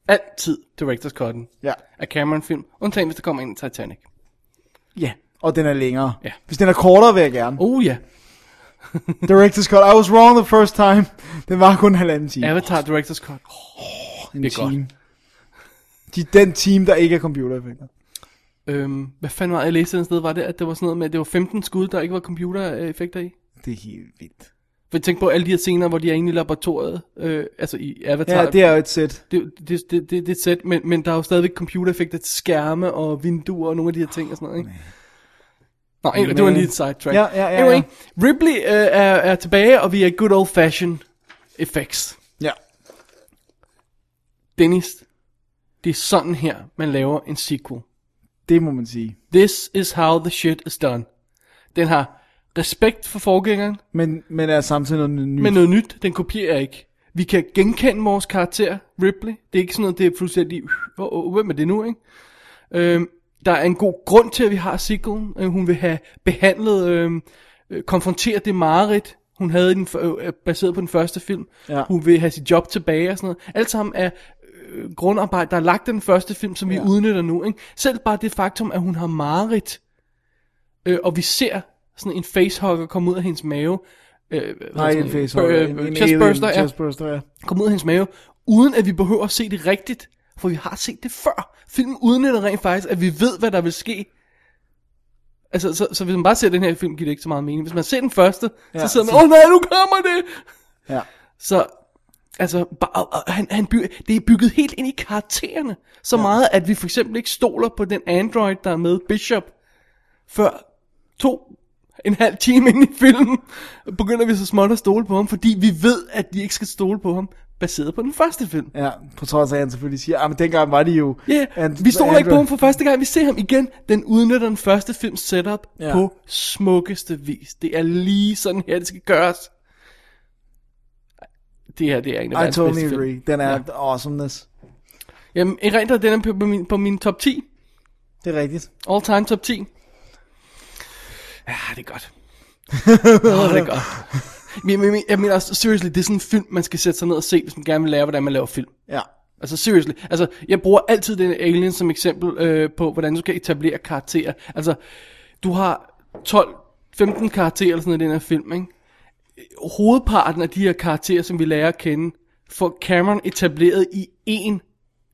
Speaker 3: altid Directors Cut'en
Speaker 4: Ja.
Speaker 3: af Cameron-film, undtagen hvis der kommer en af Titanic.
Speaker 4: Ja, og den er længere.
Speaker 3: Ja.
Speaker 4: Hvis den er kortere, vil jeg gerne.
Speaker 3: Oh ja,
Speaker 4: Director's Cut, I was wrong the first time. Den var kun en halvanden time.
Speaker 3: Avatar Directors Cut.
Speaker 4: en
Speaker 3: det er
Speaker 4: time. De, den team, der ikke er computereffekter.
Speaker 3: Øhm, hvad fanden var det, jeg læste et sted, var det, at det var sådan noget med, at det var 15 skud, der ikke var computereffekter i?
Speaker 4: Det er helt vildt.
Speaker 3: For tænk på alle de her scener, hvor de er inde i laboratoriet, øh, altså i Avatar.
Speaker 4: Ja, det er jo et sæt.
Speaker 3: Det, det, det, det, det er et sæt, men, men der er jo stadigvæk computereffekter til skærme og vinduer og nogle af de her ting og sådan noget, ikke? Nå, anyway, det var
Speaker 4: Man.
Speaker 3: lige et sidetrack.
Speaker 4: Ja, ja, ja,
Speaker 3: Anyway,
Speaker 4: ja.
Speaker 3: Ripley øh, er, er tilbage, og vi er good old fashion effects.
Speaker 4: Ja.
Speaker 3: Dennis, det er sådan her, man laver en sequel.
Speaker 4: Det må man sige.
Speaker 3: This is how the shit is done. Den har respekt for forgængeren,
Speaker 4: Men, men er samtidig noget nyt.
Speaker 3: men noget nyt, den kopierer ikke. Vi kan genkende vores karakter, Ripley. Det er ikke sådan noget, det er fuldstændig, "Øh, åh, åh, hvem er det nu, ikke? Øhm, der er en god grund til, at vi har sequelen. Øh, hun vil have behandlet, øhm, øh, konfronteret det mareridt, hun havde i den, f- øh, baseret på den første film.
Speaker 4: Ja.
Speaker 3: Hun vil have sit job tilbage og sådan noget. Alt sammen er øh, grundarbejde, der er lagt i den første film, som vi
Speaker 4: Ja.
Speaker 3: udnytter nu. Ikke? Selv bare det faktum, at hun har mareridt, øh, og vi ser sådan en facehugger komme ud af hendes mave. Øh, hvad hedder
Speaker 4: Nej,
Speaker 3: sådan
Speaker 4: en face.
Speaker 3: øh,
Speaker 4: en, en
Speaker 3: chestburster,
Speaker 4: alien
Speaker 3: ja,
Speaker 4: Chestburster, ja.
Speaker 3: komme ud af hendes mave, uden at vi behøver at se det rigtigt, for vi har set det før. Filmen udnytter rent faktisk, at vi ved, hvad der vil ske. Altså, så, så hvis man bare ser den her film, giver det ikke så meget mening. Hvis man ser den første, ja,
Speaker 4: Ja,
Speaker 3: så sidder man,
Speaker 4: så-
Speaker 3: åh oh, nej, nu kommer det!
Speaker 4: Ja.
Speaker 3: Så, altså, bare, og han, han by, det er bygget helt ind i karaktererne. Så ja. meget, at vi for eksempel ikke stoler på den android, der er med, Bishop, før to, en halv time ind i filmen, begynder vi så småt at stole på ham, fordi vi ved, at de ikke skal stole på ham. baseret på den første film.
Speaker 4: Ja, på trods af, at han selvfølgelig siger, ah, men dengang var det jo...
Speaker 3: Ja,
Speaker 4: And-
Speaker 3: vi stoler ikke på
Speaker 4: Andrew-
Speaker 3: ham for første gang, vi ser ham igen. Den udnytter den første films setup
Speaker 4: Ja.
Speaker 3: ja. på smukkeste vis. Det er lige sådan her, det skal gøres. Det her, det er en af
Speaker 4: I
Speaker 3: verdens bedste
Speaker 4: totally
Speaker 3: film.
Speaker 4: agree. Den er ja. awesomeness.
Speaker 3: Jamen, erindrer den er på på min, på min top 10.
Speaker 4: Det er rigtigt.
Speaker 3: All time top 10. Ja, det er godt. Åh, det er godt. Men, men, men, jeg mener også, seriously, det er sådan en film, man skal sætte sig ned og se, hvis man gerne vil lære, hvordan man laver film.
Speaker 4: Ja.
Speaker 3: Altså seriously, altså jeg bruger altid den alien som eksempel øh, på, hvordan du skal etablere karakterer. Altså, du har 12-15 karakterer eller sådan noget i den her film, ikke? Hovedparten af de her karakterer, som vi lærer at kende, får Cameron etableret i én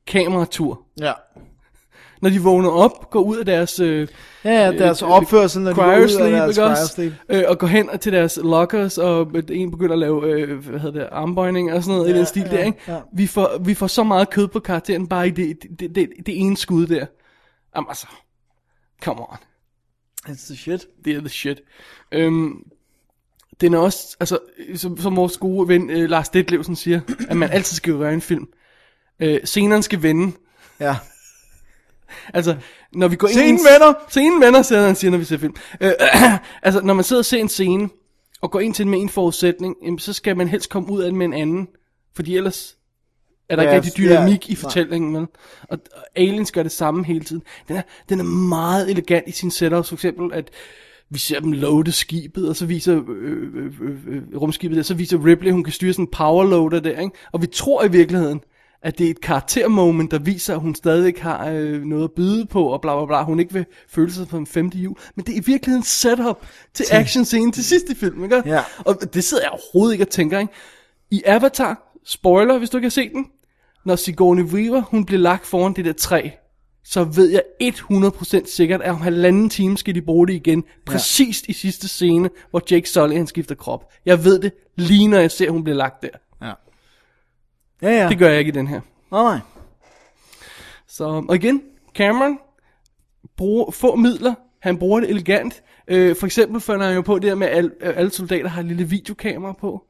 Speaker 3: kameratur.
Speaker 4: Ja.
Speaker 3: Når de vågner op, går ud af deres... Øh,
Speaker 4: Ja, ja, deres opførsel, når de går ud af deres
Speaker 3: ikke også?
Speaker 4: cryosleep.
Speaker 3: Øh, og går hen til deres lockers, og øh, den ene begynder at lave, øh, hvad hedder det, armbøjning og sådan noget ja, i den stil
Speaker 4: ja,
Speaker 3: ja, der, ikke?
Speaker 4: ja.
Speaker 3: Ja. Vi, får, vi får så meget kød på karakteren, bare i det, det, det, det ene skud der. Jamen altså, come on.
Speaker 4: It's the shit.
Speaker 3: Det er the shit. Øhm, den er også, altså, øh, som, som vores gode ven øh, Lars Detlevsen siger, at man altid skal gøre en film. Øh, scenerne skal vende.
Speaker 4: Ja.
Speaker 3: Altså, når vi går ind... i
Speaker 4: Scenen
Speaker 3: en-
Speaker 4: vender!
Speaker 3: Scenen vender, siger han, siger, når vi ser film. Øh, altså, når man sidder og ser en scene, og går ind til den med en forudsætning, jamen, så skal man helst komme ud af den med en anden. Fordi ellers er der
Speaker 4: Ja,
Speaker 3: ikke rigtig
Speaker 4: ja,
Speaker 3: dynamik
Speaker 4: nej.
Speaker 3: i fortællingen. Vel? Og, og Aliens gør det samme hele tiden. Den er, den er meget elegant i sin setup. For eksempel, at vi ser dem loade skibet, og så viser øh, øh, øh, øh, rumskibet der, så viser Ripley, hun kan styre sådan en powerloader der, ikke? Og vi tror i virkeligheden, at det er et karaktermoment, der viser, at hun stadig har øh, noget at byde på, og bla bla bla, hun ikke vil føle sig på en femte jul. Men det er i virkeligheden setup til action scenen til sidste film, ikke?
Speaker 4: Ja.
Speaker 3: Og det sidder jeg overhovedet ikke og tænker, ikke? I Avatar, spoiler, hvis du ikke har set den, når Sigourney Weaver, hun bliver lagt foran det der træ, så ved jeg 100% sikkert, at om halvanden time skal de bruge det igen. Præcis i sidste scene, hvor Jake Sully han skifter krop. Jeg ved det lige når jeg ser, at hun bliver lagt der.
Speaker 4: Ja. Ja, ja.
Speaker 3: Det gør jeg ikke i den her.
Speaker 4: Nej, nej.
Speaker 3: Så, og igen, Cameron bruger få midler. Han bruger det elegant. Øh, for eksempel finder han jo på det her med, at alle, øh, alle soldater har et lille videokamera på.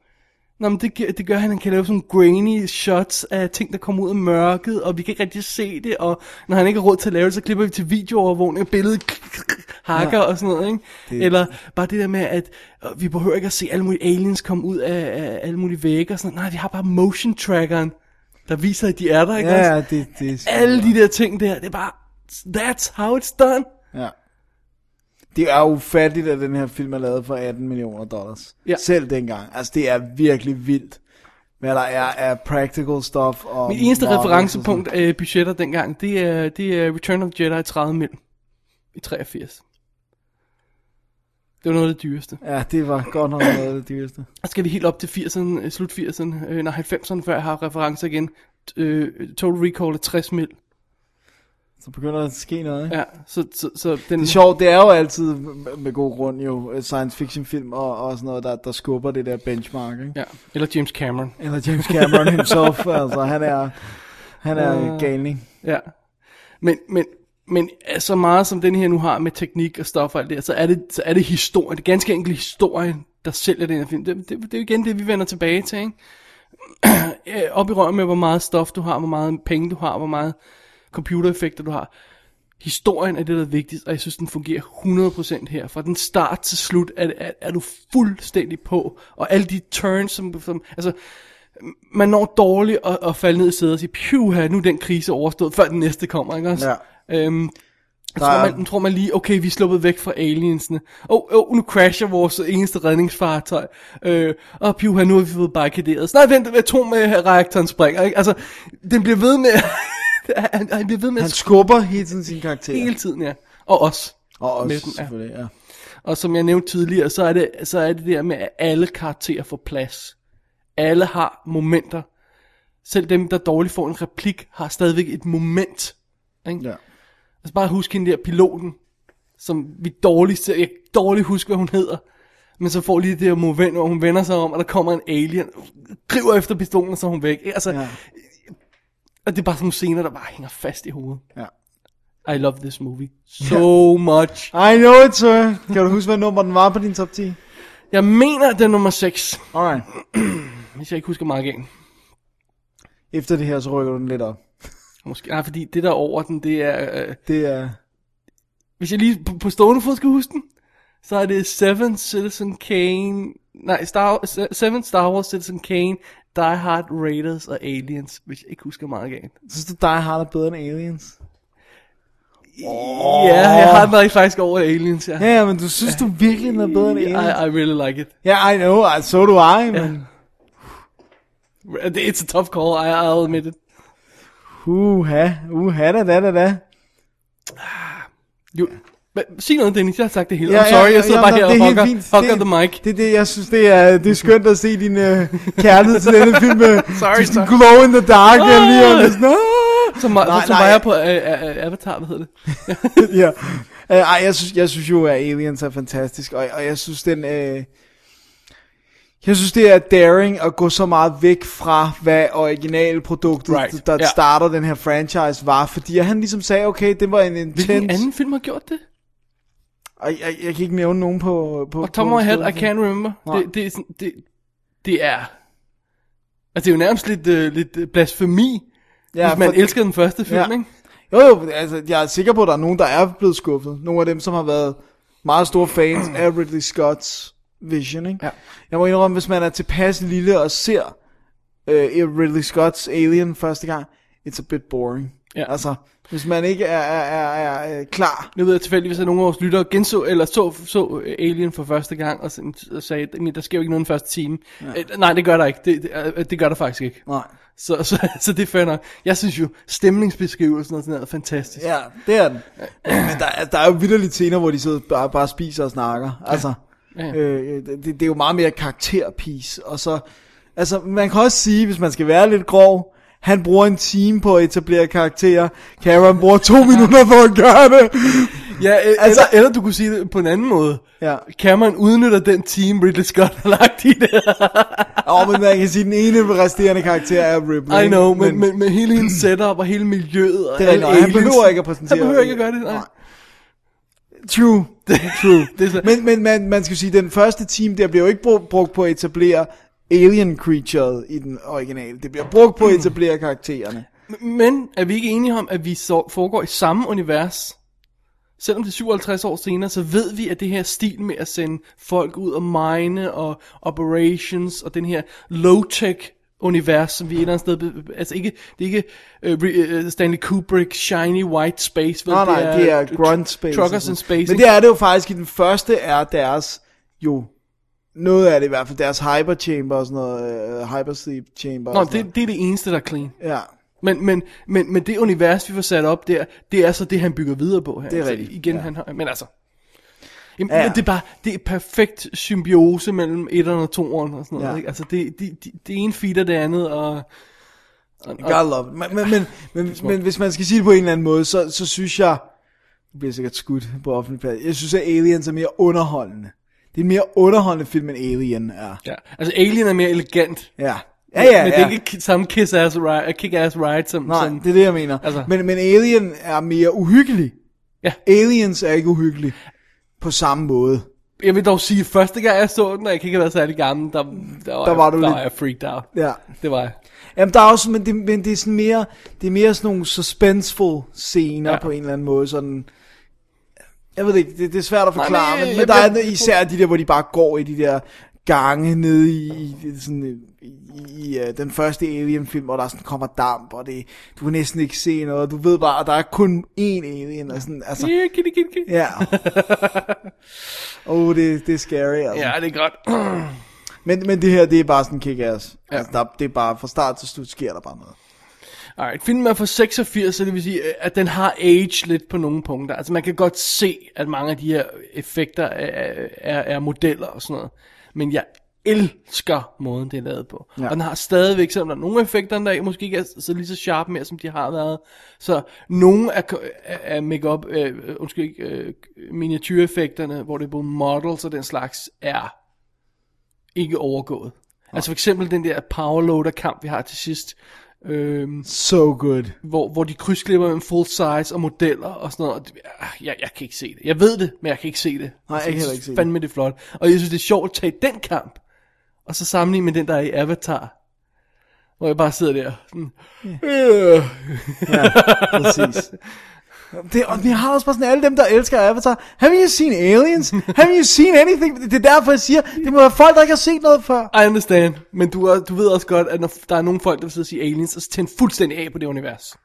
Speaker 3: Nå, men det, gi- det gør, at han kan lave sådan grainy shots af ting, der kommer ud af mørket, og vi kan ikke rigtig se det, og når han ikke har råd til at lave det, så klipper vi til videoovervågning, og billedet hakker
Speaker 4: Ja.
Speaker 3: og sådan noget, ikke?
Speaker 4: Det-
Speaker 3: Det... Eller bare det der med, at øh, vi behøver ikke at se alle mulige aliens komme ud af, af alle mulige vægge og sådan noget. Nej, vi har bare motion trackeren, der viser, at de er der, ikke
Speaker 4: Ja,
Speaker 3: også?
Speaker 4: ja, det, det er sgu-
Speaker 3: Alle de der ting der, det er bare, that's how it's done.
Speaker 4: Ja. Det er ufatteligt, at den her film er lavet for 18 millioner dollars. Ja. Selv dengang. Altså, det er virkelig vildt, hvad der er af practical stuff. Og
Speaker 3: Mit eneste
Speaker 4: models og
Speaker 3: referencepunkt af budgetter dengang, det er, det er Return of the Jedi 30 mil i 83. Det var noget af det dyreste.
Speaker 4: sådan. Ja, det var godt nok noget af det dyreste.
Speaker 3: Og skal vi helt op til 80'erne, øh, slut 80'erne, øh, nej 90'erne, før jeg har referencer igen. T- Øh, Total Recall er 60 mil.
Speaker 4: Så begynder der at ske noget, ikke?
Speaker 3: Ja, så, så, så den...
Speaker 4: Det er sjovt, det er jo altid med- med god grund jo øh, science fiction film og, og sådan noget, der, der skubber det der benchmark, ikke?
Speaker 3: Ja, eller James Cameron.
Speaker 4: Eller James Cameron himself, altså han er, han er
Speaker 3: Øh,
Speaker 4: galning.
Speaker 3: Ja. Men, men, men så meget som den her nu har med teknik og stof og alt det, her, så er det, så er det historien, det er ganske enkelt historien, der sælger den her film. Det, det, det er jo igen det, vi vender tilbage til, ikke? Øh, Op i røven med, hvor meget stof du har, hvor meget penge du har, hvor meget computereffekter du har. Historien er det, der er vigtigst, og jeg synes, den fungerer 100% her. Fra den start til slut er, er, er du fuldstændig på, og alle de turns, som, som altså, man når dårligt at, at falde ned i sædet og sige, pjuha, nu er den krise overstået, før den næste kommer, ikke også? Ja. Øhm, jeg
Speaker 4: Der er-
Speaker 3: tror, man, tror man lige, okay, vi er sluppet væk fra aliensene. Åh, oh, oh, nu crasher vores eneste redningsfartøj. Øh, og pjuha, nu har vi fået barrikaderet. Så Nej, vent, atomreaktoren springer, ikke? Altså, den bliver ved med... han, han bliver ved med
Speaker 4: Han skubber hele tiden sin karakter.
Speaker 3: Hele tiden, ja. Og os.
Speaker 4: Og også,
Speaker 3: Med den, ja.
Speaker 4: selvfølgelig, ja.
Speaker 3: Og som jeg nævnte tidligere, så er det, så er det der med, at alle karakterer får plads. Alle har momenter. Selv dem, der dårligt får en replik, har stadigvæk et moment. Ikke?
Speaker 4: Ja.
Speaker 3: Altså bare husk hende der piloten, som vi dårligt ser. Jeg kan dårligt huske, hvad hun hedder. Men så får lige det der moment, hvor hun vender sig om, og der kommer en alien, griber efter pistolen, og så er hun væk. Ikke? Altså, ja. Og det er bare sådan nogle scener, der bare hænger fast i hovedet. Ja. I love this movie so much.
Speaker 4: I know it, sir. Kan du huske, hvad nummer den var på din top 10?
Speaker 3: Jeg mener, at det er nummer 6.
Speaker 4: Alright.
Speaker 3: Hvis jeg ikke husker meget galt.
Speaker 4: Efter det her, så rykker du den lidt op.
Speaker 3: Måske, nej, fordi det der over den, det er... Øh,
Speaker 4: det er...
Speaker 3: Hvis jeg lige på, på stående fod skal huske den, så er det Seven Citizen Kane... Nej, Star, Se- Seven Star Wars Citizen Kane, Die Hard Raiders og Aliens, hvis jeg ikke husker meget galt.
Speaker 4: Synes du, Die Hard er bedre end Aliens?
Speaker 3: Oh. Ja, jeg har mig faktisk over Aliens, ja.
Speaker 4: Ja, ja, men du synes du virkelig, den er bedre end Aliens?
Speaker 3: I, I really like it.
Speaker 4: Ja, yeah, I know, I- so do I, men...
Speaker 3: It's a tough call, I, I'll admit it.
Speaker 4: Uha, uha da da da da.
Speaker 3: Jo, men sig noget, Dennis, jeg har sagt det hele. I'm sorry, jeg sidder bare her og hugger, hugger the mic.
Speaker 4: Det er det, jeg synes, det er, det er skønt at se din øh, kærlighed til denne film. Øh,
Speaker 3: Sorry,
Speaker 4: sådan
Speaker 3: sorry.
Speaker 4: glow in the dark.
Speaker 3: Ah!
Speaker 4: Ah! Lige, og lidt sådan, ah!
Speaker 3: Som, nej,
Speaker 4: Nej,
Speaker 3: som
Speaker 4: nej.
Speaker 3: vejer på øh, øh, øh, Avatar, hvad hedder det?
Speaker 4: ja. Øh, ej, jeg synes, jeg synes jo, at Aliens er fantastisk, og, og jeg synes, den... Øh, jeg synes, det er daring at gå så meget væk fra, hvad originalproduktet,
Speaker 3: Right,
Speaker 4: right. der
Speaker 3: ja.
Speaker 4: yeah. starter den her franchise, var. Fordi han ligesom sagde, okay, det var en intens...
Speaker 3: Hvilken anden film har gjort det?
Speaker 4: Jeg, jeg, jeg kan ikke nævne nogen på... på
Speaker 3: Og Tom
Speaker 4: på
Speaker 3: my head, I
Speaker 4: stedet.
Speaker 3: can't remember.
Speaker 4: Nej.
Speaker 3: Det, det, er sådan, det, det er... Altså, det er jo nærmest lidt, øh, lidt øh, blasfemi, ja, hvis man
Speaker 4: for-
Speaker 3: elsker den første film, ja. ikke?
Speaker 4: Jo, jo, altså, jeg er sikker på, at der er nogen, der er blevet skuffet. Nogle af dem, som har været meget store fans af Ridley Scott's Vision, ikke? Ja. Jeg må indrømme, hvis man er tilpas lille og ser øh, Ridley Scott's Alien første gang, it's a bit boring.
Speaker 3: Ja.
Speaker 4: Altså, hvis man ikke er, er, er, er øh, klar.
Speaker 3: Nu ved jeg tilfældigvis, at nogle af vores lyttere genså, eller så, så øh, Alien for første gang, og, sådan- og sagde, at der sker jo ikke noget den første time. Ja. Øh, nej, det gør der ikke. Det, det, øh, det gør der faktisk ikke.
Speaker 4: Nej.
Speaker 3: Så, så, så det er fair nok. Jeg synes jo, stemningsbeskrivelsen og sådan noget er fantastisk.
Speaker 4: Ja, det er den. Men der, er- der er jo vidderligt scener, hvor de sidder bare, bare spiser og snakker. Altså,
Speaker 3: Ja.
Speaker 4: ja.
Speaker 3: Ja.
Speaker 4: Ja. Øh, det, det er jo meget mere karakterpis. Og så, altså, man kan også sige, hvis man skal være lidt grov, han bruger en time på at etablere karakterer. Karen bruger to minutter på at gøre det.
Speaker 3: Ja, øh, altså, eller, eller du kunne sige det på en anden måde.
Speaker 4: Ja.
Speaker 3: Cameron udnytter den team, Ridley Scott har lagt i det.
Speaker 4: Og men man kan sige, at den ene resterende karakter er Ripley.
Speaker 3: I
Speaker 4: ikke?
Speaker 3: know, men, men, men hele hendes setup og hele miljøet og
Speaker 4: Det er
Speaker 3: alle
Speaker 4: rigtigt, og han
Speaker 3: aliens-
Speaker 4: behøver ikke at præsentere-
Speaker 3: Han behøver ikke at gøre det, nej.
Speaker 4: Nej. True, true. men men man, man skal jo sige, at den første time, der bliver jo ikke brugt, brugt på at etablere alien creaturet i den originale. Det bliver brugt
Speaker 3: Mm.
Speaker 4: på at etablere karaktererne.
Speaker 3: Men er vi ikke enige om, at vi så foregår i samme univers? Selvom det er 57 år senere, så ved vi, at det her stil med at sende folk ud og mine og operations og den her low-tech univers, som vi et eller andet sted... be- be- Altså ikke, det er ikke øh, re- øh, Stanley Kubrick, shiny white space. vel?
Speaker 4: Nej, nej, det er
Speaker 3: tr-
Speaker 4: grunt space.
Speaker 3: Truckers in
Speaker 4: og sådan.
Speaker 3: space.
Speaker 4: Men
Speaker 3: ikke?
Speaker 4: det er det jo faktisk i den første, er deres jo... Noget af det i hvert fald, deres hyperchamber og sådan noget, øh, hypersleep chamber
Speaker 3: Nå,
Speaker 4: og sådan
Speaker 3: det, det er det eneste, der er clean.
Speaker 4: Ja.
Speaker 3: Men, men, men, men det univers, vi får sat op der, det er så det, han bygger videre på her.
Speaker 4: Det er
Speaker 3: altså,
Speaker 4: rigtigt,
Speaker 3: Igen,
Speaker 4: ja.
Speaker 3: han har, men altså... Jamen,
Speaker 4: Ja,
Speaker 3: ja.
Speaker 4: ja.
Speaker 3: Det er bare, det er perfekt symbiose mellem etteren og toeren og sådan noget. Ja.
Speaker 4: Ja.
Speaker 3: Ikke? Altså, det, det, det, det ene feeder det andet, og... og,
Speaker 4: noget. God love it. Men, men, men, men, men hvis man skal sige det på en eller anden måde, så, så synes jeg... Det bliver sikkert skudt på offentlig plads. Jeg synes, at Aliens er mere underholdende. Det er en mere underholdende film, end Alien er.
Speaker 3: Ja. Altså, Alien er mere elegant.
Speaker 4: Ja. Ja, ja,
Speaker 3: Men det
Speaker 4: ja.
Speaker 3: er ikke ki- samme kiss-ass ride, kick-ass ride som...
Speaker 4: Nej,
Speaker 3: som,
Speaker 4: det er det, jeg mener.
Speaker 3: Altså.
Speaker 4: Altså. Men, men Alien er mere uhyggelig.
Speaker 3: Ja.
Speaker 4: Aliens er ikke uhyggelig på samme måde.
Speaker 3: Jeg vil dog sige, at første gang jeg så den, og jeg kan ikke have været særlig gammel, der, der, var,
Speaker 4: Der
Speaker 3: jeg-
Speaker 4: var du
Speaker 3: der
Speaker 4: lidt-
Speaker 3: var jeg freaked out.
Speaker 4: Ja.
Speaker 3: Det var jeg.
Speaker 4: Jamen, der er også, men det, men det er sådan mere, det er mere sådan nogle suspenseful scener
Speaker 3: Ja.
Speaker 4: ja. på en eller anden måde, sådan... Jeg ved det ikke, det, det er svært at
Speaker 3: Nej,
Speaker 4: forklare,
Speaker 3: men-
Speaker 4: men, men,
Speaker 3: jeg-
Speaker 4: der
Speaker 3: jeg-
Speaker 4: er især de der, hvor de bare går i de der gange nede i, i, sådan, i, i uh, den første Alien-film, hvor der sådan kommer damp, og det, du kan næsten ikke se noget, og du ved bare, at der er kun én alien, og sådan, altså...
Speaker 3: Ja, kitty, kitty, kitty.
Speaker 4: Ja. Åh, oh, det, det er scary, altså.
Speaker 3: Ja, det er godt.
Speaker 4: Men, men det her, det er bare sådan kick-ass. Ja. Altså, der, det er bare, fra start til slut sker der bare noget.
Speaker 3: Alright, filmen er fra 86, så det vil sige, øh, at den har age lidt på nogle punkter. Altså man kan godt se, at mange af de her effekter er, er, er modeller og sådan noget. Men jeg elsker måden, det er lavet på. Ja.
Speaker 4: Ja.
Speaker 3: Og den har stadigvæk, selvom der er nogle af effekterne, der måske ikke er så lige så sharp mere, som de har været. Så nogle af, af make-up, øh, undskyld ikke, øh, miniatyreffekterne, hvor det er både models og den slags, er ikke overgået. Altså for eksempel den der powerloader kamp, vi har til sidst. Øhm,
Speaker 4: So good.
Speaker 3: hvor, hvor de krydsklipper mellem full size og modeller og sådan noget. Og det, ah, jeg, jeg kan ikke se det. Jeg ved det, men jeg kan ikke se det.
Speaker 4: Nej, jeg kan heller ikke se det.
Speaker 3: Fandme det er flot. Og jeg synes, det er sjovt at tage den kamp, og så sammenligne med den, der er i Avatar. Hvor jeg bare sidder der. Sådan, "Øh,
Speaker 4: Yeah. ja, præcis. Det, og vi har også bare sådan alle dem, der elsker Avatar. Have you seen Aliens? Have you seen anything? Det er derfor, jeg siger, det må være folk, der ikke har set noget før.
Speaker 3: I understand, men du, er- du ved også godt, at når der er nogle folk, der vil sidde og sige aliens, og så tænde fuldstændig af på det univers.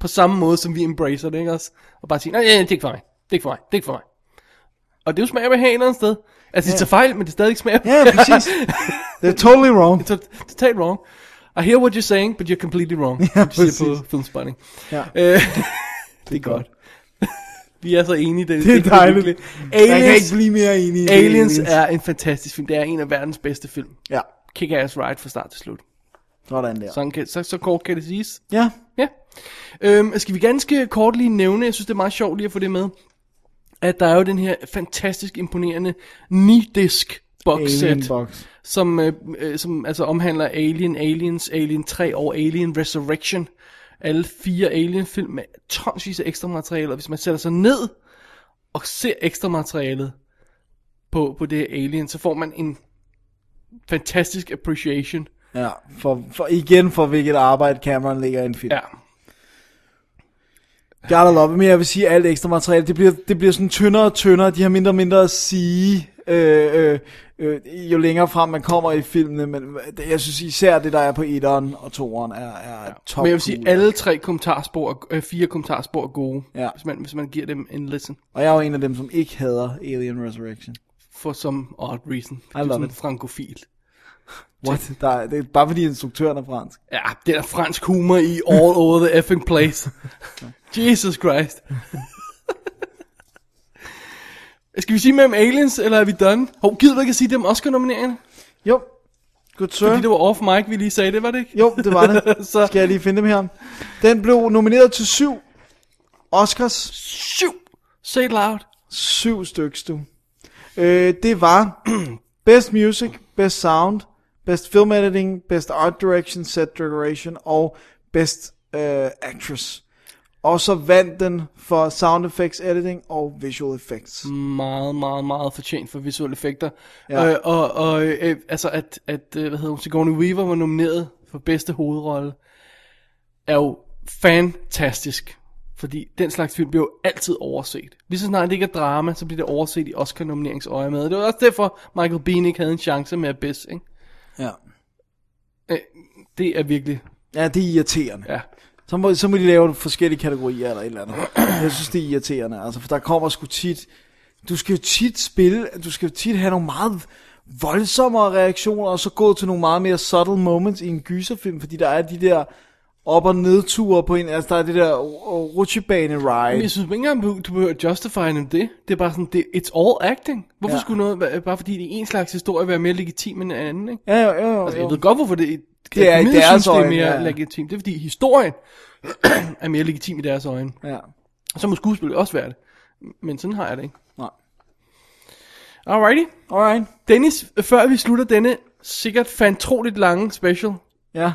Speaker 3: På samme måde, som vi embracer det, ikke også? Og bare sige, nej, nej, nej, det er ikke for mig, det er ikke for mig, det er ikke for mig. Og det er jo smag af behag et eller andet sted. Altså,
Speaker 4: Ja.
Speaker 3: de tager fejl, men det er stadig smag
Speaker 4: Ja, præcis. They're totally wrong.
Speaker 3: It's tot- totalt wrong. I hear what you're saying, but you're completely wrong.
Speaker 4: Ja,
Speaker 3: Som de siger
Speaker 4: præcis.
Speaker 3: på filmspejling.
Speaker 4: Ja.
Speaker 3: Øh, det er godt. vi er så enige. Det,
Speaker 4: Det er dejligt.
Speaker 3: virkelig-
Speaker 4: Jeg kan ikke blive mere enig i det,
Speaker 3: Aliens,
Speaker 4: Aliens.
Speaker 3: er en fantastisk film. Det er en af verdens bedste film.
Speaker 4: Ja.
Speaker 3: Kick-ass ride fra start til slut.
Speaker 4: Sådan der.
Speaker 3: Sådan kan, så, så kort kan det siges.
Speaker 4: Ja.
Speaker 3: Ja. Øhm, skal vi ganske kort lige nævne, jeg synes det er meget sjovt lige at få det med, at der er jo den her fantastisk imponerende 9-disk box
Speaker 4: Alien
Speaker 3: set,
Speaker 4: box.
Speaker 3: som, øh, øh, som altså omhandler Alien, Aliens, Alien 3 og Alien Resurrection. Alle fire Alien-film med tonsvis af ekstra materiale, og hvis man sætter sig ned og ser ekstra materialet på, på det her Alien, så får man en fantastisk appreciation
Speaker 4: Ja, for, for, igen for hvilket arbejde Cameron ligger i en film.
Speaker 3: Ja.
Speaker 4: Gotta love it, men jeg vil sige, alt ekstra materiale, det bliver, det bliver sådan tyndere og tyndere, de har mindre og mindre at sige, øh, øh, øh, jo længere frem man kommer i filmene, men det- jeg synes især det, der er på etteren og toeren, er, er top
Speaker 3: Men jeg vil sige,
Speaker 4: cool. altså.
Speaker 3: alle tre kommentarspor, er- øh, fire kommentarspor er gode,
Speaker 4: Ja.
Speaker 3: hvis, man, hvis man giver dem en listen,
Speaker 4: Og jeg er jo en af dem, som ikke hader Alien Resurrection.
Speaker 3: for some odd reason.
Speaker 4: I love
Speaker 3: sådan
Speaker 4: it.
Speaker 3: frankofil.
Speaker 4: What? Der, er- det er bare fordi instruktøren er fransk.
Speaker 3: Ja, det er der fransk humor i all over the effing place. Jesus Christ. Skal vi sige med om Aliens, eller er vi done? Hov, gider du ikke at sige dem Oscar-nomineringerne?
Speaker 4: Jo. Good sir.
Speaker 3: Fordi det var off mic, vi lige sagde det, var det ikke?
Speaker 4: Jo, det var det.
Speaker 3: Så-
Speaker 4: så. Skal jeg lige finde dem her. Den blev nomineret til syv Oscars. Syv!
Speaker 3: Say it loud.
Speaker 4: Syv stykker, du. Øh, det var Best Music, Best Sound, Best Film Editing, Best Art Direction, Set Decoration og Best øh, Actress. Og så vandt den for Sound Effects Editing og Visual Effects.
Speaker 3: Meget, meget, meget fortjent for visuelle effekter. Ja.
Speaker 4: Ja.
Speaker 3: Øh, og og øh, altså, at, at øh, hvad hedder hun, Sigourney Weaver var nomineret for bedste hovedrolle, er jo fantastisk. Fordi den slags film bliver jo altid overset. Lige så snart det ikke er drama, så bliver det overset i Oscar-nomineringsøje med. Det var også derfor, Michael Bean ikke havde en chance med at bedst, ikke?
Speaker 4: Ja.
Speaker 3: Øh, det er virkelig...
Speaker 4: Ja, det er irriterende.
Speaker 3: Ja.
Speaker 4: Så må, så må de lave forskellige kategorier eller et eller andet. Jeg synes, det er irriterende, altså, for der kommer sgu tit... Du skal jo tit spille, du skal jo tit have nogle meget voldsommere reaktioner, og så gå til nogle meget mere subtle moments i en gyserfilm, fordi der er de der op- og nedture på en, altså der er det der
Speaker 3: Men
Speaker 4: rutsjebane-ride.
Speaker 3: jeg synes ikke engang, du- du behøver at justify nem det. Det er bare sådan, det, it's all acting. Hvorfor ja.
Speaker 4: Ja.
Speaker 3: skulle noget, være- bare fordi det er en slags historie, være mere legitim end en anden, ikke?
Speaker 4: Ja, jo, jo, jo.
Speaker 3: Altså, jeg ved godt, hvorfor det,
Speaker 4: Det er i
Speaker 3: akademiet
Speaker 4: deres
Speaker 3: synes, det er
Speaker 4: øjne,
Speaker 3: mere
Speaker 4: ja.
Speaker 3: legitimt. Det er, fordi historien er mere legitim i deres øjne.
Speaker 4: Ja.
Speaker 3: Og så må skuespillet også være det. Men sådan har jeg det ikke.
Speaker 4: Nej.
Speaker 3: Alrighty.
Speaker 4: Alright.
Speaker 3: Dennis, før vi slutter denne sikkert fantroligt lange special.
Speaker 4: Ja.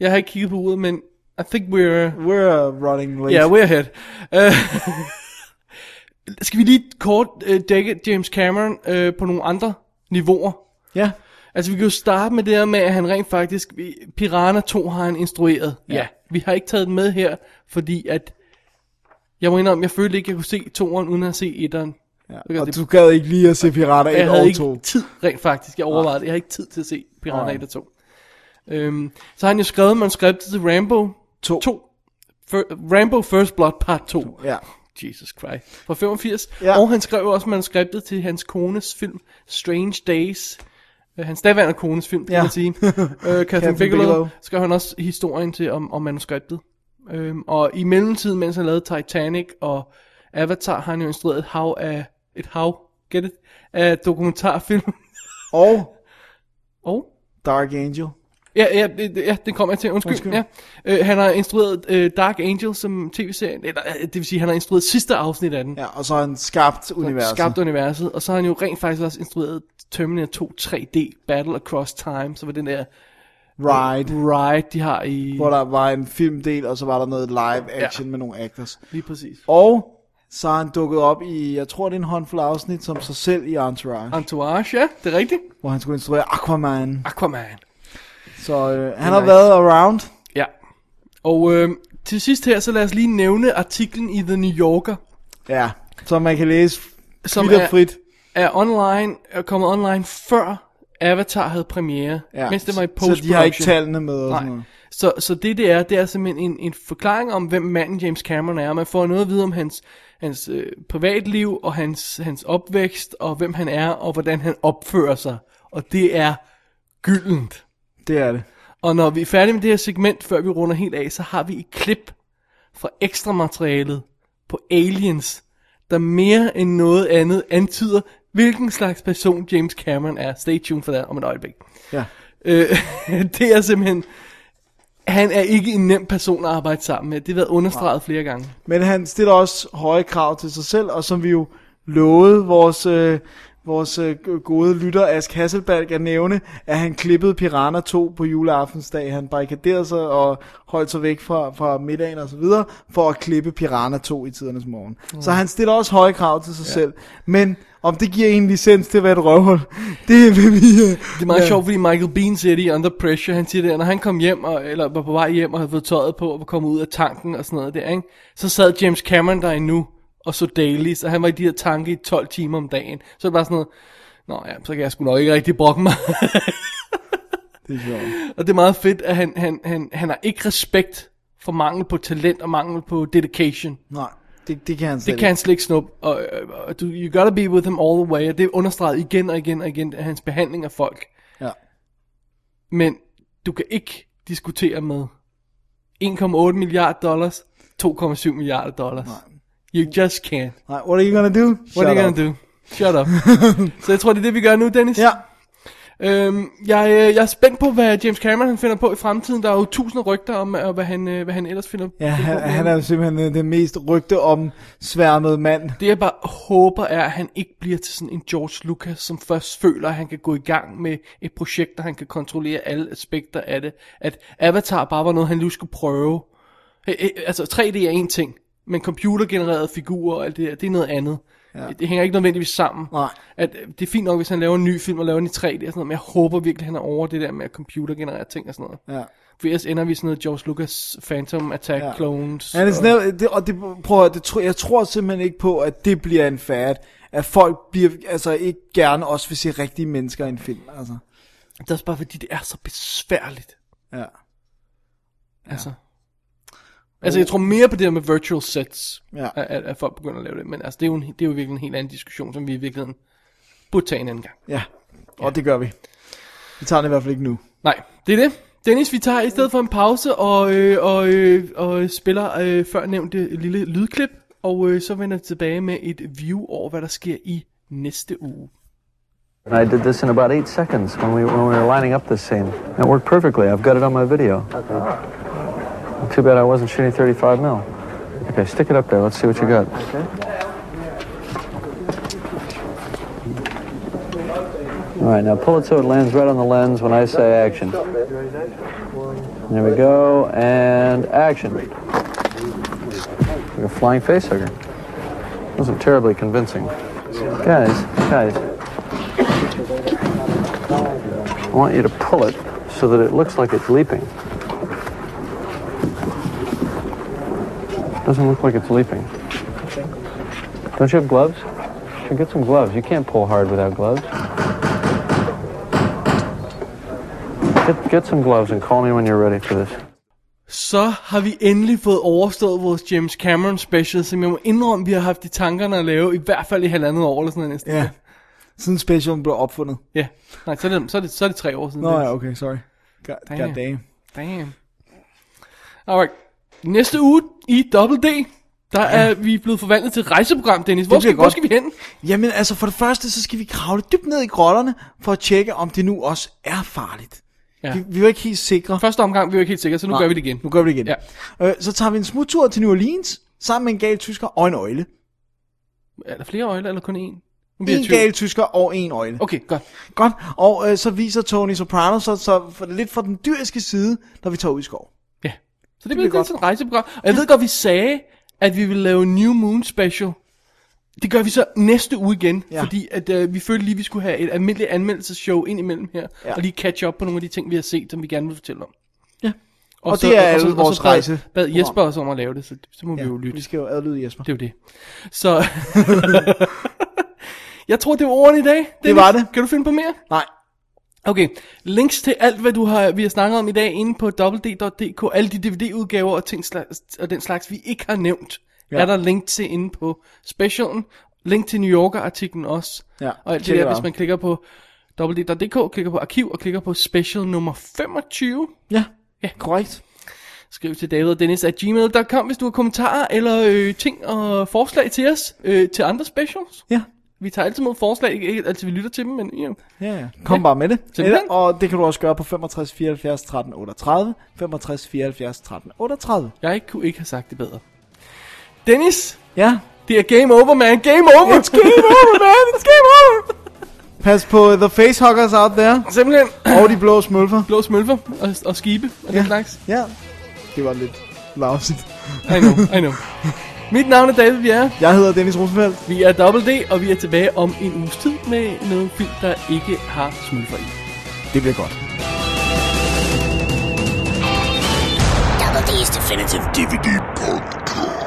Speaker 3: Jeg har ikke kigget på uret, men I think we're...
Speaker 4: We're running late.
Speaker 3: Yeah, we're ahead. Uh, skal vi lige kort uh, dække James Cameron uh, på nogle andre niveauer?
Speaker 4: Ja.
Speaker 3: Altså, vi kan jo starte med det her med, at han rent faktisk... vi- Piranha 2 har han instrueret. Ja. ja. Vi har ikke taget den med her, fordi at... Jeg må indrømme, jeg følte ikke, jeg kunne se toeren uden at have set etteren.
Speaker 4: Ja, og du gad ikke lige at se Pirater
Speaker 3: jeg
Speaker 4: 1
Speaker 3: havde
Speaker 4: og
Speaker 3: ikke
Speaker 4: 2.
Speaker 3: tid rent faktisk. Jeg overvejede det. Jeg har ikke tid til at se Piranha
Speaker 4: Nej.
Speaker 3: 1 og 2. Øhm, så har han jo skrevet manuskriptet til Rambo 2. 2. Fir- Rambo First Blood Part 2.
Speaker 4: Ja.
Speaker 3: Jesus Christ. Fra 85. Ja. Og han skrev også manuskriptet til hans kones film Strange Days. Øh, Hans daværende kones film, kan
Speaker 4: Ja.
Speaker 3: man sige. øh, Catherine,
Speaker 4: Catherine
Speaker 3: Bigelow,
Speaker 4: Bigelow.
Speaker 3: skrev han også historien til om, om manuskriptet. Øhm, og i mellemtiden, mens han lavede Titanic og Avatar, har han jo instrueret et hav af... Et hav, get it? Af dokumentarfilm.
Speaker 4: Og?
Speaker 3: Og?
Speaker 4: Dark Angel.
Speaker 3: Ja, ja, det, det- ja, det kommer jeg til. Undskyld. Undskyld.
Speaker 4: Undskyld.
Speaker 3: Ja. Øh, han har instrueret øh, Dark Angel som tv-serien, eller øh, det vil sige, han har instrueret sidste afsnit af den.
Speaker 4: Ja, og så har han skabt universet.
Speaker 3: Skabt universet, og så har han jo rent faktisk også instrueret Terminator 2 3D Battle Across Time, så var den der
Speaker 4: Ride.
Speaker 3: Ride, de har i...
Speaker 4: Hvor der var en filmdel, og så var der noget live action
Speaker 3: Ja.
Speaker 4: ja. med nogle actors.
Speaker 3: Lige præcis.
Speaker 4: Og så har han dukket op i, jeg tror det er en håndfuld afsnit, som sig selv i Entourage,
Speaker 3: Entourage, ja, det er rigtigt.
Speaker 4: hvor han skulle instruere Aquaman.
Speaker 3: Aquaman.
Speaker 4: Så øh, han har været around.
Speaker 3: Ja. Og øh, til sidst her, så lad os lige nævne artiklen i The New Yorker.
Speaker 4: Ja, som man kan læse
Speaker 3: Som er,
Speaker 4: frit.
Speaker 3: er online, er kommet online før Avatar havde premiere.
Speaker 4: Ja,
Speaker 3: Mens det var i
Speaker 4: så
Speaker 3: post
Speaker 4: de har ikke tallene med og
Speaker 3: Nej.
Speaker 4: sådan noget.
Speaker 3: Så, så det det er, det er simpelthen en, en forklaring om, hvem manden James Cameron er. Man får noget at vide om hans, hans øh, privatliv og hans, hans opvækst, og hvem han er, og hvordan han opfører sig. Og det er gyldent.
Speaker 4: Det er det.
Speaker 3: Og når vi er færdige med det her segment, før vi runder helt af, så har vi et klip fra ekstra materialet på Aliens, der mere end noget andet antyder, hvilken slags person James Cameron er. Stay tuned for det om et øjeblik.
Speaker 4: Ja.
Speaker 3: Øh, det er simpelthen... Han er ikke en nem person at arbejde sammen med. Det har været understreget flere gange.
Speaker 4: Men han stiller også høje krav til sig selv, og som vi jo lovede vores, øh, vores øh, gode lytter Ask Hasselbalg at nævne, at han klippede Piranha 2 på juleaftensdag. Han barrikaderede sig og holdt sig væk fra, fra middagen og så videre, for at klippe Piranha 2 i tidernes morgen.
Speaker 3: Mm.
Speaker 4: Så han stiller også høje krav til sig ja. selv. Men om det giver en licens til at være et røvhul, det vil vi... Øh,
Speaker 3: Det er meget ja. sjovt, fordi Michael Bean siger det i Under Pressure. Han siger det, at når han kom hjem, og, eller var på vej hjem og havde fået tøjet på og var kommet ud af tanken og sådan noget der, ikke? så sad James Cameron der endnu og så daily, så han var i de her tanke i 12 timer om dagen. Så er det bare sådan noget, Nå ja, så kan jeg sgu nok ikke rigtig brokke mig.
Speaker 4: Det er sjovt.
Speaker 3: Og det er meget fedt, at han, han, han, han har ikke respekt for mangel på talent og mangel på dedication.
Speaker 4: Nej, det, det kan han slet
Speaker 3: Det kan han slet ikke snuppe. Og, øh, og du, you gotta be with him all the way. Og det er understreget igen og igen og igen af hans behandling af folk.
Speaker 4: Ja.
Speaker 3: Men du kan ikke diskutere med 1,8 milliarder dollars, 2,7 milliarder dollars. Nej. You just can't.
Speaker 4: Nej, what are you gonna do?
Speaker 3: What are you
Speaker 4: up.
Speaker 3: gonna do? Shut up. så jeg tror, det er det, vi gør nu, Dennis. Ja. Øhm, jeg, øh, jeg er spændt på, hvad James Cameron han finder på i fremtiden. Der er jo tusind rygter om, øh, hvad han, øh, hvad han ellers finder
Speaker 4: Ja,
Speaker 3: finder
Speaker 4: han,
Speaker 3: på.
Speaker 4: han er jo simpelthen øh, den mest rygte om sværmede mand.
Speaker 3: Det jeg bare håber er, at han ikke bliver til sådan en George Lucas, som først føler, at han kan gå i gang med et projekt, der han kan kontrollere alle aspekter af det. At Avatar bare var noget, han lige skulle prøve. Øh, øh, Altså 3D er en ting, men computergenererede figurer og alt det der, det er noget andet. Ja. Det hænger ikke nødvendigvis sammen.
Speaker 4: Nej.
Speaker 3: At, øh, det er fint nok, hvis han laver en ny film og laver den i 3D og sådan noget, men jeg håber virkelig, han er over det der med at computergenerere ting og sådan noget.
Speaker 4: Ja.
Speaker 3: For ellers ender vi sådan noget George Lucas Phantom Attack ja. Clones.
Speaker 4: Han er
Speaker 3: og-
Speaker 4: sådan, og... det, og det, prøv at, høre, det, tror- jeg tror simpelthen ikke på, at det bliver en fad. At folk bliver, altså ikke gerne også vil se rigtige mennesker i en film. Altså.
Speaker 3: Det er også bare fordi, det er så besværligt.
Speaker 4: Ja.
Speaker 3: Altså. Altså, jeg tror mere på det her med virtual sets,
Speaker 4: Ja.
Speaker 3: ja. at, at, at folk begynder at lave det. Men altså, det er, jo en, det er jo virkelig en helt anden diskussion, som vi i virkeligheden burde tage en anden gang.
Speaker 4: Ja, og det gør vi. Vi tager den i hvert fald ikke nu.
Speaker 3: Nej, det er det. Dennis, vi tager i stedet for en pause og, øh, og, øh, og spiller øh, før nævnte lille lydklip, og øh, så vender vi tilbage med et view over, hvad der sker i næste uge.
Speaker 17: And I did this in about eight seconds when we, when we were lining up this scene. And It worked perfectly. I've got it on my video. Too bad I wasn't shooting 35 mil. Okay, stick it up there. Let's see what you got. All right, now pull it so it lands right on the lens when I say action. There we go, and action. Like a flying face hugger. Wasn't terribly convincing. Guys, guys, I want you to pull it so that it looks like it's leaping. Doesn't look like it's leaping. Don't you have gloves? You should get some gloves. You can't pull hard without gloves. Get, get some gloves and call me when you're ready for this.
Speaker 3: Så har vi endelig fået overstået vores James Cameron special, som jeg må indrømme, vi har haft i tankerne at lave, i hvert fald i halvandet år eller sådan noget næsten.
Speaker 4: Ja. Siden specialen blev opfundet.
Speaker 3: Ja, nej, så er det, så er det, så er det tre år siden.
Speaker 4: Nå
Speaker 3: Dennis.
Speaker 4: ja, okay, sorry. God,
Speaker 3: Damn.
Speaker 4: God damn.
Speaker 3: Damn. Alright. Næste uge i Double D, der er vi blevet forvandlet til et rejseprogram, Dennis. Hvor,
Speaker 4: Det bliver
Speaker 3: skal, hvor
Speaker 4: godt.
Speaker 3: skal vi hen?
Speaker 4: Jamen altså, for det første, så skal vi kravle dybt ned i grotterne, for at tjekke, om det nu også er farligt.
Speaker 3: Ja.
Speaker 4: Vi, vi var ikke helt sikre.
Speaker 3: Første omgang, vi var ikke helt sikre, så nu
Speaker 4: Nej,
Speaker 3: gør vi det igen.
Speaker 4: Nu gør vi det igen. Ja. Øh, så tager vi en smuttur til New Orleans, sammen med en gal tysker og en øjle.
Speaker 3: Er der flere øjler, eller kun én? Nu bliver jeg
Speaker 4: En
Speaker 3: i tvivl.
Speaker 4: gal tysker og en øjle.
Speaker 3: Okay, godt.
Speaker 4: Godt, og øh, så viser Tony Soprano så, så for, lidt fra den dyriske side, når vi tager ud i skov.
Speaker 3: Ja. Så det, det bliver lidt sådan et rejseprogram. Og jeg ved godt, vi sagde, at vi ville lave New Moon special. Det gør vi så næste uge igen,
Speaker 4: Ja.
Speaker 3: ja. fordi at, øh, vi følte lige, at vi skulle have et almindeligt anmeldelsesshow ind imellem her,
Speaker 4: Ja.
Speaker 3: ja. og lige catch up på nogle af de ting, vi har set, som vi gerne vil fortælle om.
Speaker 4: Ja. Og det er alle vores
Speaker 3: bad,
Speaker 4: rejse-
Speaker 3: bad Jesper os om at lave det, så, så må ja, vi jo lytte.
Speaker 4: Vi skal jo adlyde Jesper.
Speaker 3: Det er jo det. Så... jeg tror, det var ordene i dag. Dennis.
Speaker 4: Det var det.
Speaker 3: Kan du finde på mere?
Speaker 4: Nej.
Speaker 3: Okay, links til alt, hvad du har, vi har snakket om i dag inde på www.dk, alle de DVD-udgaver og, ting, slags- og den slags, vi ikke har nævnt,
Speaker 4: Ja.
Speaker 3: ja. er der link til inde på specialen. Link til New Yorker-artiklen også.
Speaker 4: Ja,
Speaker 3: og alt det
Speaker 4: tjek det
Speaker 3: der,
Speaker 4: ud.
Speaker 3: hvis man klikker på www.dk, klikker på arkiv og klikker på special nummer 25.
Speaker 4: Ja,
Speaker 3: ja.
Speaker 4: korrekt.
Speaker 3: Skriv til David og Dennis at gmail.com, hvis du har kommentarer eller øh, ting og forslag til os, øh, til andre specials.
Speaker 4: Ja.
Speaker 3: Vi tager altid mod forslag, ikke ikke altid vi lytter til dem, men ja.
Speaker 4: Ja, ja. Kom bare med det.
Speaker 3: Simpelthen.
Speaker 4: Eller- Og det kan du også gøre på 65 74 13 38. 65 74 13 38.
Speaker 3: Jeg kunne ikke have sagt det bedre. Dennis?
Speaker 4: Ja?
Speaker 3: Det er game over, man. Game over.
Speaker 4: It's game over, man. It's game over. Pas på the facehuggers out there.
Speaker 3: Simpelthen.
Speaker 4: Og de blå smølfer.
Speaker 3: Blå smølfer og, og skibe og ja. den slags.
Speaker 4: Ja. Det var lidt lavsigt.
Speaker 3: I know, I know. Mit navn er David Bjerre.
Speaker 4: Jeg hedder Dennis Rosenfeldt.
Speaker 3: Vi er Double D, og vi er tilbage om en uges tid med noget film, der ikke har smølfer i.
Speaker 4: Det bliver godt.
Speaker 18: Double D's Definitive DVD Podcast.